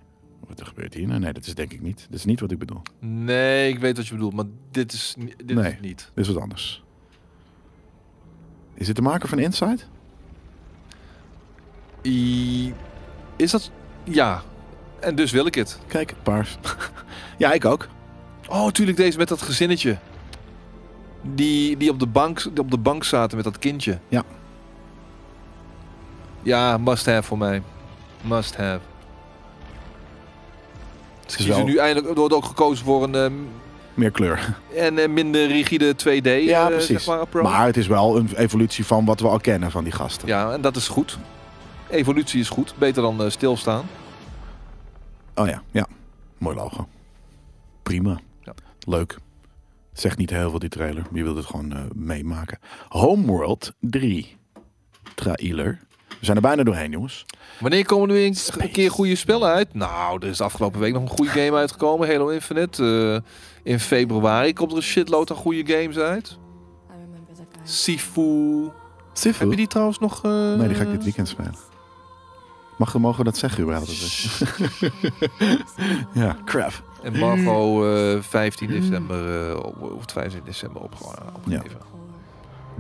Speaker 1: Wat er gebeurt hier? nou? Nee, dat is denk ik niet. Dat is niet wat ik bedoel.
Speaker 2: Nee, ik weet wat je bedoelt, maar dit is, ni- dit
Speaker 1: Nee.
Speaker 2: is niet.
Speaker 1: Dit is wat anders. Is dit de maker van Inside?
Speaker 2: I- is dat... Ja. En dus wil ik het.
Speaker 1: Kijk, paars. ja, ik ook.
Speaker 2: Oh, tuurlijk deze met dat gezinnetje. Die, die, op de bank, die op de bank zaten met dat kindje.
Speaker 1: Ja.
Speaker 2: Ja, must have voor mij. Must have. Ze
Speaker 1: is
Speaker 2: kiezen
Speaker 1: wel-
Speaker 2: nu eindelijk, er wordt ook gekozen voor een, ehm,
Speaker 1: Meer kleur.
Speaker 2: en eh, minder rigide 2D
Speaker 1: Ja,
Speaker 2: eh,
Speaker 1: precies.
Speaker 2: Zeg maar, approach.
Speaker 1: Maar het is wel een evolutie van wat we al kennen van die gasten.
Speaker 2: Ja, en dat is goed. Evolutie is goed, beter dan eh, stilstaan.
Speaker 1: Oh ja, ja. Mooi logo. Prima.
Speaker 2: Ja.
Speaker 1: Leuk. Zegt niet heel veel die trailer. Je wilt het gewoon eh, meemaken. Homeworld 3. Trailer. We zijn er bijna doorheen, jongens.
Speaker 2: Wanneer komen er weer eens een keer goede spellen uit? Nou, er is de afgelopen week nog een goede game uitgekomen. Halo Infinite. Eh, in februari komt er een shitload aan goede games uit.
Speaker 7: I remember the guy.
Speaker 2: Sifu.
Speaker 1: Sifu?
Speaker 2: Heb je die trouwens nog? eh,
Speaker 1: Nee, die ga ik dit weekend spelen. Mag, mogen we dat zeggen überhaupt? ja, crap.
Speaker 2: Embargo eh 15 december eh, op- of 15 december opge- opgegeven.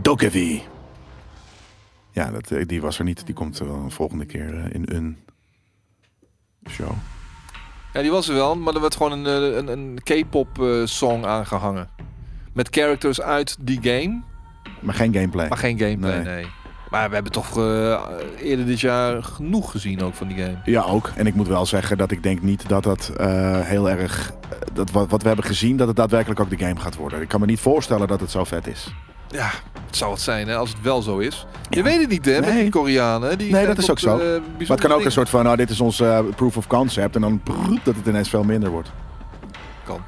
Speaker 1: Dokevi. Ja, dat, eh, die was er niet. Die komt eh, wel een volgende keer eh, in een show.
Speaker 2: Ja. die was er wel, maar er werd gewoon een, eh, een, een K-pop eh, song aangehangen. Met characters uit die game,
Speaker 1: Maar geen gameplay.
Speaker 2: maar geen gameplay,
Speaker 1: Nee.
Speaker 2: nee. Maar we hebben toch eh, eerder dit jaar genoeg gezien ook van die game.
Speaker 1: Ja, ook. En ik moet wel zeggen dat ik denk niet dat dat eh, heel erg... eh, Dat wat, wat we hebben gezien, dat het daadwerkelijk ook de game gaat worden. Ik kan me niet voorstellen dat het zo vet is.
Speaker 2: Ja, het zou het zijn hè, als het wel zo is. Je weet het niet hè, met
Speaker 1: Nee.
Speaker 2: die Koreanen. hè, Die
Speaker 1: Nee,
Speaker 2: zijn
Speaker 1: dat is
Speaker 2: tot,
Speaker 1: ook zo.
Speaker 2: eh,
Speaker 1: Maar het
Speaker 2: bijzondere
Speaker 1: kan ook
Speaker 2: dingen-
Speaker 1: een soort van, nou dit is ons eh, proof of concept. En dan prrrt, dat het ineens veel minder wordt.
Speaker 2: Kan.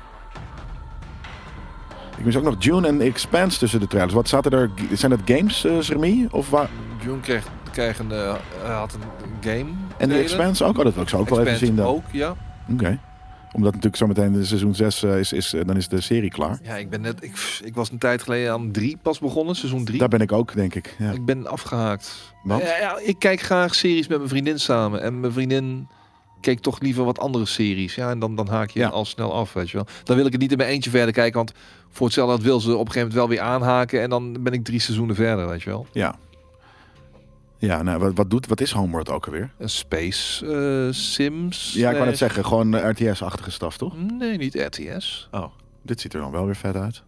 Speaker 1: Ik mis ook nog June en Expanse tussen de trailers. Wat zaten er? Zijn dat games, eh Remy? Of waar?
Speaker 2: Jun kreeg, kreeg een, eh, had een game.
Speaker 1: En de
Speaker 2: trailer.
Speaker 1: Expanse ook? Oh, dat wil ik zo ook wel even
Speaker 2: Expanse
Speaker 1: zien dan.
Speaker 2: ook, ja.
Speaker 1: Oké. Omdat natuurlijk zometeen de seizoen 6 is, is eh, dan is de serie klaar.
Speaker 2: Ja, ik ben net. Ik, ik was een tijd geleden aan drie pas begonnen, seizoen drie.
Speaker 1: Daar ben ik ook, denk ik. Ja.
Speaker 2: Ik ben afgehaakt.
Speaker 1: Want?
Speaker 2: Ja, ja, ik kijk graag series met mijn vriendin samen. En mijn vriendin keek toch liever wat andere series. Ja, en dan, dan haak je
Speaker 1: Ja.
Speaker 2: al snel af, weet je wel. Dan wil ik het niet in mijn eentje verder kijken, want voor hetzelfde dat wil ze op een gegeven moment wel weer aanhaken. En dan ben ik drie seizoenen verder, weet je wel.
Speaker 1: Ja, ja nou, wat, wat, doet, wat is Homeworld ook alweer?
Speaker 2: Een Space eh, Sims.
Speaker 1: Ja, ik wou
Speaker 2: slash-
Speaker 1: net zeggen, gewoon eh, RTS-achtige staf, toch?
Speaker 2: Nee, niet RTS.
Speaker 1: Oh. Dit ziet er dan wel weer vet uit.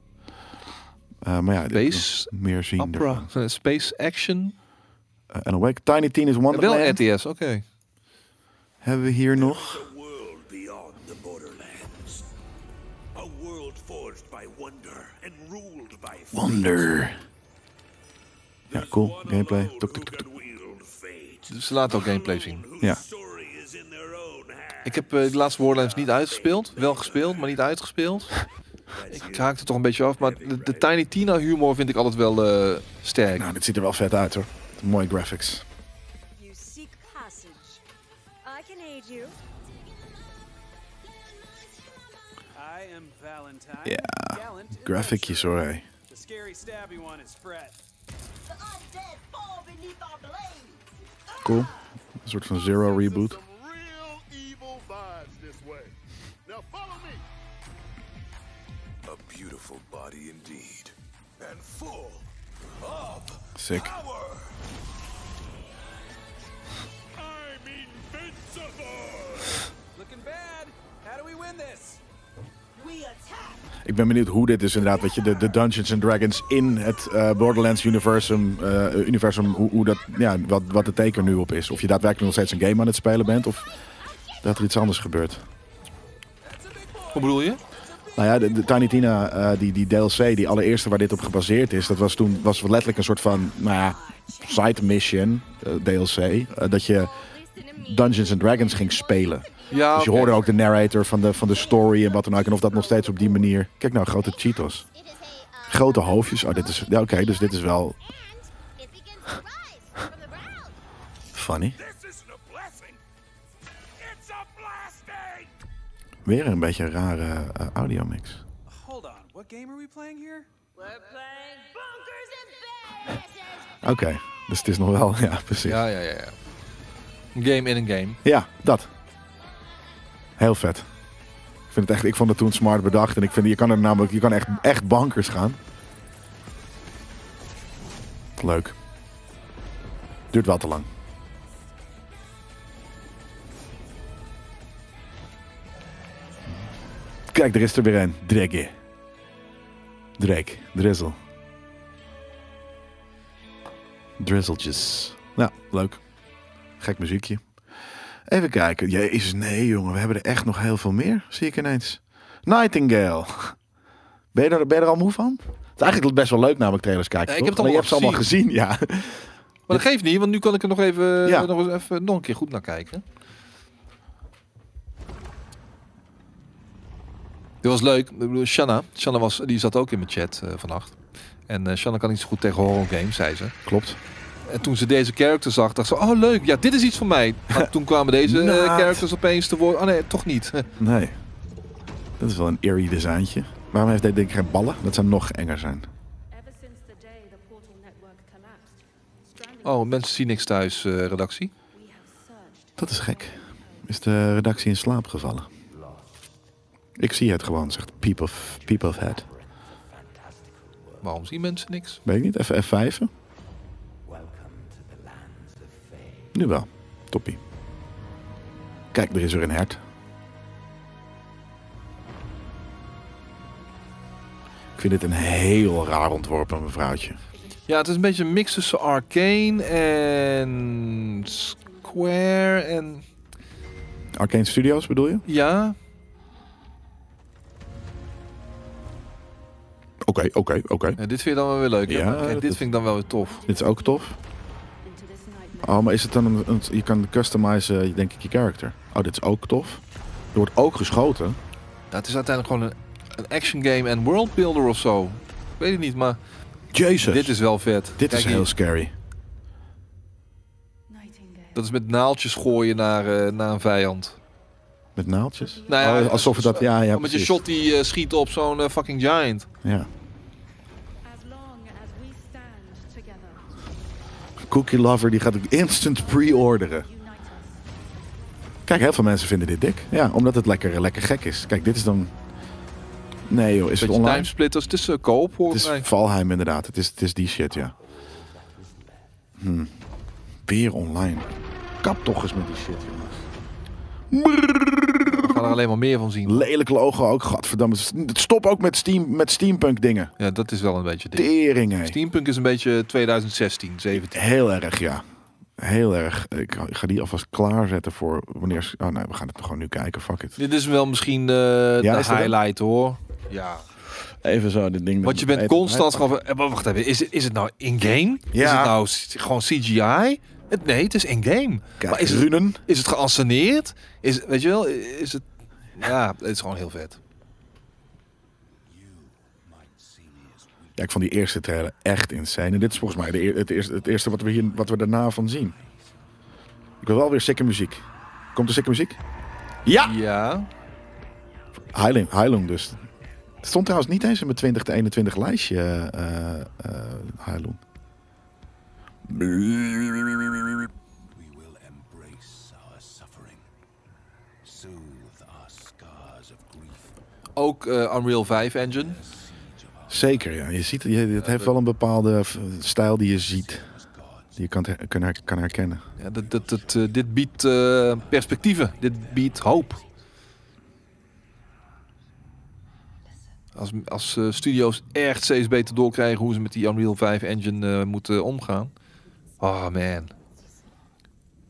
Speaker 1: Eh, maar ja, dit-
Speaker 2: Space
Speaker 1: meer zien.
Speaker 2: Opera.
Speaker 1: ervan.
Speaker 2: Eh, Space Action.
Speaker 1: Eh, en Awake. Tiny Teen is Wonderland.
Speaker 2: Wel RTS, oké.
Speaker 1: Hebben we hier nog?
Speaker 3: A world beyond the borderlands. A world forged by wonder and ruled by
Speaker 1: Wonder. Ja, cool. Gameplay. Tuk, tuk, tuk, tuk.
Speaker 2: Dus ze laten ook gameplay zien.
Speaker 1: Ja.
Speaker 2: Ik heb eh, de laatste Warlands niet uitgespeeld. Wel gespeeld, maar niet uitgespeeld. Ik haakte toch een beetje af. Maar de, de Tiny Tina humor vind ik altijd wel eh, sterk.
Speaker 1: Nou, dit ziet er wel vet uit, hoor. Mooie graphics.
Speaker 5: You seek passage. I can aid you.
Speaker 4: I am Valentine.
Speaker 1: Ja,
Speaker 4: Gallant and
Speaker 1: Graphicjes, hoor, hé.
Speaker 4: The scary stabby one is Fred.
Speaker 5: The undead fall beneath our blade.
Speaker 1: Cool. Een soort van Zero reboot.
Speaker 3: A beautiful body indeed. And full of
Speaker 1: Sick.
Speaker 3: power. I'm invincible.
Speaker 4: Looking bad. How do we win this?
Speaker 5: We attack.
Speaker 1: Ik ben benieuwd hoe dit is inderdaad, weet je, de, de Dungeons and Dragons in het eh, Borderlands universum, eh, universum hoe, hoe dat, ja, wat, wat de teken nu op is. Of je daadwerkelijk nog steeds een game aan het spelen bent, of dat er iets anders gebeurt.
Speaker 2: Wat bedoel je?
Speaker 1: Nou ja, de, de Tiny Tina, eh, die, die DLC, die allereerste waar dit op gebaseerd is, dat was toen was letterlijk een soort van, nou ja, side mission, eh, DLC, eh, dat je Dungeons and Dragons ging spelen.
Speaker 2: Ja,
Speaker 1: Dus je
Speaker 2: Oh, oké.
Speaker 1: hoorde ook de narrator van de, van de story en wat dan ook. En of dat nog steeds op die manier... Kijk nou, grote Cheetos.
Speaker 5: It is a uh,
Speaker 1: Grote hoofdjes. Oh, dit is... Ja, Oké, dus dit is wel
Speaker 5: and it begins to rise from the ground.
Speaker 1: funny.
Speaker 3: This isn't a blessing. It's a blasting.
Speaker 1: Weer een beetje een rare eh, audiomix.
Speaker 4: Hold on. What game are we playing here?
Speaker 5: We're playing bunkers and badasses.
Speaker 1: Oké, dus het is nog wel... Ja, precies. Ja,
Speaker 2: Ja, ja, ja. ja. Een game in een game.
Speaker 1: dat. Heel vet. Ik, vind het echt, ik vond het toen smart bedacht. En ik vind, je kan er namelijk je kan echt, echt bankers gaan. Leuk. Duurt wel te lang. Kijk, er is er weer een. Drake. Drake. Drizzle. Drizzletjes. Nou, leuk. Gek muziekje. Even kijken. Jezus, nee jongen. We hebben er echt nog heel veel meer. Zie ik ineens. Nightingale. Ben je er, ben je er al moe van? Het is eigenlijk best wel leuk namelijk trailers kijken.
Speaker 2: Ja, ik
Speaker 1: toch?
Speaker 2: heb het
Speaker 1: Alleen, je hebt ze
Speaker 2: allemaal
Speaker 1: allemaal gezien. Ja.
Speaker 2: Maar dat geeft niet, want nu kan ik er nog even,
Speaker 1: Ja.
Speaker 2: nog, eens even nog een keer goed naar kijken. Dit was leuk. Ik bedoel, Shanna, Shanna was, die zat ook in mijn chat eh, vannacht. En eh Shanna kan niet zo goed tegen horror games, zei ze.
Speaker 1: Klopt.
Speaker 2: En toen ze deze character zag, dacht ze, oh leuk, ja, dit is iets voor mij. Maar toen kwamen deze eh,
Speaker 1: Naad.
Speaker 2: characters opeens te woord. Oh nee, toch niet.
Speaker 1: Nee. Dat is wel een eerie designtje. Waarom heeft dit ding geen ballen? Dat zou nog enger zijn.
Speaker 5: Ever since the day the portal network collapsed, stranding
Speaker 2: Oh, mensen zien niks thuis, eh, redactie.
Speaker 5: we have surged.
Speaker 1: Dat is gek. Is de redactie in slaap gevallen? Ik zie het gewoon, zegt Peep of, peep of Head.
Speaker 2: Waarom zien mensen niks?
Speaker 1: Weet ik niet, even F5. en? Nu wel. Toppie. Kijk, er is weer een hert. Ik vind dit een heel raar ontworpen mevrouwtje.
Speaker 2: Ja, het is een beetje een mix tussen Arcane en Square en...
Speaker 1: Arcane Studios bedoel je?
Speaker 2: Ja,
Speaker 1: Oké, oké, oké.
Speaker 2: Ja, dit vind je dan wel weer leuk. hè?
Speaker 1: Ja,
Speaker 2: Kijk,
Speaker 1: dat-
Speaker 2: dit vind ik dan wel weer tof.
Speaker 1: Dit is ook tof.
Speaker 5: Into this nightmare,
Speaker 1: Oh, maar is het dan een, een- je kan customizen, eh, denk ik, je character. Oh, dit is ook tof. Er wordt ook geschoten.
Speaker 2: Dat is uiteindelijk gewoon een, een action game en world builder of zo. Ik weet het niet, maar
Speaker 1: Jezus.
Speaker 2: dit is wel vet.
Speaker 1: Dit
Speaker 2: Kijk
Speaker 1: is
Speaker 2: hier,
Speaker 1: heel scary.
Speaker 5: nightingale.
Speaker 2: Dat is met naaltjes gooien naar, eh, naar een vijand.
Speaker 1: Met naaldjes.
Speaker 2: Nou ja,
Speaker 1: Oh, alsof het dat... Ja, ja,
Speaker 2: met je
Speaker 1: precies.
Speaker 2: shot die eh, schiet op zo'n eh, fucking giant.
Speaker 1: Ja.
Speaker 5: As long as we stand together,
Speaker 1: Cookie Lover die gaat het instant pre-orderen.
Speaker 5: unite us.
Speaker 1: Kijk, heel veel mensen vinden dit dik. Ja, omdat het lekker, eh, lekker gek is. Kijk, dit is dan... Nee joh, is het
Speaker 2: Beetje
Speaker 1: online?
Speaker 2: timesplitters. Het is eh, co-op
Speaker 1: Het
Speaker 2: volgens
Speaker 1: is
Speaker 2: mij.
Speaker 1: Valheim inderdaad. Het is, het is die shit, ja. Hm. Weer online. Kap toch eens met die shit, jongens.
Speaker 2: We gaan er alleen maar meer van zien.
Speaker 1: Lelijk logo ook, godverdamme. Stop ook met, steam, met steampunk dingen.
Speaker 2: Ja, dat is wel een beetje dit.
Speaker 1: Tering, hé.
Speaker 2: Steampunk is een beetje 2016, 17.
Speaker 1: Heel erg, ja. Heel erg. Ik ga- ik ga die alvast klaarzetten voor wanneer... Oh nee, we gaan het gewoon nu kijken, fuck it.
Speaker 2: Dit is wel misschien eh, de
Speaker 1: is dat hem?
Speaker 2: highlight hoor. Ja.
Speaker 1: Even zo, dit ding...
Speaker 2: Want je bent constant gewoon... van, eh, maar Wacht even, is, het- is het nou in-game? Is
Speaker 1: Ja.
Speaker 2: het nou c- gewoon CGI? Het, nee, het is in-game. Maar is het,
Speaker 1: Runen.
Speaker 2: is het geanceneerd? Is, weet je wel, is het... Ja, het is gewoon heel vet.
Speaker 1: Ja, ik vond die eerste trailer echt insane. En dit is volgens mij de eer- het, eerste, het eerste wat we, hier, wat we daarna van zien. Ik wil wel weer sikke muziek. Komt er sikke muziek? Ja!
Speaker 2: Ja.
Speaker 1: Heilung, Heilung dus. Het stond trouwens niet eens in mijn 20 te 21 lijstje, eh eh Heilung.
Speaker 3: We will embrace our suffering, soothe our scars of grief,
Speaker 2: Ook eh, Unreal 5 Engine.
Speaker 1: Zeker, ja. Je ziet, je, het heeft wel een bepaalde f- stijl die je ziet. Die je kan, her- kan, her- kan herkennen.
Speaker 2: Ja, dat, dat, dat, eh, dit biedt eh, perspectieven. Dit biedt hoop. Als, als eh, studio's echt steeds beter doorkrijgen hoe ze met die Unreal 5 engine eh, moeten omgaan. Oh man.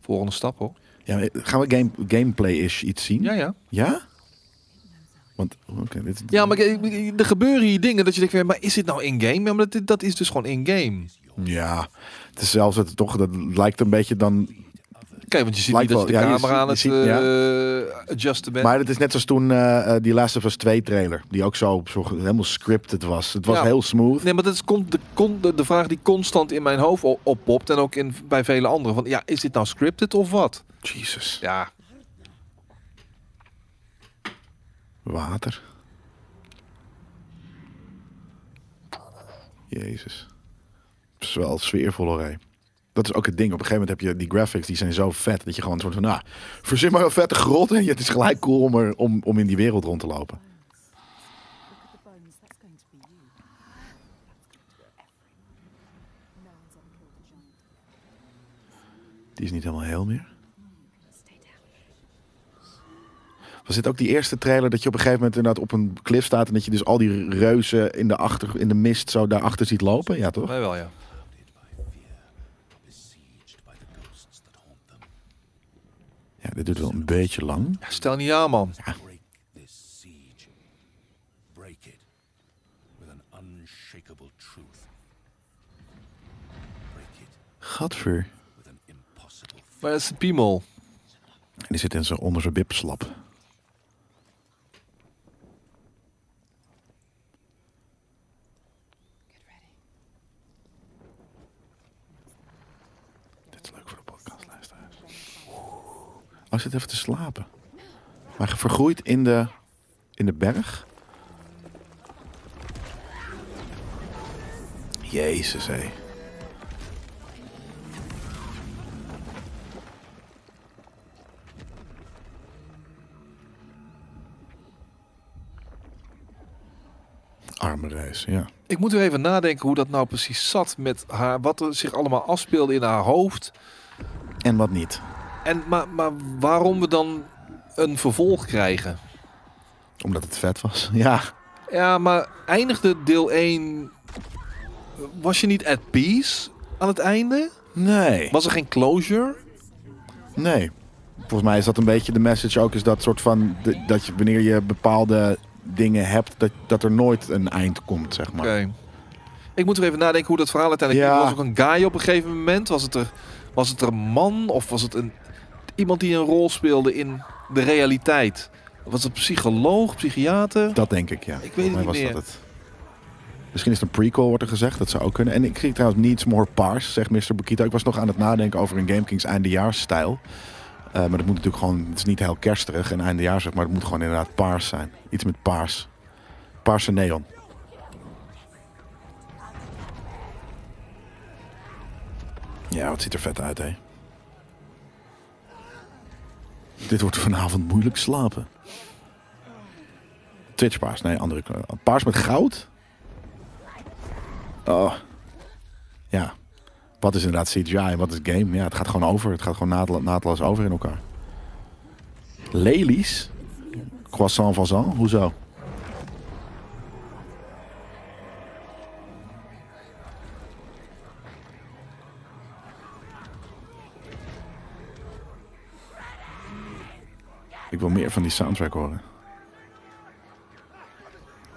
Speaker 2: Volgende stap hoor.
Speaker 1: Ja, maar gaan we game, gameplay-ish iets zien?
Speaker 2: Ja, ja.
Speaker 1: Ja? Want, oké, dit
Speaker 2: Ja, maar ik- ik- er gebeuren hier dingen dat je denkt, maar is dit nou in-game? Ja, maar dat, dat is dus gewoon in-game.
Speaker 1: Ja, het is zelfs het toch, dat lijkt een beetje dan.
Speaker 2: Kijk, want je ziet
Speaker 1: Lijkt
Speaker 2: niet dat je
Speaker 1: wel,
Speaker 2: de
Speaker 1: ja, je
Speaker 2: camera aan het
Speaker 1: ziet- je ziet-
Speaker 2: eh, adjusten bent.
Speaker 1: Maar het is net zoals toen eh, eh, die Last of Us 2 trailer, die ook zo, zo helemaal scripted was. Het was
Speaker 2: Ja.
Speaker 1: heel smooth.
Speaker 2: Nee, maar dat is con- de, con- de, de vraag die constant in mijn hoofd o- oppopt. En ook in, bij vele anderen. Van, ja, is dit nou scripted of wat?
Speaker 1: Jesus.
Speaker 2: Ja,
Speaker 1: Water. Jezus. Het is wel sfeervol hoor. hé. Dat is ook het ding. Op een gegeven moment heb je die graphics, die zijn zo vet dat je gewoon een soort van, nou, verzin maar een vette grot en het is gelijk cool om, er, om, om in die wereld rond te lopen.
Speaker 5: Look at the bones. That's going to be you. That's going to be everyone. No one's ever killed a giant.
Speaker 1: Die is niet helemaal heel meer.
Speaker 5: Stay down.
Speaker 1: Was dit ook die eerste trailer dat je op een gegeven moment inderdaad op een cliff staat en dat je dus al die reuzen in de, achter, in de mist zo daarachter ziet lopen? Ja, toch?
Speaker 2: mij wel, ja.
Speaker 3: besieged by the ghosts that haunt them.
Speaker 1: Ja, dit duurt wel een beetje lang.
Speaker 2: Ja, Stel niet aan, man.
Speaker 3: Break this siege. Break it with an unshakable truth. Break it
Speaker 1: Gadver.
Speaker 3: with an impossible
Speaker 2: Maar dat is een piemel.
Speaker 1: En die zit in zijn, onder zijn bibslap. Oh, zit even te slapen. Maar vergroeid in de, in de berg. Jezus, hé. Arme reis, ja.
Speaker 2: Ik moet weer even nadenken hoe dat nou precies zat met haar. Wat er zich allemaal afspeelde in haar hoofd.
Speaker 1: En wat niet.
Speaker 2: En, maar, maar waarom we dan een vervolg krijgen?
Speaker 1: Omdat het vet was. Ja.
Speaker 2: Ja, maar eindigde deel 1... Was je niet at peace aan het einde?
Speaker 1: Nee.
Speaker 2: Was er geen closure?
Speaker 1: Nee. Volgens mij is dat een beetje de message ook. Is dat soort van. de- dat je wanneer je bepaalde dingen hebt. dat, dat er nooit een eind komt, zeg maar.
Speaker 2: Oké. Ik moet er even nadenken hoe dat verhaal uiteindelijk...
Speaker 1: Ja.
Speaker 2: Was ook een guy op een gegeven moment? Was het, er, was het er een man? Of was het een, iemand die een rol speelde in de realiteit? Was het psycholoog, psychiater?
Speaker 1: Dat denk ik, ja.
Speaker 2: eh, weet het
Speaker 1: Volgens mij
Speaker 2: niet
Speaker 1: was
Speaker 2: meer.
Speaker 1: Dat het. Misschien is het een prequel, wordt er gezegd. Dat zou ook kunnen. En ik kreeg trouwens Needs More Pars, zegt Mr. Bukita. Ik was nog aan het nadenken over een Game Kings eindejaarsstijl. Eh, maar dat moet natuurlijk gewoon... Het is niet heel kersterig en eindejaars, zeg maar het moet gewoon inderdaad paars zijn. Iets met paars. Paarse neon. Ja, wat ziet er vet uit, hè? Dit wordt vanavond moeilijk slapen. Twitch paars, nee, andere kleur. Paars met goud? Oh. Ja. Wat is inderdaad CGI en wat is game? Ja, het gaat gewoon over. Het gaat gewoon naadla- naadloos over in elkaar. Lelies? Croissant fazan? Hoezo? Ik wil meer van die soundtrack horen.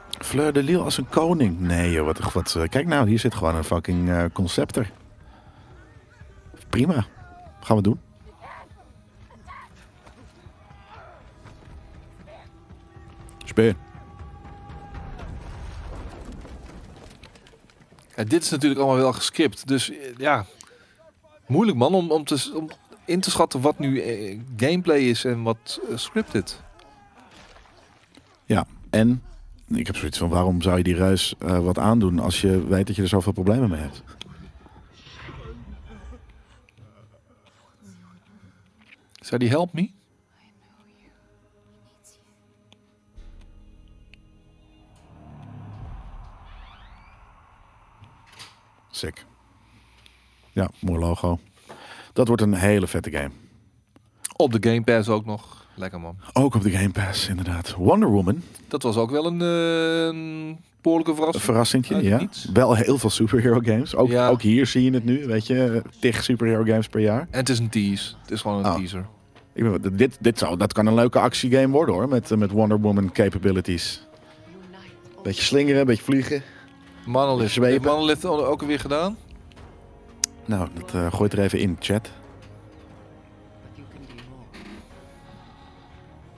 Speaker 1: Fleur de Lille als een koning. Nee, joh, wat, wat, eh, kijk nou, hier zit gewoon een fucking eh concepter. Prima. Gaan we doen. Speer.
Speaker 2: Ja, dit is natuurlijk allemaal wel geskipt. Dus eh, ja, moeilijk man om, om, te, s- om in te schatten wat nu eh, gameplay is en wat eh, scripted.
Speaker 1: Ja, en ik heb zoiets van: waarom zou je die ruis eh, wat aandoen als je weet dat je er zoveel problemen mee hebt?
Speaker 2: Zou die help me?
Speaker 1: Sick. Ja, mooi logo. Dat wordt een hele vette game.
Speaker 2: Op de Game Pass ook nog. Lekker man.
Speaker 1: Ook op de Game Pass, inderdaad. Wonder Woman,
Speaker 2: Dat was ook wel een, eh, een behoorlijke
Speaker 1: een
Speaker 2: verrassing.
Speaker 1: verrassingtje.
Speaker 2: Uit
Speaker 1: Ja.
Speaker 2: niets.
Speaker 1: Wel heel veel superhero games. Ook,
Speaker 2: Ja.
Speaker 1: ook hier zie je het nu, weet je. Tig superhero games per jaar.
Speaker 2: en het is een tease. Het is gewoon een
Speaker 1: Oh.
Speaker 2: teaser.
Speaker 1: Ik bedoel, dit, dit zou, dat kan een leuke actiegame worden hoor, met, eh, met Wonder Woman capabilities. Beetje slingeren, beetje vliegen.
Speaker 2: Monolith.
Speaker 1: Zwepen.
Speaker 2: Heeft Monolith al- ook weer gedaan?
Speaker 1: Nou, dat eh gooit er even in, chat.
Speaker 5: You can be more.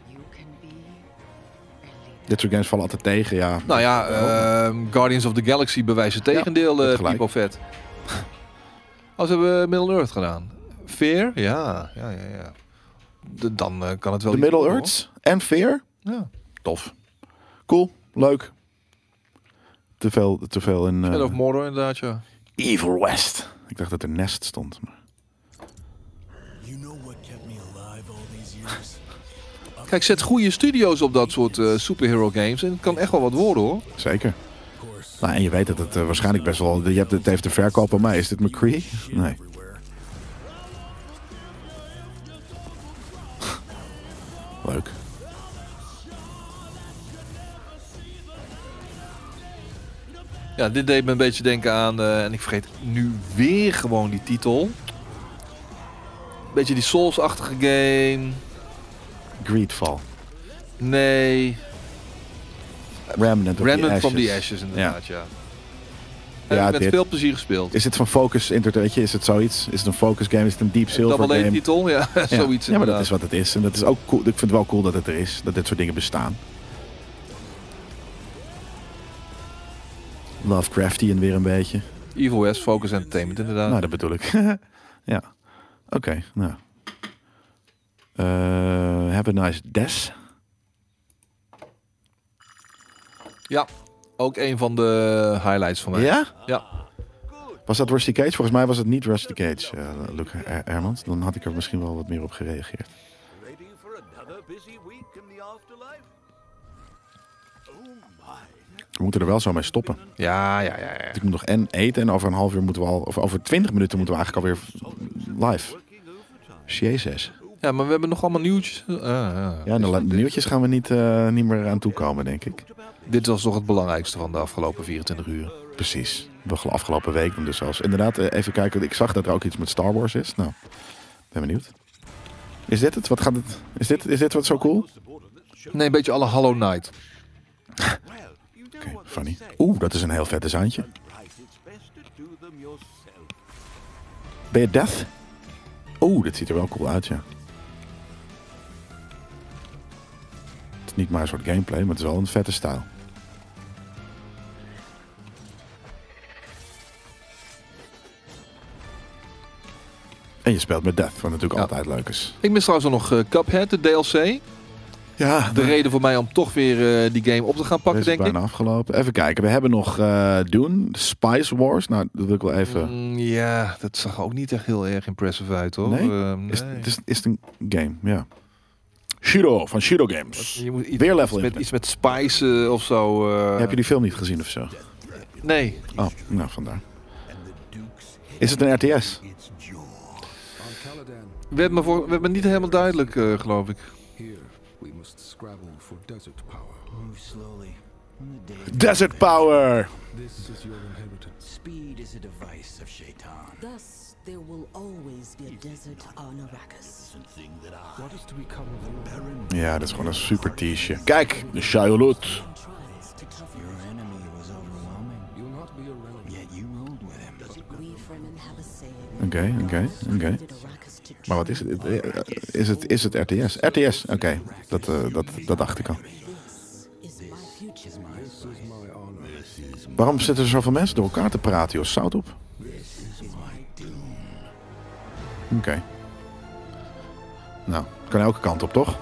Speaker 5: You can be a leader.
Speaker 1: Dit soort games vallen altijd tegen, ja.
Speaker 2: Nou ja, ehm, Guardians of the Galaxy bewijst het tegendeel,
Speaker 1: hebt
Speaker 2: eh
Speaker 1: gelijk.
Speaker 2: Pipo Vet. Als hebben we Middle Earth gedaan. Fear? Ja, ja, ja. ja. De- dan eh, kan het wel...
Speaker 1: De
Speaker 2: iets
Speaker 1: Middle
Speaker 2: worden,
Speaker 1: Earths en Fear.
Speaker 2: hoor. Ja.
Speaker 1: Tof. Cool, leuk. Te veel, te veel in... eh,
Speaker 2: Shadow of Mordor inderdaad, ja.
Speaker 1: Evil West. Ik dacht dat er Nest stond. Maar...
Speaker 3: You know what kept me alive all these years?
Speaker 2: Kijk, zet goede studio's op dat soort eh, superhero games. En het kan echt wel wat worden, hoor.
Speaker 1: Zeker. Nou, en je weet dat het eh, waarschijnlijk best wel... Je hebt, het heeft de verkoop aan mij. Is dit McCree? Nee. Leuk.
Speaker 2: Ja, dit deed me een beetje denken aan... eh, en ik vergeet nu weer gewoon die titel. Beetje die Souls-achtige game.
Speaker 1: Greedfall.
Speaker 2: Nee.
Speaker 1: Remnant of
Speaker 2: Remnant
Speaker 1: the Ashes.
Speaker 2: from the Ashes, inderdaad, ja. En
Speaker 1: Ja,
Speaker 2: met
Speaker 1: dit.
Speaker 2: veel plezier gespeeld.
Speaker 1: Is dit van Focus Entertainment? Is het zoiets? Is het een Focus game? Is het een Deep Silver
Speaker 2: Double
Speaker 1: game?
Speaker 2: A titel, ja,
Speaker 1: ja.
Speaker 2: zoiets
Speaker 1: ja, maar dat
Speaker 2: inderdaad.
Speaker 1: is wat het is. En dat is ook cool. Ik vind het wel cool dat het er is. Dat dit soort dingen bestaan. Lovecraftian weer een beetje.
Speaker 2: Evil West, Focus
Speaker 1: Oh.
Speaker 2: Entertainment inderdaad.
Speaker 1: Nou, dat bedoel ik. ja. Oké, nou. Eh, have a nice des.
Speaker 2: Ja, ook een van de highlights van mij.
Speaker 1: Ja?
Speaker 2: Ja.
Speaker 1: Was dat Rusty Cage? Volgens mij was het niet Rusty Cage, eh Luc Er- Ermans. Dan had ik er misschien wel wat meer op gereageerd.
Speaker 3: Ready for another busy week in the afterlife? Oh my.
Speaker 1: We moeten er wel zo mee stoppen.
Speaker 2: Ja, ja, ja. ja.
Speaker 1: Want ik moet nog en eten en over een half uur moeten we al... Of over twintig minuten moeten we eigenlijk alweer live.
Speaker 3: Working overtime.
Speaker 1: Jezus.
Speaker 2: Ja, maar we hebben nog allemaal nieuwtjes. Ah, ja.
Speaker 1: Ja, en de la- de nieuwtjes gaan we niet, eh, niet meer aan toekomen, denk ik.
Speaker 2: Dit was toch het belangrijkste van de afgelopen 24 uur.
Speaker 1: Precies. De gel- afgelopen week dan dus zelfs. Inderdaad, eh, even kijken. Ik zag dat er ook iets met Star Wars is. Nou, ben benieuwd. Is dit het? Wat gaat het? Is dit, is dit wat zo cool?
Speaker 2: Nee, een beetje alle Hollow Knight.
Speaker 3: Well, you know
Speaker 1: Oké,
Speaker 3: what they
Speaker 1: funny.
Speaker 3: say.
Speaker 1: Oeh, dat is een heel vet designtje.
Speaker 3: Right, it's best to do them yourself.
Speaker 1: Ben je Death? Oeh, dit ziet er wel cool uit, ja. Het is niet maar een soort gameplay, maar het is wel een vette stijl. En je speelt met Death, wat natuurlijk
Speaker 2: Ja.
Speaker 1: altijd leuk is.
Speaker 2: Ik mis trouwens nog eh, Cuphead, de DLC.
Speaker 1: Ja,
Speaker 2: De reden voor mij om toch weer eh, die game op te gaan pakken,
Speaker 1: Deze Nou, is
Speaker 2: denk ik.
Speaker 1: bijna afgelopen. Even kijken, we hebben nog eh Dune, Spice Wars. Nou, dat wil ik wel even...
Speaker 2: Mm, ja, dat zag ook niet echt heel erg impressive uit, hoor.
Speaker 1: Nee?
Speaker 2: Eh,
Speaker 1: Is,
Speaker 2: nee.
Speaker 1: het is, is het een game, ja. Shiro, van Shiro Games.
Speaker 2: Je moet iets,
Speaker 1: Weer level
Speaker 2: iets met,
Speaker 1: internet.
Speaker 2: iets met spice eh, of zo. eh.
Speaker 1: Heb je die film niet gezien of zo?
Speaker 2: Nee.
Speaker 1: Oh, nou vandaar. Is het een RTS?
Speaker 7: On Caladan,
Speaker 2: We hebben, me voor, we hebben niet helemaal duidelijk, eh, geloof ik.
Speaker 7: here we must scrabble for desert power.
Speaker 8: Move slowly. When the day
Speaker 1: Desert Power!
Speaker 7: This is your inheritance.
Speaker 8: speed is a device of Shaitan.
Speaker 5: Thus, there will always be a desert on Arrakis.
Speaker 7: What is to become of you? Baron
Speaker 1: Ja, dat is gewoon een super t-shirt. Kijk, de Shayolot.
Speaker 5: And tries to cover
Speaker 8: Your
Speaker 5: it.
Speaker 8: enemy was overwhelming,
Speaker 7: you'll not be a relic.
Speaker 8: yet you ruled with him.
Speaker 5: We Fremen have a saying.
Speaker 1: Oké, oké, oké.
Speaker 5: Did Arrakis to
Speaker 1: Maar wat is het? Is het, is het RTS? RTS, oké. Dat, eh, dat, dat dacht ik al.
Speaker 5: is my future.
Speaker 7: This is my honor.
Speaker 1: Waarom zitten er zoveel mensen door elkaar te praten, joh? Zout op. Oké. Nou, kan elke kant op, toch?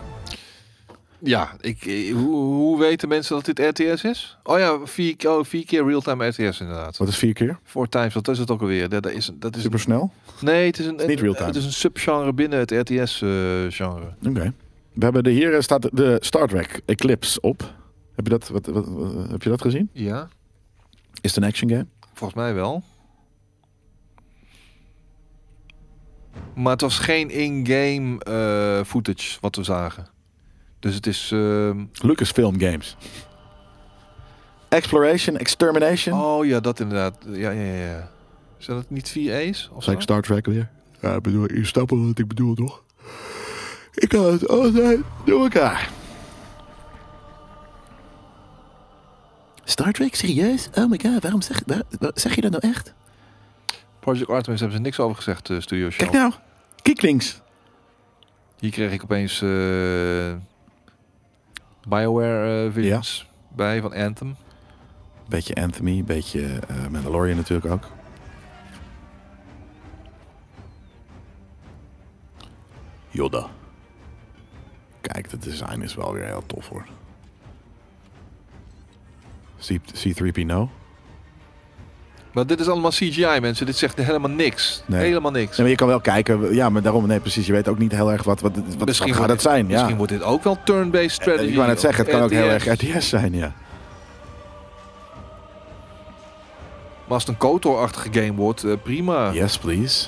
Speaker 2: Ja, ik, eh, hoe, hoe weten mensen dat dit RTS is? Oh ja, vier, ke- oh, vier keer real-time RTS inderdaad.
Speaker 1: Wat is vier keer?
Speaker 2: Four times, wat is het ook alweer? Dat, dat is, dat is,
Speaker 1: Supersnel?
Speaker 2: nee, het is een,
Speaker 1: niet real-time.
Speaker 2: Het is een subgenre binnen het RTS-genre.
Speaker 1: Oké. We hebben de, hier eh, staat de Star Trek Eclipse op. Heb je dat, wat, wat- wat- heb je dat gezien?
Speaker 2: ja,
Speaker 1: Is het een action game?
Speaker 2: volgens mij wel. Maar het was geen in-game eh, footage wat we zagen. Dus het is... ehm,
Speaker 1: Lucasfilm Games. Exploration, Extermination.
Speaker 2: oh ja, dat inderdaad. Ja, ja, ja, ja. Zijn dat niet vier A's? Of zo?
Speaker 1: Zeg ik Star Trek weer? Ja, ik bedoel, je snapt wel wat ik bedoel, toch? Ik kan het altijd door elkaar. Star Trek, serieus? Oh my god, waarom zeg, waar- waar- zeg je dat nou echt?
Speaker 2: Project Artemis hebben ze niks over gezegd, eh, Studio Show.
Speaker 1: Kijk nou, Kiklings.
Speaker 2: Hier kreeg ik opeens eh, Bioware eh visions bij van Anthem.
Speaker 1: Beetje Anthony, beetje eh, Mandalorian natuurlijk ook. Yoda. Kijk, het design is wel weer heel tof hoor. C- C3PO?
Speaker 2: Maar dit is allemaal CGI, mensen. Dit zegt helemaal niks.
Speaker 1: Nee.
Speaker 2: Helemaal niks.
Speaker 1: Nee, maar je kan wel kijken. Ja, maar daarom, nee, precies. Je weet ook niet heel erg wat, wat, wat, wat gaat
Speaker 2: wordt
Speaker 1: het zijn.
Speaker 2: Dit, misschien
Speaker 1: ja. Eh,
Speaker 2: wordt dit ook wel turn-based strategy.
Speaker 1: Ik wou net
Speaker 2: of
Speaker 1: zeggen, het kan ook heel
Speaker 2: RTS.
Speaker 1: erg RTS zijn, ja.
Speaker 2: Maar als het een KOTOR-achtige game wordt, eh, prima.
Speaker 1: Yes, please.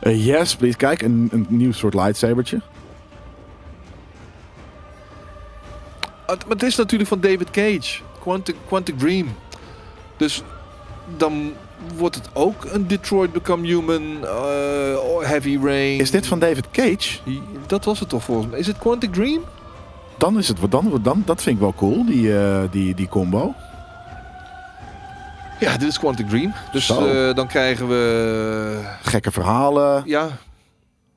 Speaker 1: Eh, yes, please. Kijk, een, een nieuw soort lightsabertje.
Speaker 2: Het- Ah, maar het is natuurlijk van David Cage. Quantic, Quantic Dream. Dus dan wordt het ook een Detroit Become Human, eh, Heavy Rain.
Speaker 1: Is dit van David Cage?
Speaker 2: Dat was het toch volgens mij. Is het Quantic Dream?
Speaker 1: Dan is het wat dan, dan. Dat vind ik wel cool, die, eh, die, die combo.
Speaker 2: Ja, dit is Quantic Dream. Dus
Speaker 1: Zo.
Speaker 2: eh, dan krijgen we...
Speaker 1: Gekke verhalen.
Speaker 2: Ja,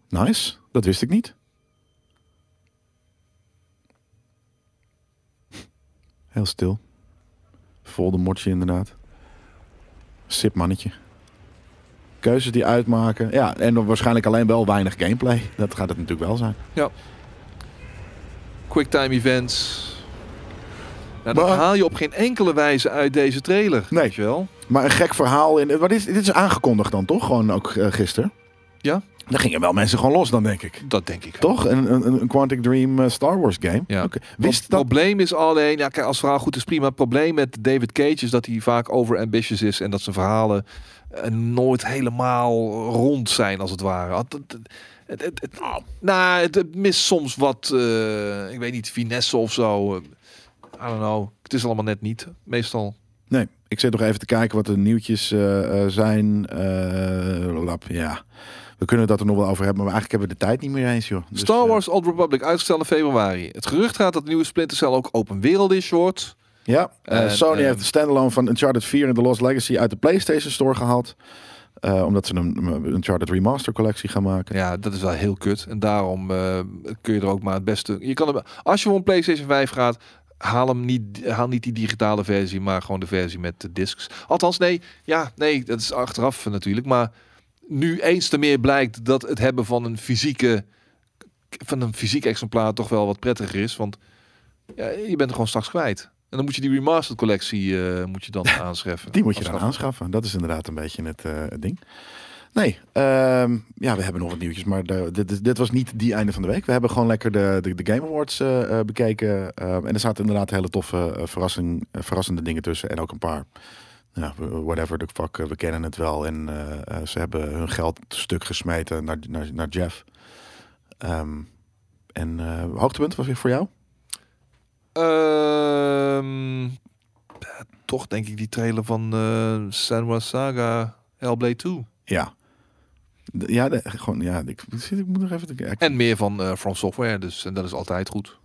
Speaker 1: Nice. Dat wist ik niet. Heel stil. Voldemortje inderdaad. Sip mannetje. Keuzes die uitmaken. Ja, en dan waarschijnlijk alleen wel weinig gameplay. Dat gaat het natuurlijk wel zijn.
Speaker 2: Quicktime events. Nou, dat
Speaker 1: Maar-
Speaker 2: haal je op geen enkele wijze uit deze trailer.
Speaker 1: Nee.
Speaker 2: Weet je wel.
Speaker 1: Maar een gek verhaal. In, maar dit, dit is aangekondigd dan toch? Gewoon ook eh, gisteren.
Speaker 2: Ja.
Speaker 1: Dan gingen wel mensen gewoon los dan, denk ik.
Speaker 2: Dat denk ik. wel.
Speaker 1: Toch? Een, een, een Quantic Dream eh, Star Wars game.
Speaker 2: Ja.
Speaker 1: Oké.
Speaker 2: Wist
Speaker 1: Wist dat...
Speaker 2: probleem is alleen, ja, kijk, als het verhaal goed is, prima. Het probleem met David Cage is dat hij vaak overambitious is en dat zijn verhalen eh, nooit helemaal rond zijn, als het ware. Het, het, het, het- het- nou, het, het mist soms wat, eh, ik weet niet, finesse of zo. Eh, I don't know. Het is allemaal net niet, meestal.
Speaker 1: Nee, ik zit nog even te kijken wat de nieuwtjes eh, eh, zijn. Eh, lap, ja. We kunnen het dat er nog wel over hebben, maar eigenlijk hebben we de tijd niet meer eens, joh. Dus,
Speaker 2: Star
Speaker 1: eh,
Speaker 2: Wars Old Republic, uitgesteld in februari. Het gerucht gaat dat de nieuwe Splinter Cell ook open wereld is, short.
Speaker 1: ja, eh,
Speaker 2: En,
Speaker 1: Sony
Speaker 2: eh,
Speaker 1: heeft de standalone van Uncharted 4 en The Lost Legacy uit de PlayStation Store gehaald. Eh, omdat ze een, een Uncharted Remaster collectie gaan maken.
Speaker 2: Ja, dat is wel heel kut. En daarom eh, kun je er ook maar het beste. Je kan hem, als je voor een PlayStation 5 gaat, haal hem niet, haal niet die digitale versie, maar gewoon de versie met de discs. Althans, nee, ja, nee, dat is achteraf natuurlijk. Maar nu eens te meer blijkt dat het hebben van een fysieke, van een fysiek exemplaar toch wel wat prettiger is, want ja, je bent er gewoon straks kwijt. En dan moet je die remastered collectie eh, moet je dan aanschaffen.
Speaker 1: Die moet je dan
Speaker 2: Aanschaffen.
Speaker 1: aanschaffen. Dat is inderdaad een beetje het eh, het ding. Nee, ehm, ja, we hebben nog wat nieuwtjes, maar de- dit, is- dit was niet die einde van de week. We hebben gewoon lekker de, de, de Game Awards eh, eh, bekeken. eh, en er zaten inderdaad hele toffe, eh, verrassing, eh, verrassende dingen tussen. En ook een paar, ja, whatever the fuck, eh, we kennen het wel. En eh, eh, ze hebben hun geld stuk gesmeten naar, naar, naar Jeff. Ehm, en eh, hoogtepunt was weer voor jou?
Speaker 2: Ehm, ja, toch denk ik die trailer van eh Senwa Saga Hellblade 2.
Speaker 1: Ja. De- ja, de- gewoon, ja, ik, ik moet nog even... te kijken.
Speaker 2: En meer van eh, From Software, dus en dat is altijd goed.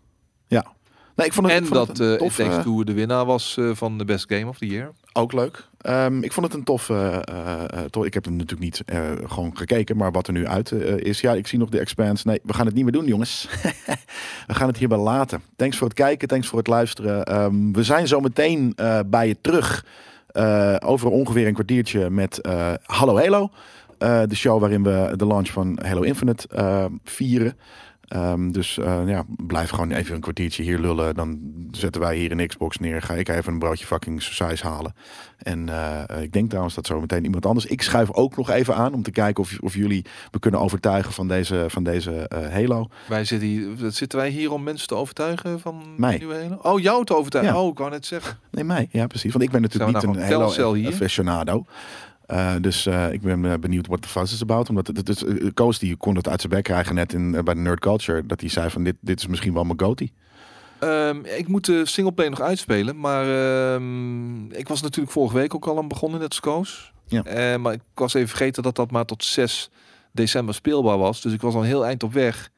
Speaker 1: nee, ik vond het,
Speaker 2: en
Speaker 1: ik vond
Speaker 2: dat
Speaker 1: het een
Speaker 2: eh It
Speaker 1: tof,
Speaker 2: Takes
Speaker 1: eh,
Speaker 2: Two de winnaar was eh, van de Best Game of the Year.
Speaker 1: Ook leuk. Ehm, ik vond het een tof. eh, eh, eh, tof- ik heb hem natuurlijk niet eh, gewoon gekeken, maar wat er nu uit eh, is. Ja, ik zie nog de Expanse. Nee, we gaan het niet meer doen, jongens. we gaan het hierbij laten. Thanks voor het kijken, thanks voor het luisteren. Ehm, we zijn zo meteen eh, bij je terug. eh, over ongeveer een kwartiertje met eh, Hallo Halo. Eh, de show waarin we de launch van Halo Infinite eh, vieren. Ehm, dus eh, ja, blijf gewoon even een kwartiertje hier lullen. Dan zetten wij hier een Xbox neer. Ga ik even een broodje fucking size halen. En eh, eh, ik denk trouwens dat zo meteen iemand anders. Ik schuif ook nog even aan om te kijken of, of jullie me kunnen overtuigen van deze, van deze eh, Halo.
Speaker 2: Wij zitten, hier, zitten wij hier om mensen te overtuigen van
Speaker 1: Mij.
Speaker 2: de nieuwe hele? Oh, jou te overtuigen.
Speaker 1: Ja.
Speaker 2: Oh, ik wou net zeggen.
Speaker 1: Nee, mij. Ja, precies. Want ik ben natuurlijk
Speaker 2: Zijn we
Speaker 1: niet een
Speaker 2: nou gewoon
Speaker 1: Halo
Speaker 2: Telcel hier?
Speaker 1: aficionado. Eh, dus eh, ik ben eh, benieuwd wat de fuss is about. Omdat het, het, het- eh, Koos die kon het uit zijn bek krijgen net in, eh, bij de Nerd Culture. Dat hij zei van dit, dit is misschien wel mijn goatee.
Speaker 2: Ehm, ik moet de singleplay nog uitspelen, maar ehm, ik was natuurlijk vorige week ook al aan begonnen, net als Koos.
Speaker 1: Ja.
Speaker 2: Eh, maar ik was even vergeten dat dat maar tot 6 december speelbaar was. Dus ik was al een heel eind op weg.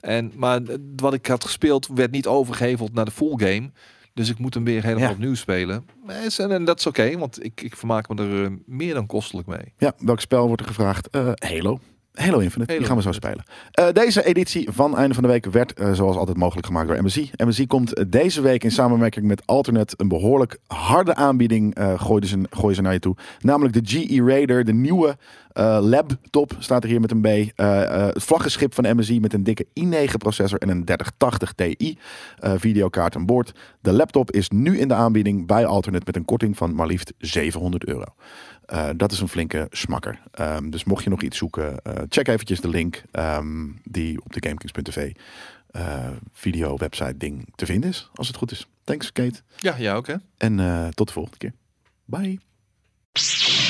Speaker 2: En, maar eh, wat ik had gespeeld werd niet overgeheveld naar de full game. Dus ik moet hem weer helemaal
Speaker 1: Ja.
Speaker 2: opnieuw spelen. Eh, is- En en dat is oké, want ik, ik vermaak me er eh, meer dan kostelijk mee.
Speaker 1: Ja, welk spel wordt er gevraagd? Eh, Halo. Halo Infinite, die
Speaker 2: Halo
Speaker 1: gaan we zo spelen. Eh, deze editie van Einde van de Week werd eh, zoals altijd mogelijk gemaakt door MSI. MSI komt eh, deze week in samenwerking met Alternate een behoorlijk harde aanbieding eh, gooiden ze, gooien ze naar je toe. Namelijk de GE Raider, de nieuwe eh, laptop, staat er hier met een B. Eh, eh, het vlaggenschip van MSI met een dikke i9 processor en een 3080 Ti eh, videokaart aan boord. De laptop is nu in de aanbieding bij Alternate met een korting van maar liefst 700 euro. Eh, dat is een flinke smakker. Ehm, dus mocht je nog iets zoeken, eh, check eventjes de link ehm, die op de GameKings.tv eh, video, website, ding te vinden is. Als het goed is. Thanks, Kate.
Speaker 2: Ja, ja, oké.
Speaker 1: En eh, tot de volgende keer. Bye.